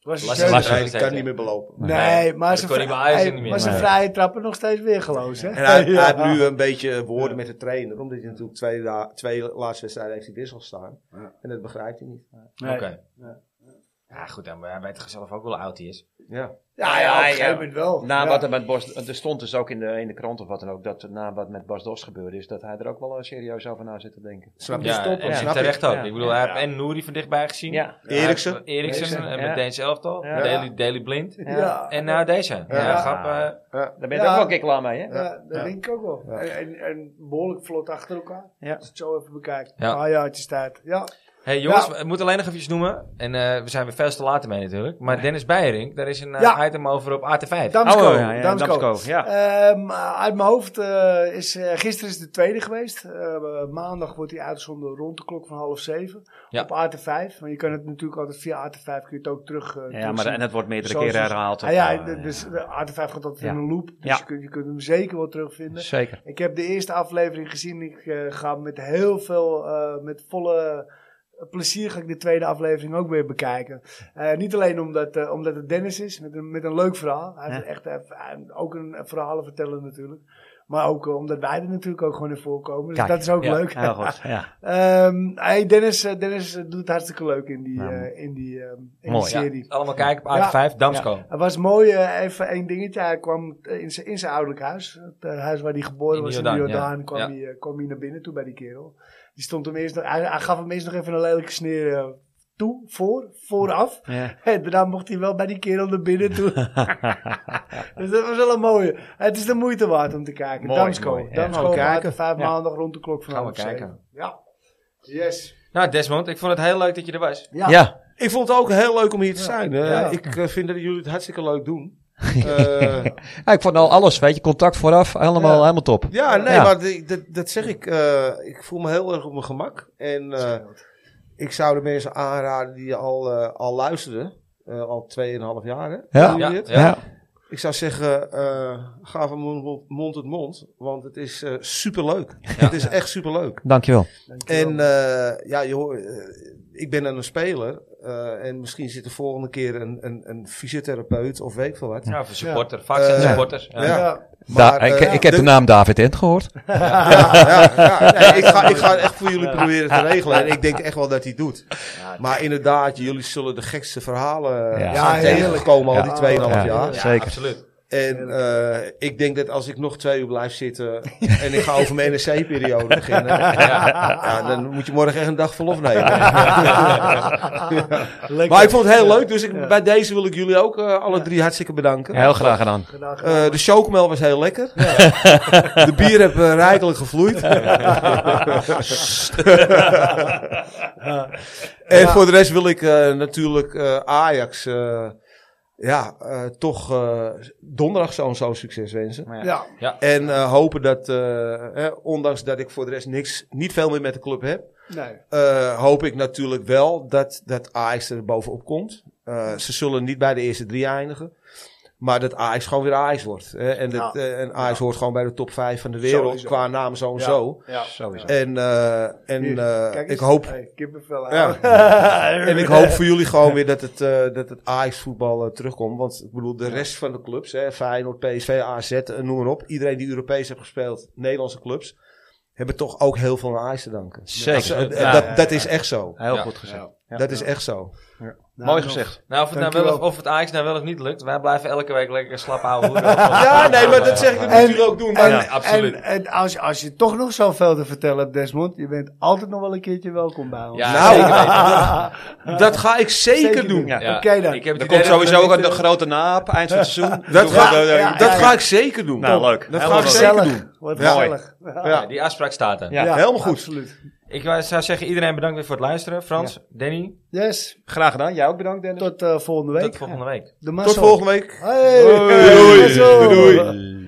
[SPEAKER 2] Was
[SPEAKER 1] Lasse
[SPEAKER 2] een-
[SPEAKER 1] was-
[SPEAKER 3] Hij
[SPEAKER 1] dat zei
[SPEAKER 3] kan niet meer belopen.
[SPEAKER 2] Nee, maar
[SPEAKER 1] Dat
[SPEAKER 2] zijn
[SPEAKER 1] kon
[SPEAKER 2] vrij-
[SPEAKER 1] hij bij Ajax
[SPEAKER 2] hij-
[SPEAKER 1] niet meer.
[SPEAKER 2] maar zijn
[SPEAKER 1] Nee.
[SPEAKER 2] vrije trappen nog steeds weer geloos, hè?
[SPEAKER 3] En hij, hij
[SPEAKER 2] Ja.
[SPEAKER 3] heeft nu een beetje woorden met de trainer, omdat hij natuurlijk twee, da- twee laatste wedstrijden heeft hij wissel staan. En dat begrijpt hij niet.
[SPEAKER 2] Nee.
[SPEAKER 1] Oké. Ja, goed dan. Maar hij weet toch zelf ook wel hoe oud hij is.
[SPEAKER 3] Ja.
[SPEAKER 2] Ja, ja,
[SPEAKER 5] Ja,
[SPEAKER 2] op een gegeven
[SPEAKER 5] ja.
[SPEAKER 2] moment wel.
[SPEAKER 5] Na
[SPEAKER 2] Ja.
[SPEAKER 5] Nou, wat er met Bos, er stond dus ook in de, in de krant of wat dan ook, dat na wat met Bas Dos gebeurde is, dat hij er ook wel eh, serieus over na zit te denken.
[SPEAKER 3] Snap je?
[SPEAKER 1] Ja, en,
[SPEAKER 3] Snap
[SPEAKER 1] en
[SPEAKER 3] ik.
[SPEAKER 1] terecht ook.
[SPEAKER 5] Ja.
[SPEAKER 1] Ik bedoel, hij heeft en Nouri van dichtbij gezien.
[SPEAKER 5] Ja.
[SPEAKER 1] Hij heeft
[SPEAKER 3] Eriksen.
[SPEAKER 1] Eriksen,
[SPEAKER 5] Eriksen,
[SPEAKER 1] en
[SPEAKER 5] ja.
[SPEAKER 1] met Deens elftal.
[SPEAKER 5] Ja.
[SPEAKER 1] Daily, Daily Blind.
[SPEAKER 5] Ja.
[SPEAKER 2] Ja.
[SPEAKER 1] En nou deze. Ja,
[SPEAKER 3] Ja.
[SPEAKER 1] grap. eh,
[SPEAKER 5] Daar ben je
[SPEAKER 2] Ja.
[SPEAKER 5] ook wel een keer klaar mee, hè?
[SPEAKER 2] Ja, dat denk ik ook wel. En, en, en behoorlijk vlot achter elkaar.
[SPEAKER 5] Ja.
[SPEAKER 2] Als je het zo even bekijkt.
[SPEAKER 1] Ja.
[SPEAKER 2] Ah ja, het is tijd. Ja.
[SPEAKER 1] hey jongens,
[SPEAKER 2] Ja.
[SPEAKER 1] we moeten alleen nog even noemen. En eh, we zijn weer veel te laat mee natuurlijk. Maar Dennis Beiring, daar is een eh,
[SPEAKER 2] Ja.
[SPEAKER 1] item over op AT5.
[SPEAKER 2] Damsko.
[SPEAKER 5] Oh, ja, ja,
[SPEAKER 2] Damsko.
[SPEAKER 5] Damsko, ja.
[SPEAKER 2] Ehm, uit mijn hoofd eh, is eh, gisteren is de tweede geweest. Eh, maandag wordt die uitgezonden rond de klok van half zeven.
[SPEAKER 1] Ja.
[SPEAKER 2] Op AT5. Want je kan het natuurlijk altijd via AT5 kun je het ook terug. eh,
[SPEAKER 5] Ja, maar
[SPEAKER 2] terugzien.
[SPEAKER 5] en het wordt meerdere
[SPEAKER 2] Socials.
[SPEAKER 5] keren herhaald. eh,
[SPEAKER 2] Ah, ja, de- dus de AT5 gaat altijd
[SPEAKER 5] Ja.
[SPEAKER 2] in een loop. Dus
[SPEAKER 5] Ja.
[SPEAKER 2] je, kunt, je kunt hem zeker wel terugvinden.
[SPEAKER 5] Zeker.
[SPEAKER 2] Ik heb de eerste aflevering gezien. Ik eh, ga met heel veel, eh, met volle plezier ga ik de tweede aflevering ook weer bekijken. Eh, niet alleen omdat, eh, omdat het Dennis is, met een, met een leuk verhaal. Hij heeft
[SPEAKER 5] Ja.
[SPEAKER 2] echt eh, hij- ook een verhalen vertellen natuurlijk. Maar ook eh, omdat wij er natuurlijk ook gewoon in voorkomen. Dus
[SPEAKER 5] Kijk,
[SPEAKER 2] dat is ook
[SPEAKER 1] ja,
[SPEAKER 2] leuk.
[SPEAKER 5] Heel goed, ja.
[SPEAKER 2] Ehm, hey, Dennis, eh, Dennis eh, doet het hartstikke leuk in die,
[SPEAKER 5] Nou,
[SPEAKER 2] eh, in die, ehm, in
[SPEAKER 5] mooi.
[SPEAKER 2] die serie.
[SPEAKER 1] Allemaal kijken op AT5, Damsko.
[SPEAKER 2] Het was mooi, eh, even één dingetje. Hij kwam eh, in zijn, in zijn ouderlijk huis. Het eh, huis waar hij geboren
[SPEAKER 1] In
[SPEAKER 2] was
[SPEAKER 1] Jordaan,
[SPEAKER 2] in de Jordaan.
[SPEAKER 1] ja.
[SPEAKER 2] Kwam,
[SPEAKER 1] Ja.
[SPEAKER 2] Hij, eh, kwam hij naar binnen toe bij die kerel. Die stond hem eerst nog, hij, hij gaf hem eerst nog even een lelijke sneer eh, toe, voor, vooraf.
[SPEAKER 5] Ja.
[SPEAKER 2] En daarna mocht hij wel bij die kerel naar binnen toe. dus dat was wel een mooie. Het is de moeite waard om te kijken.
[SPEAKER 5] Mooi,
[SPEAKER 2] Damsko.
[SPEAKER 5] mooi, ja.
[SPEAKER 2] Damsko
[SPEAKER 5] Gaan we
[SPEAKER 2] kijken.
[SPEAKER 5] kijken.
[SPEAKER 2] vijf
[SPEAKER 5] Ja.
[SPEAKER 2] maandag rond de klok van
[SPEAKER 1] Gaan we
[SPEAKER 2] half zeven.
[SPEAKER 1] kijken.
[SPEAKER 2] Ja. Yes.
[SPEAKER 1] Nou Desmond, ik vond het heel leuk dat je er was.
[SPEAKER 2] Ja.
[SPEAKER 5] Ja.
[SPEAKER 3] Ik vond het ook heel leuk om hier te zijn. Eh,
[SPEAKER 2] Ja.
[SPEAKER 3] Ik eh, vind dat jullie het hartstikke leuk doen. Eh,
[SPEAKER 5] Ja, ik vond al alles, weet je, contact vooraf, helemaal,
[SPEAKER 2] Ja.
[SPEAKER 5] helemaal top.
[SPEAKER 3] ja, nee,
[SPEAKER 5] Ja.
[SPEAKER 3] maar die- dat, dat zeg ik. eh, ik voel me heel erg op mijn gemak. En eh, ik zou de mensen aanraden die al, eh, al luisteren. eh al 2,5 jaar. Hè?
[SPEAKER 5] Ja.
[SPEAKER 3] Doen jullie
[SPEAKER 1] Ja,
[SPEAKER 3] dit?
[SPEAKER 1] ja.
[SPEAKER 3] Ik zou zeggen, eh, ga van mond, mond tot mond. Want het is eh, superleuk. Het is echt superleuk.
[SPEAKER 5] dankjewel.
[SPEAKER 3] En eh, ja, je hoort, eh, ik ben dan een speler. eh, en misschien zit de volgende keer een, een, een fysiotherapeut of weet ik veel wat.
[SPEAKER 1] Ja, Nou, voor supporter, vaak zijn
[SPEAKER 3] Eh,
[SPEAKER 1] supporters. Ja.
[SPEAKER 3] ja.
[SPEAKER 2] Ja.
[SPEAKER 7] Da- ik,
[SPEAKER 3] eh,
[SPEAKER 7] ik heb de naam David Ent gehoord.
[SPEAKER 3] Ja, ja, ja. Nee, ik, ga, ik ga echt voor jullie proberen te regelen. En ik denk echt wel dat hij het doet. Maar inderdaad, jullie zullen de gekste verhalen
[SPEAKER 7] Ja.
[SPEAKER 3] ja,
[SPEAKER 2] Ja,
[SPEAKER 3] tegenkomen
[SPEAKER 2] heerlijk.
[SPEAKER 3] komen al
[SPEAKER 7] Ja.
[SPEAKER 3] die 2,5
[SPEAKER 7] Ja.
[SPEAKER 3] jaar.
[SPEAKER 7] Zeker.
[SPEAKER 1] Absoluut.
[SPEAKER 3] En eh, ik denk dat als ik nog twee uur blijf zitten en ik ga over mijn NSC-periode beginnen, ja. dan moet je morgen echt een dag verlof nemen.
[SPEAKER 2] Lekker.
[SPEAKER 3] Maar ik vond het heel leuk, dus ik, bij deze wil ik jullie ook eh, alle drie hartstikke bedanken.
[SPEAKER 7] Heel graag gedaan.
[SPEAKER 3] Eh, de chocomel was heel lekker. De bier heb eh, rijkelijk gevloeid. en voor de rest wil ik eh, natuurlijk eh, Ajax eh, ja, eh, toch eh, donderdag zo'n zo'n succes wensen.
[SPEAKER 2] Ja.
[SPEAKER 3] En eh, hopen dat, eh, hè, ondanks dat ik voor de rest niks, niet veel meer met de club heb,
[SPEAKER 2] Nee.
[SPEAKER 3] eh, hoop ik natuurlijk wel dat, dat Ajax er bovenop komt. Eh, ze zullen niet bij de eerste drie eindigen. Maar dat Ajax gewoon weer Ajax wordt. Hè? En, dat, eh, en Ajax hoort gewoon bij de top 5 van de wereld.
[SPEAKER 2] Sowieso.
[SPEAKER 3] Qua naam zo en zo.
[SPEAKER 2] Ja.
[SPEAKER 1] Sowieso.
[SPEAKER 3] En, eh, en
[SPEAKER 2] Hier,
[SPEAKER 3] eh,
[SPEAKER 2] kijk
[SPEAKER 3] ik
[SPEAKER 2] eens.
[SPEAKER 3] hoop
[SPEAKER 2] Hey, kippenvel
[SPEAKER 3] Ja.
[SPEAKER 2] aan.
[SPEAKER 3] en ik hoop voor jullie gewoon weer dat het, eh, dat het Ajax-voetbal eh, terugkomt. Want ik bedoel, de rest van de clubs, hè, Feyenoord, PSV, AZ, eh, noem maar op. Iedereen die Europees heeft gespeeld, Nederlandse clubs, hebben toch ook heel veel aan Ajax te danken.
[SPEAKER 7] Zeker.
[SPEAKER 3] Dat,
[SPEAKER 7] Ja.
[SPEAKER 3] dat, dat is echt zo.
[SPEAKER 5] Heel
[SPEAKER 1] Ja.
[SPEAKER 5] goed gezegd.
[SPEAKER 3] dat is echt zo.
[SPEAKER 2] Nou,
[SPEAKER 5] Mooi
[SPEAKER 2] nog-
[SPEAKER 5] gezegd.
[SPEAKER 1] Nou, of het, nou wel,
[SPEAKER 2] Dankjewel.
[SPEAKER 1] of- of het Ajax nou wel of niet lukt, wij blijven elke week lekker slap houden.
[SPEAKER 3] Ja, nee, maar dat zeg ik, dat
[SPEAKER 2] En-
[SPEAKER 3] moeten jullie ook doen.
[SPEAKER 2] En,
[SPEAKER 3] Maar
[SPEAKER 1] Ja, absoluut.
[SPEAKER 2] en, en als, als je toch nog zoveel te vertellen hebt, Desmond, je bent altijd nog wel een keertje welkom bij ons.
[SPEAKER 1] Ja,
[SPEAKER 3] Nou,
[SPEAKER 1] zeker weten.
[SPEAKER 3] dat ga ik zeker, doen.
[SPEAKER 5] Ja.
[SPEAKER 1] Ja.
[SPEAKER 2] Oké dan.
[SPEAKER 1] Ik heb het idee
[SPEAKER 5] Er komt
[SPEAKER 1] dat we
[SPEAKER 5] sowieso ook
[SPEAKER 1] dit,
[SPEAKER 5] een
[SPEAKER 1] eh,
[SPEAKER 5] grote naap eind van het seizoen.
[SPEAKER 3] Dat, ga,
[SPEAKER 2] Ja, ja,
[SPEAKER 3] dat
[SPEAKER 2] ja,
[SPEAKER 3] ga
[SPEAKER 2] ja.
[SPEAKER 3] ik zeker doen.
[SPEAKER 5] Nou, leuk.
[SPEAKER 3] Dat
[SPEAKER 5] Heel
[SPEAKER 3] ga ik
[SPEAKER 5] leuk.
[SPEAKER 3] zeker
[SPEAKER 2] gezellig.
[SPEAKER 3] doen.
[SPEAKER 2] Wat
[SPEAKER 3] Ja.
[SPEAKER 2] gezellig.
[SPEAKER 1] Ja, die afspraak staat er.
[SPEAKER 5] Ja.
[SPEAKER 3] Helemaal goed.
[SPEAKER 2] Absoluut.
[SPEAKER 1] Ik wou- zou zeggen, iedereen bedankt weer voor het luisteren. Frans, Danny,
[SPEAKER 2] Yes,
[SPEAKER 5] Graag gedaan. Jij ook bedankt, Dennis.
[SPEAKER 2] tot eh, volgende week.
[SPEAKER 1] tot volgende week.
[SPEAKER 2] De
[SPEAKER 3] Tot volgende week.
[SPEAKER 2] Hey,
[SPEAKER 3] Doei.
[SPEAKER 2] mazzel.
[SPEAKER 3] Doei.